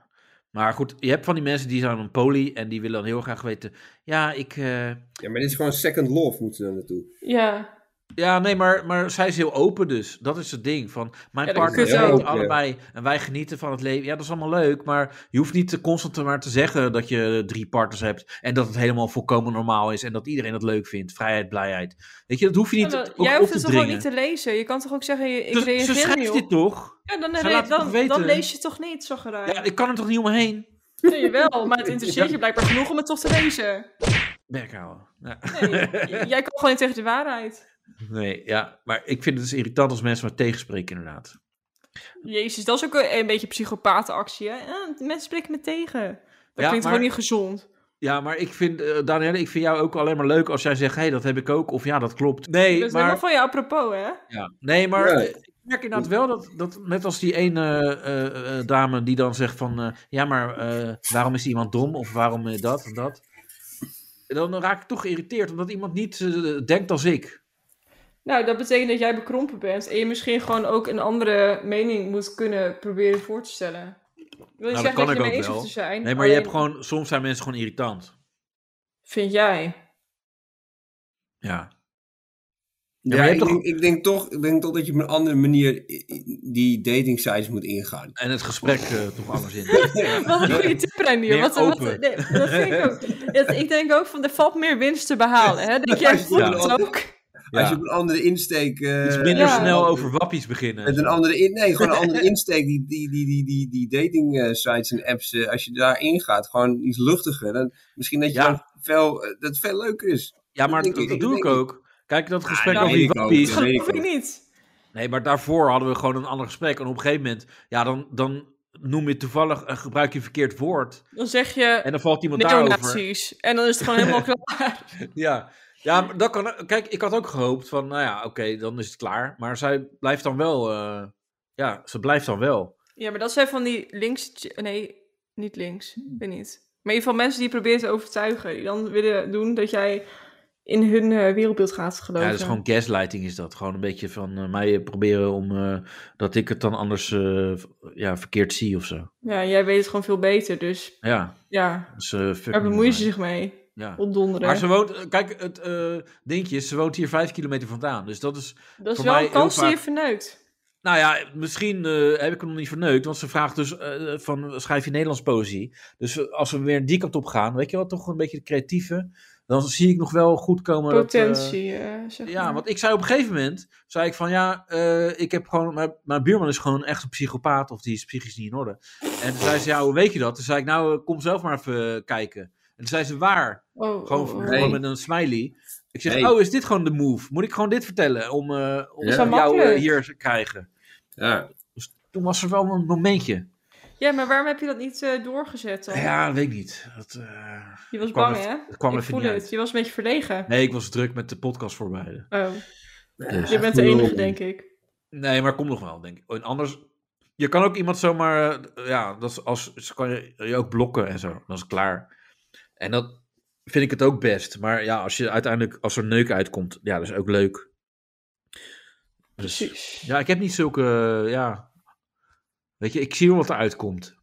S4: Maar goed, je hebt van die mensen die zijn een poly en die willen dan heel graag weten. Ja, ik. eh,
S3: Ja, maar dit is gewoon second love moeten ze daar naartoe.
S2: Ja.
S4: Ja, nee, maar, maar zij is heel open dus. Dat is het ding. Van, mijn
S2: Ja, dat
S4: partner
S2: is
S4: en ik
S2: ook,
S3: ja.
S4: allebei en wij genieten van het leven. Ja, dat is allemaal leuk, maar je hoeft niet te constant maar te zeggen dat je drie partners hebt en dat het helemaal volkomen normaal is en dat iedereen dat leuk vindt. Vrijheid, blijheid. Weet je, dat hoef je niet
S2: Ja,
S4: ook
S2: Jij
S4: op
S2: hoeft
S4: te
S2: het toch ook
S4: dringen.
S2: niet te lezen? Je kan toch ook zeggen, je- ik
S4: Dus- ze
S2: reageer niet
S4: schrijft dit
S2: op.
S4: toch?
S2: Ja, dan,
S4: Zij
S2: dan,
S4: laat het
S2: dan,
S4: toch weten?
S2: dan lees je toch niet, zo geraakt.
S4: Ja, ik kan er toch niet omheen?
S2: Nee, wel, maar het interesseert je blijkbaar genoeg om het toch te lezen.
S4: Merk houden. Ja. <laughs>
S2: Nee, j- jij kan gewoon niet tegen de waarheid.
S4: Nee, ja, maar ik vind het dus irritant als mensen me tegenspreken inderdaad.
S2: Jezus, dat is ook een, een beetje psychopatenactie, hè? Ja, mensen spreken me tegen. Dat
S4: Ja,
S2: klinkt
S4: maar-
S2: gewoon niet gezond.
S4: Ja, maar ik vind, eh Danielle, ik vind jou ook alleen maar leuk als jij zegt, hé, hey, dat heb ik ook, of ja, dat klopt. Nee,
S2: dat
S4: maar...
S2: is Dus helemaal van je apropos, hè?
S4: Ja, nee, maar
S3: Ja.
S4: eh, ik merk inderdaad wel dat, dat net als die ene eh, eh, eh, dame die dan zegt van, eh, ja, maar eh, waarom is iemand dom of waarom eh, dat en dat. Dan raak ik toch geïrriteerd omdat iemand niet eh, denkt als ik.
S2: Nou, dat betekent dat jij bekrompen bent en je misschien gewoon ook een andere mening moet kunnen proberen voor te stellen. Wil je
S4: Nou, dat
S2: zeggen
S4: kan
S2: dat je
S4: ik
S2: ermee
S4: ook
S2: eens hoeft
S4: wel.
S2: te zijn?
S4: Nee, maar je hebt
S2: alleen-
S4: gewoon, soms zijn mensen gewoon irritant.
S2: Vind jij?
S4: Ja.
S3: Ja,
S4: maar je
S3: ik,
S4: hebt
S3: denk, ik, denk toch, ik denk toch dat je op een andere manier i- i- die dating sites moet ingaan.
S4: En het gesprek eh, toch anders <laughs> in.
S2: Wat een goede tip, Renier.
S4: Meer
S2: Wat, wat,
S4: open.
S2: nee, dat vind ik ook. Dat- ik denk ook van, er valt meer winst te behalen. Hè? Denk jij
S3: Ja.
S2: voelt het ook?
S3: Als
S4: Ja.
S3: je op een andere insteek... eh,
S4: Iets minder
S2: Ja.
S4: snel over wappies beginnen.
S3: Met een andere, in, nee, gewoon een <laughs> andere insteek. Die, die, die, die, die, die dating eh, sites en apps, eh, als je daarin gaat, gewoon iets luchtiger. Dan, misschien dat je
S4: Ja,
S3: dan veel, eh, dat het veel leuker is.
S4: Ja, maar
S3: denk
S4: dat,
S3: ik-
S4: dat
S3: ik
S4: doe ik
S3: denk
S4: ook. Kijk, dat gesprek
S2: dat
S4: over
S2: weet
S4: die
S3: ik ook.
S4: wappies.
S3: Dat weet
S2: Geloof
S3: ik
S2: ik
S3: ook.
S2: niet.
S4: Nee, maar daarvoor hadden we gewoon een ander gesprek. En op een gegeven moment, ja, dan, dan noem je toevallig, eh, gebruik je een verkeerd woord.
S2: Dan zeg je
S4: En dan valt iemand daarover.
S2: neonazies. En dan is het gewoon helemaal <laughs> klaar.
S4: Ja, ja maar dat kan, kijk, ik had ook gehoopt van, nou ja, oké, dan is het klaar. Maar zij blijft dan wel, eh, ja, ze blijft dan wel.
S2: Ja, maar dat zijn van die links... Nee, niet links. Ik weet niet. Maar in ieder geval mensen die je probeert te overtuigen. Die dan willen doen dat jij in hun eh, wereldbeeld gaat
S4: Ja,
S2: geloven.
S4: dat is gewoon gaslighting is dat. Gewoon een beetje van eh, mij eh, proberen om, eh, dat ik het dan anders, eh, v- ja, verkeerd zie of zo.
S2: Ja, jij weet het gewoon veel beter. Dus
S4: Ja,
S2: ja,
S4: dus, eh, fuck
S2: daar
S4: me.
S2: bemoeien ze zich mee.
S4: Ja.
S2: Opdonderen.
S4: Maar ze woont, eh, kijk, het eh dingetje is, ze woont hier vijf kilometer vandaan. Dus dat is,
S2: Dat is
S4: voor
S2: wel
S4: mij
S2: een kans
S4: heel
S2: die je
S4: vaak-
S2: verneukt.
S4: nou ja, misschien eh, heb ik hem nog niet verneukt. Want ze vraagt dus eh, van, schrijf je Nederlands poëzie? Dus eh, als we weer die kant op gaan, weet je wel, toch een beetje de creatieve. Dan zie ik nog wel goed komen. dat, eh,
S2: Potentie, eh, zeg
S4: ja,
S2: maar.
S4: want ik zei op een gegeven moment, zei ik van ja, eh, ik heb gewoon, mijn, mijn buurman is gewoon echt een psychopaat of die is psychisch niet in orde. En toen zei ze, ja, hoe weet je dat? Toen zei ik, nou, eh, kom zelf maar even eh, kijken. En toen zei ze, waar?
S2: Oh,
S4: Gewoon,
S2: oh, oh.
S4: gewoon met een smiley. Ik zeg,
S3: Nee.
S4: oh, is dit gewoon de move? Moet ik gewoon dit vertellen om, eh, om
S3: Ja.
S2: Zo
S4: jou eh,
S2: makkelijk.
S4: hier te krijgen?
S3: Ja.
S4: Toen was er wel een momentje.
S2: Ja, maar waarom heb je dat niet eh, doorgezet dan?
S4: Ja, weet ik niet. Dat, eh,
S2: je was
S4: kwam
S2: bang,
S4: even-
S2: hè?
S4: het kwam
S2: ik
S4: even
S2: voel
S4: niet
S2: het.
S4: uit.
S2: Je was een beetje verlegen.
S4: nee, ik was druk met de podcast voorbereiden. Dus.
S2: Oh, je bent de enige, denk ik.
S4: Nee, maar kom nog wel, denk ik. En anders, je kan ook iemand zomaar, eh, ja, dat is als, ze kan je, je ook blokken en zo. Dan is het klaar. En dat vind ik het ook best. Maar ja, als je uiteindelijk, als er neuk uitkomt, ja, dat is ook leuk. Dus,
S2: Precies.
S4: Ja, ik heb niet zulke. eh, ja. Weet je, ik zie wel wat eruit komt.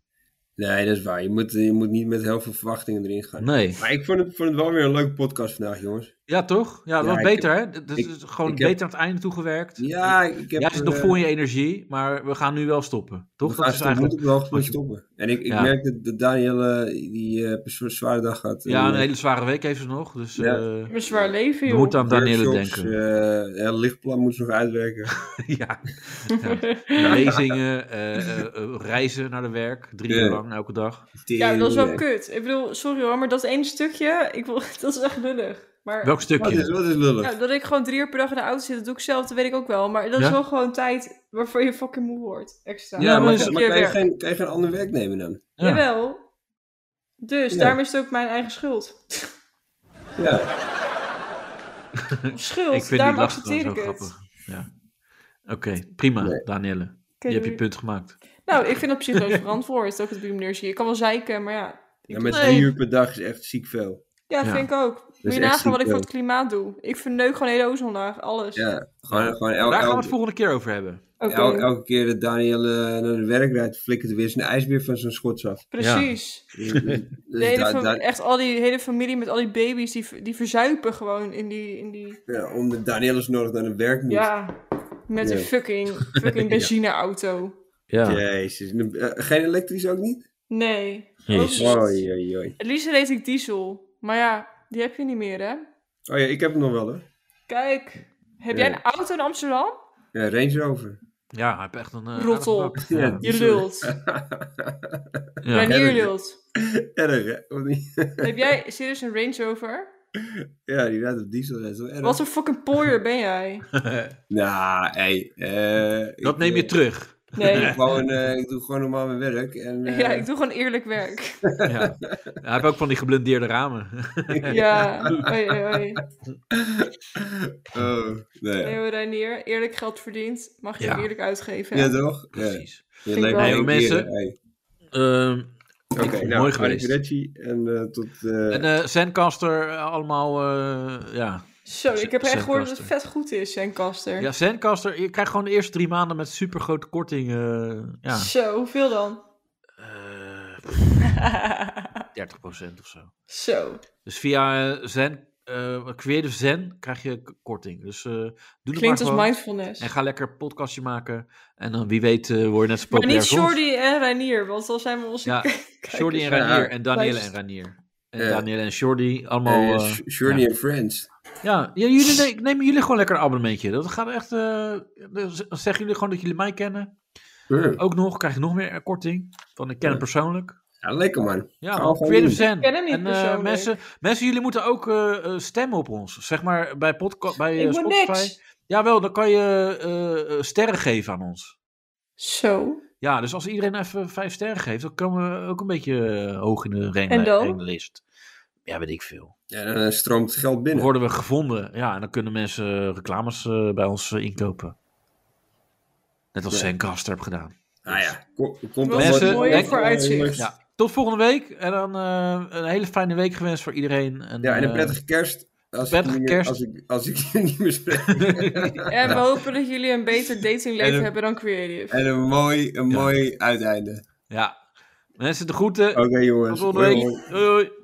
S3: Nee, dat is waar. Je moet, je moet niet met heel veel verwachtingen erin gaan.
S4: Nee.
S3: Maar ik vond het, vond het wel weer een leuke podcast vandaag, jongens.
S4: Ja, toch? Ja, dat
S3: Ja,
S4: was
S3: ik-
S4: beter, hè? Dat dat
S3: ik-
S4: is gewoon
S3: ik heb-
S4: beter aan het einde toegewerkt.
S3: Ja, ik heb...
S4: Jij zit nog
S3: eh,
S4: vol in je energie, maar we gaan nu wel stoppen.
S3: we
S4: Toch?
S3: gaan
S4: Dat is
S3: stoppen,
S4: eigenlijk.
S3: moeten we wel gewoon
S4: wat je-
S3: stoppen. En ik, ik
S4: Ja.
S3: merk dat, dat Daniel eh, die eh, best wel een zware dag had.
S4: Ja,
S3: En,
S4: een
S3: eh,
S4: hele zware week heeft ze nog. Dus
S3: Ja.
S4: eh,
S2: Een zwaar leven,
S4: we
S2: joh.
S4: moeten aan Danielle
S3: workshops,
S4: denken.
S3: eh, ja, lichtplan moet ze nog uitwerken.
S4: <laughs> ja. Lezingen, eh, eh, eh, reizen naar de werk. Drie
S3: Ja.
S4: uur lang, elke dag.
S2: ja, dat is wel
S3: <laughs> Tering.
S2: kut. Ik bedoel, sorry hoor, maar dat ene stukje, ik wil, <laughs> dat is echt lullig. Maar
S4: Welk
S3: Wat is,
S4: stukje?
S3: wat is lullig?
S2: ja, dat ik gewoon drie uur per dag in de auto zit, dat doe ik zelf, dat weet ik ook wel. Maar dat is
S4: Ja?
S2: wel gewoon tijd waarvoor je fucking moe wordt, extra.
S4: Ja,
S3: Ja,
S4: maar
S3: maar,
S2: Dan
S4: is-
S2: heb
S3: maar kan, je
S2: weer-
S3: geen, kan je geen ander werk nemen dan?
S4: Ja.
S2: Jawel. Dus,
S3: Ja.
S2: daarom is het ook mijn eigen
S4: <laughs>
S2: schuld.
S3: Ja.
S2: Of schuld,
S4: Ik vind die
S2: daarom
S4: lastig
S2: accepteer
S4: zo
S2: ik het.
S4: grappig. Ja. Oké, prima,
S3: Nee.
S4: Danielle.
S2: Oké,
S4: Je hebt je
S2: doei.
S4: punt gemaakt.
S2: Nou, ik
S3: <laughs>
S2: vind dat psychologisch verantwoord, ook op die manier zie je. Ik kan wel zeiken, maar ja. ik-
S3: ja, met
S2: Nee.
S3: drie uur per dag is echt ziek veel.
S2: Ja,
S4: Ja.
S2: vind ik ook. Moet
S3: is
S2: je
S3: echt
S2: nagaan wat ik
S3: ziek,
S2: voor het klimaat doe. Ik verneuk gewoon de hele ozonlaag, alles.
S3: Ja, gewoon, gewoon el,
S4: Daar gaan we
S3: el,
S4: het volgende keer over hebben.
S2: Oké,
S3: el- elke keer dat Daniel eh, naar de werk rijdt, flikkert er weer zijn ijsbeer van zijn schots
S2: <laughs>
S3: af.
S2: precies.
S3: Dus- dus
S2: De hele
S3: daar-
S2: fam-
S3: daar-
S2: echt al die hele familie met al die baby's, die, ver- die verzuipen gewoon in die... In die
S3: ja, omdat Daniel is nodig naar een werk moet.
S2: ja, met
S3: Ja.
S2: een fucking,
S3: <laughs>
S2: fucking benzineauto.
S4: Ja.
S3: Jezus. nu- eh, geen elektrisch ook niet?
S2: Nee.
S4: Jezus.
S2: Ook niet.
S3: Oei, oei, oei.
S2: Het liefst reed ik diesel. Maar ja, die heb je niet meer, hè?
S3: Oh ja, ik heb hem nog wel hè.
S2: Kijk, heb
S3: Ja.
S2: jij een auto in Amsterdam?
S3: Ja, Range Rover.
S4: Ja, hij heeft echt een... eh,
S2: Rot op.
S4: aardige bak. Ja.
S2: Je
S3: <laughs>
S2: lult.
S4: Ja.
S2: Ja.
S3: Ja,
S2: Renier
S3: dat-
S2: lult.
S3: Erg hè? Of niet?
S2: Heb jij serieus een Range Rover?
S3: Ja, die rijdt op diesel. Dat is wel erg.
S2: Wat een fucking pooier ben jij?
S3: Nou, hé. eh,
S4: Dat
S3: ik,
S4: neem je
S3: eh,
S4: terug.
S3: Ik, <laughs>
S2: Nee.
S3: gewoon, eh, ik doe gewoon normaal mijn werk. En,
S2: <laughs>
S3: eh,
S2: Ja, ik doe gewoon eerlijk werk.
S3: <laughs>
S4: Ja. Ja, Hij heeft ook van die geblindeerde ramen. <laughs>
S2: Ja, oei, oei, oei.
S3: oh, nou ja.
S2: Nee hoor, Reinier. Eerlijk geld verdiend, mag je
S4: Ja.
S2: eerlijk uitgeven.
S3: Ja, toch? Ja.
S4: Precies.
S3: Je
S2: ik
S3: leeft
S2: wel.
S3: één
S4: Hey,
S3: keer,
S4: mensen.
S3: hey.
S4: Ehm,
S3: Oké,
S4: vond het
S3: nou,
S4: mooi
S3: Arie
S4: geweest.
S3: Ferretti en eh, tot... eh,
S4: en eh Sandcaster, eh, allemaal... eh, ja.
S2: Zo, ik heb echt gehoord dat het
S4: Zencaster.
S2: vet goed is, Zencaster.
S4: Ja, Zencaster, je krijgt gewoon de eerste drie maanden met supergrote korting. eh, ja,
S2: Zo, hoeveel dan? <laughs>
S4: Eh, 30% of zo.
S2: Zo,
S4: Dus via eh, Zen, eh Creative Zen krijg je k- korting. Dus eh, doe het maar
S2: klinkt als
S4: gewoon.
S2: mindfulness.
S4: En ga lekker een podcastje maken. En dan wie weet eh word je net zo
S2: Maar
S4: populair
S2: niet
S4: als ons.
S2: Jordi en Reinier, want dan zijn we onze
S4: Ja,
S2: kijkers.
S4: Jordi en
S3: Ja.
S4: Ranier. En Danielle en
S2: Luister.
S4: Ranier. En
S3: Eh,
S4: Danielle en Jordi. Allemaal...
S3: Eh,
S4: eh,
S3: Sh- Journey and Friends.
S4: ja, ja, jullie, nee, ik neem jullie gewoon lekker een abonnementje. Dat gaat echt... eh, dan z- dan zeggen jullie gewoon dat jullie mij kennen.
S3: Hm.
S4: Ook nog, krijg je nog meer eh, korting. Van ik ken hem persoonlijk.
S3: Ja, lekker man.
S4: Ja,
S3: Ga
S4: man,
S3: gewoon
S4: Creative
S3: doen.
S4: Zen.
S2: Ik ken hem niet
S4: en, eh,
S2: persoonlijk.
S4: mensen, mensen, jullie moeten ook eh, eh, stemmen op ons. Zeg maar bij, podca- bij eh,
S2: Ik moet
S4: Spotify.
S2: niks.
S4: Jawel, dan kan je eh, eh, sterren geven aan ons.
S2: Zo,
S4: Ja, dus als iedereen even vijf sterren geeft, dan komen we ook een beetje eh, hoog in de
S2: En dan?
S4: ranglist. Ja, weet ik veel.
S3: Ja, dan eh, stroomt het geld
S4: Dan
S3: binnen.
S4: worden we gevonden. Ja, en dan kunnen mensen eh, reclames eh, bij ons eh, inkopen. Net als
S3: Ja.
S4: Zencaster heb gedaan.
S3: Nou ja, ko- komt
S2: Wel
S4: Mensen,
S3: allemaal-
S4: mooie
S3: allemaal-
S2: vooruitzicht.
S3: Ja,
S4: Ja, tot volgende week. En dan eh, een hele fijne week gewenst voor iedereen. En,
S3: en een
S4: eh,
S3: prettige kerst. Als
S4: prettige
S3: ik, niet meer-
S4: kerst.
S3: Als ik, als ik <laughs> je niet meer spreek.
S2: en we hopen dat jullie een beter
S3: En
S2: datingleven
S3: een-
S2: hebben dan Creative.
S3: en een mooi, een
S4: Ja.
S3: mooi uiteinde.
S4: Ja. Mensen, de groeten.
S3: Oké
S4: Tot
S3: jongens.
S4: volgende week.
S3: Oh, Hoi, hoi.
S4: Hoi, hoi.